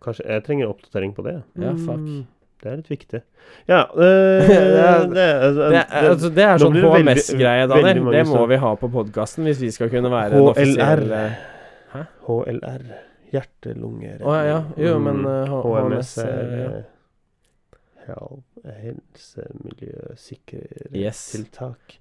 [SPEAKER 2] Kanskje Jeg trenger oppdatering på det.
[SPEAKER 1] Ja, fuck.
[SPEAKER 2] Mm, Det er litt viktig. Ja øh, det,
[SPEAKER 1] er-
[SPEAKER 2] er-
[SPEAKER 1] Det, er- altså, det er
[SPEAKER 2] nå
[SPEAKER 1] sånn
[SPEAKER 2] blir det veldig-
[SPEAKER 1] HMS-greie,
[SPEAKER 2] veldig
[SPEAKER 1] Daniel.
[SPEAKER 2] mange
[SPEAKER 1] Det må
[SPEAKER 2] som-
[SPEAKER 1] vi ha på podkasten hvis vi skal kunne være en offisiell
[SPEAKER 2] HLR.
[SPEAKER 1] eh,
[SPEAKER 2] HLR. Hjerte-lungeredning.
[SPEAKER 1] Å ja, ja.
[SPEAKER 2] mm.
[SPEAKER 1] Jo, men eh, H- HMS
[SPEAKER 2] HMS er
[SPEAKER 1] eh, ja.
[SPEAKER 2] eh, hel- helse, miljø,
[SPEAKER 1] Yes.
[SPEAKER 2] sikkerhetstiltak.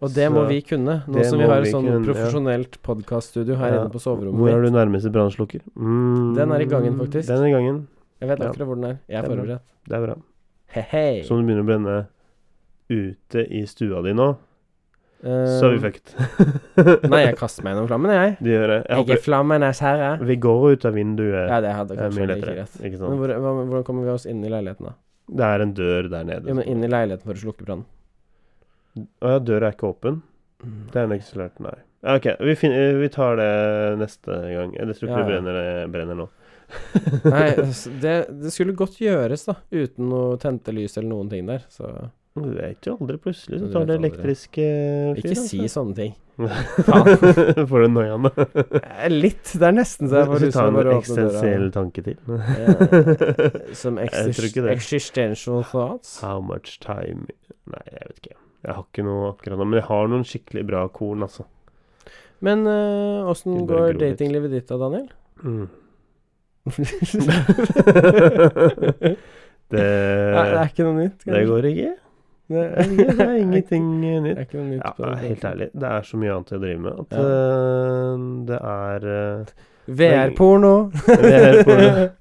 [SPEAKER 1] Og det må
[SPEAKER 2] Så
[SPEAKER 1] vi kunne, nå
[SPEAKER 2] det
[SPEAKER 1] som vi
[SPEAKER 2] må
[SPEAKER 1] har et
[SPEAKER 2] vi
[SPEAKER 1] sånn
[SPEAKER 2] kunne, ja.
[SPEAKER 1] profesjonelt podkaststudio her
[SPEAKER 2] Ja.
[SPEAKER 1] inne på
[SPEAKER 2] Hvor
[SPEAKER 1] soverommet
[SPEAKER 2] er
[SPEAKER 1] mitt.
[SPEAKER 2] du nærmeste brannslukker? Mm,
[SPEAKER 1] Den er i gangen, faktisk.
[SPEAKER 2] Den er i gangen.
[SPEAKER 1] Jeg vet
[SPEAKER 2] Ja.
[SPEAKER 1] akkurat hvor den er. Jeg er
[SPEAKER 2] Det er bra.
[SPEAKER 1] forberedt.
[SPEAKER 2] Det er bra.
[SPEAKER 1] Hei-hei.
[SPEAKER 2] Så om det begynner å brenne ute i stua di nå,
[SPEAKER 1] Eh,
[SPEAKER 2] så er vi fucked.
[SPEAKER 1] Nei, jeg kaster meg gjennom flammen, jeg.
[SPEAKER 2] Det gjør jeg.
[SPEAKER 1] Jeg
[SPEAKER 2] jeg
[SPEAKER 1] er
[SPEAKER 2] håper,
[SPEAKER 1] flammenes herre.
[SPEAKER 2] vi går ut av vinduet.
[SPEAKER 1] Ja, det hadde
[SPEAKER 2] det er
[SPEAKER 1] kanskje
[SPEAKER 2] mye
[SPEAKER 1] vært like
[SPEAKER 2] lettere.
[SPEAKER 1] greit.
[SPEAKER 2] Ikke
[SPEAKER 1] Men
[SPEAKER 2] sant?
[SPEAKER 1] hvor, hva, hvordan kommer vi oss inn i leiligheten, da?
[SPEAKER 2] Det er sånn. en dør der nede.
[SPEAKER 1] Jo, men inn i leiligheten for å slukke brannen.
[SPEAKER 2] Å ja, døra er ikke åpen? Det er den ikke så lært, nei. Ja, OK, vi, finner, vi tar det neste gang. Jeg tror ikke
[SPEAKER 1] Ja, ja.
[SPEAKER 2] det brenner, brenner nå.
[SPEAKER 1] Nei, altså, det, det skulle godt gjøres, da. Uten noe tente lys eller noen ting der. Så
[SPEAKER 2] Du vet jo aldri. Plutselig så
[SPEAKER 1] Du
[SPEAKER 2] tar det
[SPEAKER 1] vet aldri.
[SPEAKER 2] elektrisk eh, fyr.
[SPEAKER 1] ikke si sånne ting.
[SPEAKER 2] sånn. Får du noia nå?
[SPEAKER 1] Eh, Litt. Det er nesten så jeg får
[SPEAKER 2] Så
[SPEAKER 1] lyst til
[SPEAKER 2] tar
[SPEAKER 1] å
[SPEAKER 2] du en
[SPEAKER 1] bare åpne
[SPEAKER 2] eksistensiell
[SPEAKER 1] døra.
[SPEAKER 2] tanke til.
[SPEAKER 1] Ja, Som
[SPEAKER 2] Jeg tror ikke det.
[SPEAKER 1] existential thoughts.
[SPEAKER 2] How much time Nei, jeg vet ikke. Jeg har ikke noe akkurat nå, men jeg har noen skikkelig bra korn, altså.
[SPEAKER 1] Men eh, åssen
[SPEAKER 2] Du bør
[SPEAKER 1] går
[SPEAKER 2] gro litt.
[SPEAKER 1] datinglivet ditt da, Daniel?
[SPEAKER 2] Mm.
[SPEAKER 1] Nei,
[SPEAKER 2] det,
[SPEAKER 1] det er ikke noe nytt.
[SPEAKER 2] det
[SPEAKER 1] kanskje?
[SPEAKER 2] går ikke.
[SPEAKER 1] Det
[SPEAKER 2] Det er, ikke- det er ingenting eh, nytt.
[SPEAKER 1] Det er ikke noe nytt.
[SPEAKER 2] Ja,
[SPEAKER 1] på det.
[SPEAKER 2] helt ærlig, det er så mye annet jeg driver med at
[SPEAKER 1] Ja.
[SPEAKER 2] eh, det er eh,
[SPEAKER 1] VR-porno.
[SPEAKER 2] det er porno. ja, jeg- det,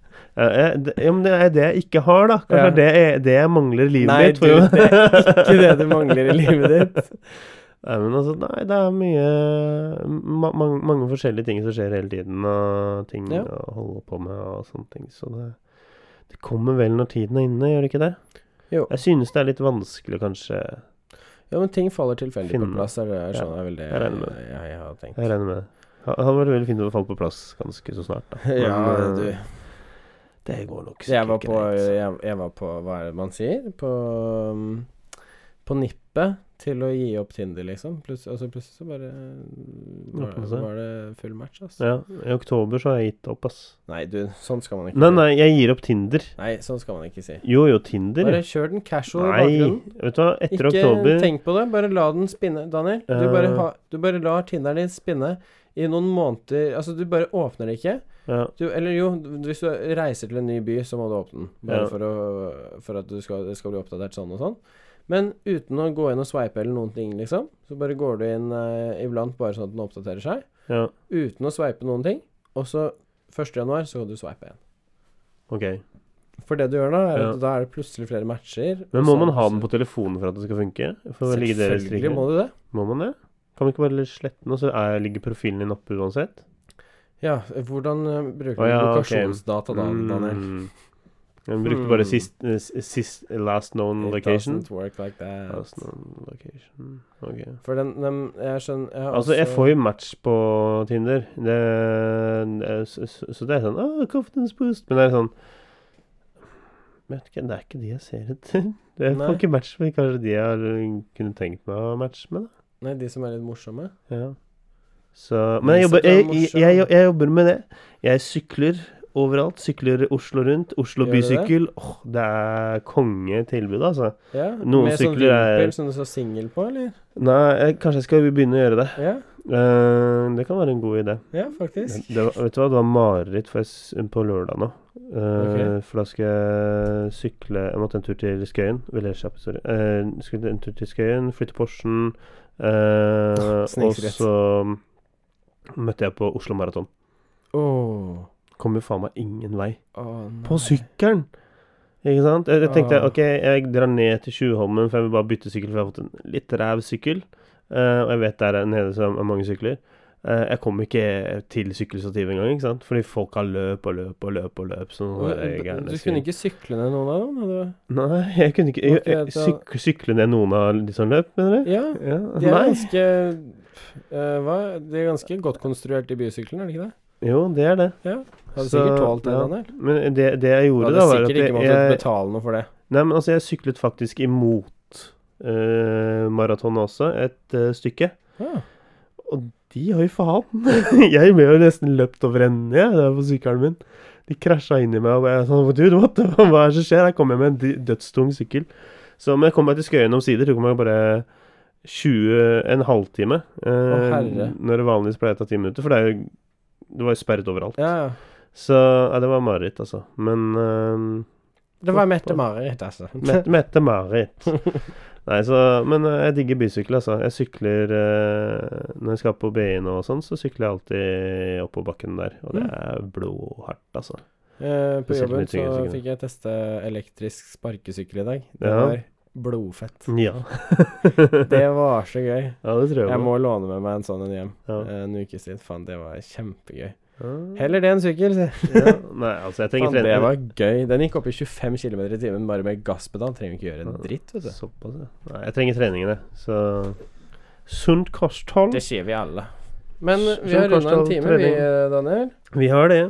[SPEAKER 2] Eh, ja, men det er det jeg ikke har, da. Kanskje
[SPEAKER 1] Ja.
[SPEAKER 2] det er det jeg, det jeg mangler i livet
[SPEAKER 1] Nei,
[SPEAKER 2] mitt.
[SPEAKER 1] du, det er ikke det du mangler i livet ditt.
[SPEAKER 2] Nei, men altså, nei, det er mye ma mange, mange forskjellige ting som skjer hele tiden, og ting
[SPEAKER 1] Ja.
[SPEAKER 2] å holde på med og sånne ting. Så det, det kommer vel når tiden er inne, gjør det ikke det?
[SPEAKER 1] Jo.
[SPEAKER 2] Jeg synes det er litt vanskelig, kanskje.
[SPEAKER 1] Ja, men ting faller tilfeldig på
[SPEAKER 2] Finne.
[SPEAKER 1] plass. Er det,
[SPEAKER 2] Ja,
[SPEAKER 1] sånn er vel det
[SPEAKER 2] jeg
[SPEAKER 1] jeg,
[SPEAKER 2] regner med
[SPEAKER 1] jeg, har tenkt.
[SPEAKER 2] Jeg regner med det. Ha- Det hadde vært veldig fint å falle på plass ganske så snart. Da.
[SPEAKER 1] Ja,
[SPEAKER 2] Men,
[SPEAKER 1] du.
[SPEAKER 2] eh, Det går nok
[SPEAKER 1] Jeg var
[SPEAKER 2] sikkert
[SPEAKER 1] på, eh,
[SPEAKER 2] greit.
[SPEAKER 1] jeg, jeg var på Hva er det man sier? På, um, på nippet til å gi opp Tinder, liksom. Plus, altså, plutselig så bare uh, var,
[SPEAKER 2] Åpnet seg.
[SPEAKER 1] var det full match, altså.
[SPEAKER 2] Ja, I oktober så har jeg gitt opp, ass.
[SPEAKER 1] Nei, du, sånn skal man ikke
[SPEAKER 2] Nei,
[SPEAKER 1] si.
[SPEAKER 2] nei, jeg gir opp Tinder.
[SPEAKER 1] Nei, sånn skal man ikke si.
[SPEAKER 2] Jo, jo, Tinder.
[SPEAKER 1] Bare kjør den casual i
[SPEAKER 2] Nei,
[SPEAKER 1] bakgrunnen.
[SPEAKER 2] vet du hva, etter
[SPEAKER 1] ikke
[SPEAKER 2] oktober
[SPEAKER 1] tenk på det, bare la den spinne, Daniel. Du bare,
[SPEAKER 2] Eh.
[SPEAKER 1] ha, du bare lar Tinderen din spinne i noen måneder Altså, du bare åpner det ikke.
[SPEAKER 2] ja,
[SPEAKER 1] Du, eller jo, hvis du reiser til en ny by, så må du åpne den. Bare
[SPEAKER 2] Ja.
[SPEAKER 1] for, å, for at du skal, det skal bli oppdatert sånn og sånn. Men uten å gå inn og sveipe eller noen ting, liksom. Så bare går du inn eh, iblant bare sånn at den oppdaterer seg.
[SPEAKER 2] ja,
[SPEAKER 1] Uten å sveipe noen ting. Og så 1. januar så kan du sveipe igjen.
[SPEAKER 2] ok.
[SPEAKER 1] For det du gjør da, er at
[SPEAKER 2] Ja.
[SPEAKER 1] da er det plutselig flere matcher.
[SPEAKER 2] Men
[SPEAKER 1] og
[SPEAKER 2] må
[SPEAKER 1] Sånn, så-
[SPEAKER 2] man ha den på telefonen for at det skal funke? For å ligge i deres
[SPEAKER 1] Selvfølgelig
[SPEAKER 2] må,
[SPEAKER 1] må du det.
[SPEAKER 2] må man det? Kan man ikke bare slette den, og så er, ligger profilen din oppe uansett?
[SPEAKER 1] Ja, hvordan eh, bruker
[SPEAKER 2] Å
[SPEAKER 1] du
[SPEAKER 2] ja, ok.
[SPEAKER 1] lokasjonsdata da, Daniel?
[SPEAKER 2] Mm. Jeg brukte
[SPEAKER 1] Hmm.
[SPEAKER 2] bare sist, eh, s- sist last
[SPEAKER 1] It
[SPEAKER 2] known Mm, location. Altså.
[SPEAKER 1] doesn't work like that.
[SPEAKER 2] Last known location. Ok.
[SPEAKER 1] For den, den Jeg skjønner jeg har
[SPEAKER 2] Altså, jeg
[SPEAKER 1] også-
[SPEAKER 2] får jo match på Tinder. Det, det- så, så- så det er sånn oh, confidence boost. Men det er sånn Vet ikke, Det er ikke de jeg ser etter. Jeg
[SPEAKER 1] Nei.
[SPEAKER 2] får ikke match med kanskje de jeg har eh, kunne tenkt meg å matche med.
[SPEAKER 1] Nei, de som er litt morsomme.
[SPEAKER 2] da ja. Så,
[SPEAKER 1] Men
[SPEAKER 2] Men jeg
[SPEAKER 1] så
[SPEAKER 2] jobber,
[SPEAKER 1] du er
[SPEAKER 2] jeg, jeg,
[SPEAKER 1] morsom.
[SPEAKER 2] jeg, jeg jobber med det. Jeg sykler overalt. Sykler Oslo rundt. Oslo
[SPEAKER 1] Gjør du det?
[SPEAKER 2] bysykkel. Åh, det er kongetilbud, altså.
[SPEAKER 1] Ja,
[SPEAKER 2] Noen
[SPEAKER 1] med sånn
[SPEAKER 2] sykler er-
[SPEAKER 1] vimpel som du så singel på, eller?
[SPEAKER 2] Nei, jeg, kanskje jeg skal begynne å gjøre det.
[SPEAKER 1] Ja,
[SPEAKER 2] Eh, det kan være en god idé.
[SPEAKER 1] ja faktisk.
[SPEAKER 2] Det var, vet du hva, det var mareritt for jeg, s- på lørdag nå. Eh, For da skal jeg sykle Jeg måtte en tur til Skøyen. Veldig kjapt, sorry. Eh, skulle en tur til Skøyen, flytte Porschen. eh, og
[SPEAKER 1] Snikskritt.
[SPEAKER 2] så møtte jeg på Oslo Maraton.
[SPEAKER 1] Åh
[SPEAKER 2] kom jo faen meg ingen vei.
[SPEAKER 1] Å, nei.
[SPEAKER 2] På sykkelen! Ikke sant? Jeg, jeg tenkte
[SPEAKER 1] Åh.
[SPEAKER 2] ok, jeg drar ned til Tjuvholmen, for jeg vil bare bytte sykkel, for jeg har fått en litt ræv sykkel. Eh, og jeg vet der nede så er mange sykler. Eh, jeg kom ikke til sykkelstativet engang, ikke sant? fordi folk har løp og løp og løp og løp. Sånn,
[SPEAKER 1] Og,
[SPEAKER 2] eh, gærne
[SPEAKER 1] Du
[SPEAKER 2] sykler.
[SPEAKER 1] kunne ikke sykle ned noen av dem? hadde
[SPEAKER 2] Nei, jeg kunne ikke jeg,
[SPEAKER 1] Ok,
[SPEAKER 2] jeg,
[SPEAKER 1] da-
[SPEAKER 2] syk, Sykle ned noen av de som løp, mener
[SPEAKER 1] du?
[SPEAKER 2] du?
[SPEAKER 1] Ja.
[SPEAKER 2] Ja.
[SPEAKER 1] De er
[SPEAKER 2] Nei.
[SPEAKER 1] ganske eh, hva? De er ganske godt konstruert, de bysyklene, er de ikke det?
[SPEAKER 2] Jo, det er det.
[SPEAKER 1] Hadde
[SPEAKER 2] Så,
[SPEAKER 1] sikkert tålt det,
[SPEAKER 2] ja.
[SPEAKER 1] Daniel.
[SPEAKER 2] Men det, det jeg gjorde,
[SPEAKER 1] Hadde
[SPEAKER 2] da, var at
[SPEAKER 1] sikkert
[SPEAKER 2] jeg,
[SPEAKER 1] ikke måttet
[SPEAKER 2] jeg
[SPEAKER 1] betale noe for det.
[SPEAKER 2] Nei, men altså, jeg syklet faktisk imot eh, maratonet også, et eh, stykke.
[SPEAKER 1] Ja.
[SPEAKER 2] De har jo faen! jeg ble jo nesten løpt over enden, jeg, der på sykkelen min. De krasja inn i meg, og jeg sånn Dude, what the Hva er det som skjer? Her kommer jeg med en d- dødstung sykkel. Så men jeg kom meg til Skøyen omsider. Tok meg bare 20 En halvtime. eh,
[SPEAKER 1] herre.
[SPEAKER 2] når det vanligvis pleier å ta ti minutter, for det er jo Det var jo sperret overalt.
[SPEAKER 1] ja, ja.
[SPEAKER 2] Så ja, det var mareritt, altså. Men eh,
[SPEAKER 1] Det var Mette-Marit, altså.
[SPEAKER 2] Mette, Mette Marit. Nei, så, men eh, jeg digger bysykkel, altså. Jeg sykler eh, Når jeg skal på BI nå og sånn, så sykler jeg alltid oppover bakken der. Og det
[SPEAKER 1] Mm.
[SPEAKER 2] er blodhardt, altså.
[SPEAKER 1] Eh, på
[SPEAKER 2] Spesielt
[SPEAKER 1] jobben
[SPEAKER 2] med
[SPEAKER 1] så
[SPEAKER 2] tyngre sykler.
[SPEAKER 1] fikk jeg teste elektrisk sparkesykkel i dag. Det
[SPEAKER 2] Ja.
[SPEAKER 1] var blodfett.
[SPEAKER 2] Ja.
[SPEAKER 1] Det var så gøy.
[SPEAKER 2] ja, det tror jeg.
[SPEAKER 1] Jeg
[SPEAKER 2] på.
[SPEAKER 1] må låne med meg en sånn en hjem
[SPEAKER 2] Ja.
[SPEAKER 1] eh, en ukes tid. Faen, det var kjempegøy.
[SPEAKER 2] Ja.
[SPEAKER 1] Heller det enn sykkel, sier jeg.
[SPEAKER 2] ja. Nei, altså, jeg trenger
[SPEAKER 1] Faen, det
[SPEAKER 2] trening.
[SPEAKER 1] var gøy. Den gikk opp i 25 km i timen bare med gasspedal. Trenger ikke gjøre en dritt, vet du.
[SPEAKER 2] Såpass, ja. Nei, jeg trenger treningen, jeg. Så Sunt kosthold.
[SPEAKER 1] Det ser vi alle. Men
[SPEAKER 2] S-
[SPEAKER 1] vi
[SPEAKER 2] som
[SPEAKER 1] har runda en
[SPEAKER 2] kosthold,
[SPEAKER 1] time, vi,
[SPEAKER 2] trening.
[SPEAKER 1] eh, Daniel.
[SPEAKER 2] Vi har det.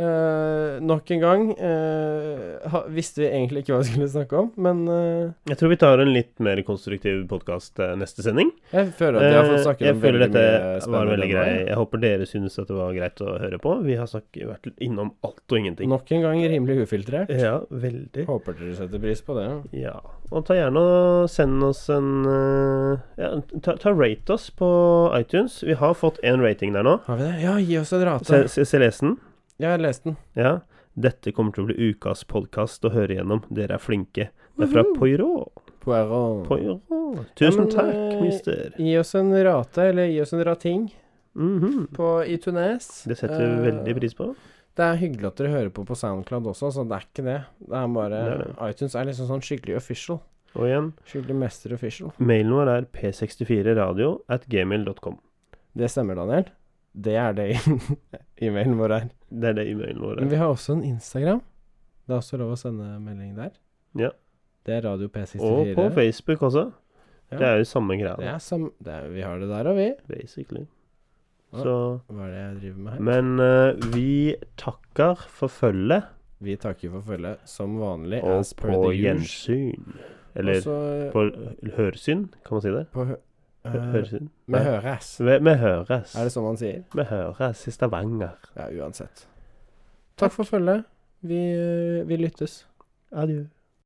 [SPEAKER 1] Eh, nok en gang eh, ha, visste vi egentlig ikke hva vi skulle snakke om, men eh,
[SPEAKER 2] Jeg tror vi tar en litt mer konstruktiv podkast neste sending.
[SPEAKER 1] jeg føler at jeg har fått snakket
[SPEAKER 2] Eh, jeg
[SPEAKER 1] om
[SPEAKER 2] føler
[SPEAKER 1] veldig
[SPEAKER 2] dette
[SPEAKER 1] mye
[SPEAKER 2] var
[SPEAKER 1] spennende.
[SPEAKER 2] veldig grei.
[SPEAKER 1] temaer.
[SPEAKER 2] Jeg håper dere synes at det var greit å høre på. Vi har snakket, vært innom alt og ingenting.
[SPEAKER 1] Nok en gang rimelig ufiltrert.
[SPEAKER 2] Ja, veldig.
[SPEAKER 1] Håper dere setter pris på det.
[SPEAKER 2] Ja. Og ta gjerne og send oss en eh, Ja, ta, ta rate oss på iTunes. Vi har fått én rating der nå.
[SPEAKER 1] Har vi det? Ja, gi oss en rate.
[SPEAKER 2] Se- se- Celesen.
[SPEAKER 1] Jeg har lest den.
[SPEAKER 2] Ja. Dette kommer til å bli ukas podkast å høre gjennom. Dere er flinke. Det er fra Poirot.
[SPEAKER 1] Poirot.
[SPEAKER 2] Poirot.
[SPEAKER 1] Ja, men,
[SPEAKER 2] Tusen takk,
[SPEAKER 1] eh,
[SPEAKER 2] mister.
[SPEAKER 1] Gi oss en rate, eller gi oss en rating
[SPEAKER 2] Mhm.
[SPEAKER 1] på iTunes.
[SPEAKER 2] Det setter vi
[SPEAKER 1] Eh,
[SPEAKER 2] veldig pris på.
[SPEAKER 1] Det er hyggelig at dere hører på på SoundCloud også, så det er ikke det. Det er bare
[SPEAKER 2] Det er det.
[SPEAKER 1] iTunes er liksom sånn skikkelig official.
[SPEAKER 2] Og igjen
[SPEAKER 1] Skikkelig mester official.
[SPEAKER 2] Mailen vår er p64radio at gmail.com.
[SPEAKER 1] Det stemmer, Daniel. Det er det e-mailen vår er.
[SPEAKER 2] Det er det e-mailen vår
[SPEAKER 1] Men
[SPEAKER 2] er.
[SPEAKER 1] vi har også en Instagram. Det er også lov å sende melding der.
[SPEAKER 2] Ja.
[SPEAKER 1] Det er Radio P64.
[SPEAKER 2] Og på Facebook også.
[SPEAKER 1] Ja.
[SPEAKER 2] Det er jo samme greia.
[SPEAKER 1] Det
[SPEAKER 2] da,
[SPEAKER 1] er sam det er, vi har det der og vi.
[SPEAKER 2] Basically.
[SPEAKER 1] Ja.
[SPEAKER 2] Så
[SPEAKER 1] Hva er det jeg driver med her?
[SPEAKER 2] Men eh, vi takker for følget,
[SPEAKER 1] Vi takker for følget som vanlig.
[SPEAKER 2] og
[SPEAKER 1] as per
[SPEAKER 2] på
[SPEAKER 1] the usual.
[SPEAKER 2] gjensyn. Eller
[SPEAKER 1] Og så-
[SPEAKER 2] på hørsyn, kan man si det?
[SPEAKER 1] på hø
[SPEAKER 2] Hø-
[SPEAKER 1] eh,
[SPEAKER 2] Hørsyn?
[SPEAKER 1] Vi
[SPEAKER 2] Nei.
[SPEAKER 1] høres.
[SPEAKER 2] Vi vi høres.
[SPEAKER 1] Er det sånn man sier?
[SPEAKER 2] Vi høres i Stavanger.
[SPEAKER 1] Ja, uansett. Takk for følget. eh, Vi, vi lyttes.
[SPEAKER 2] Adjø.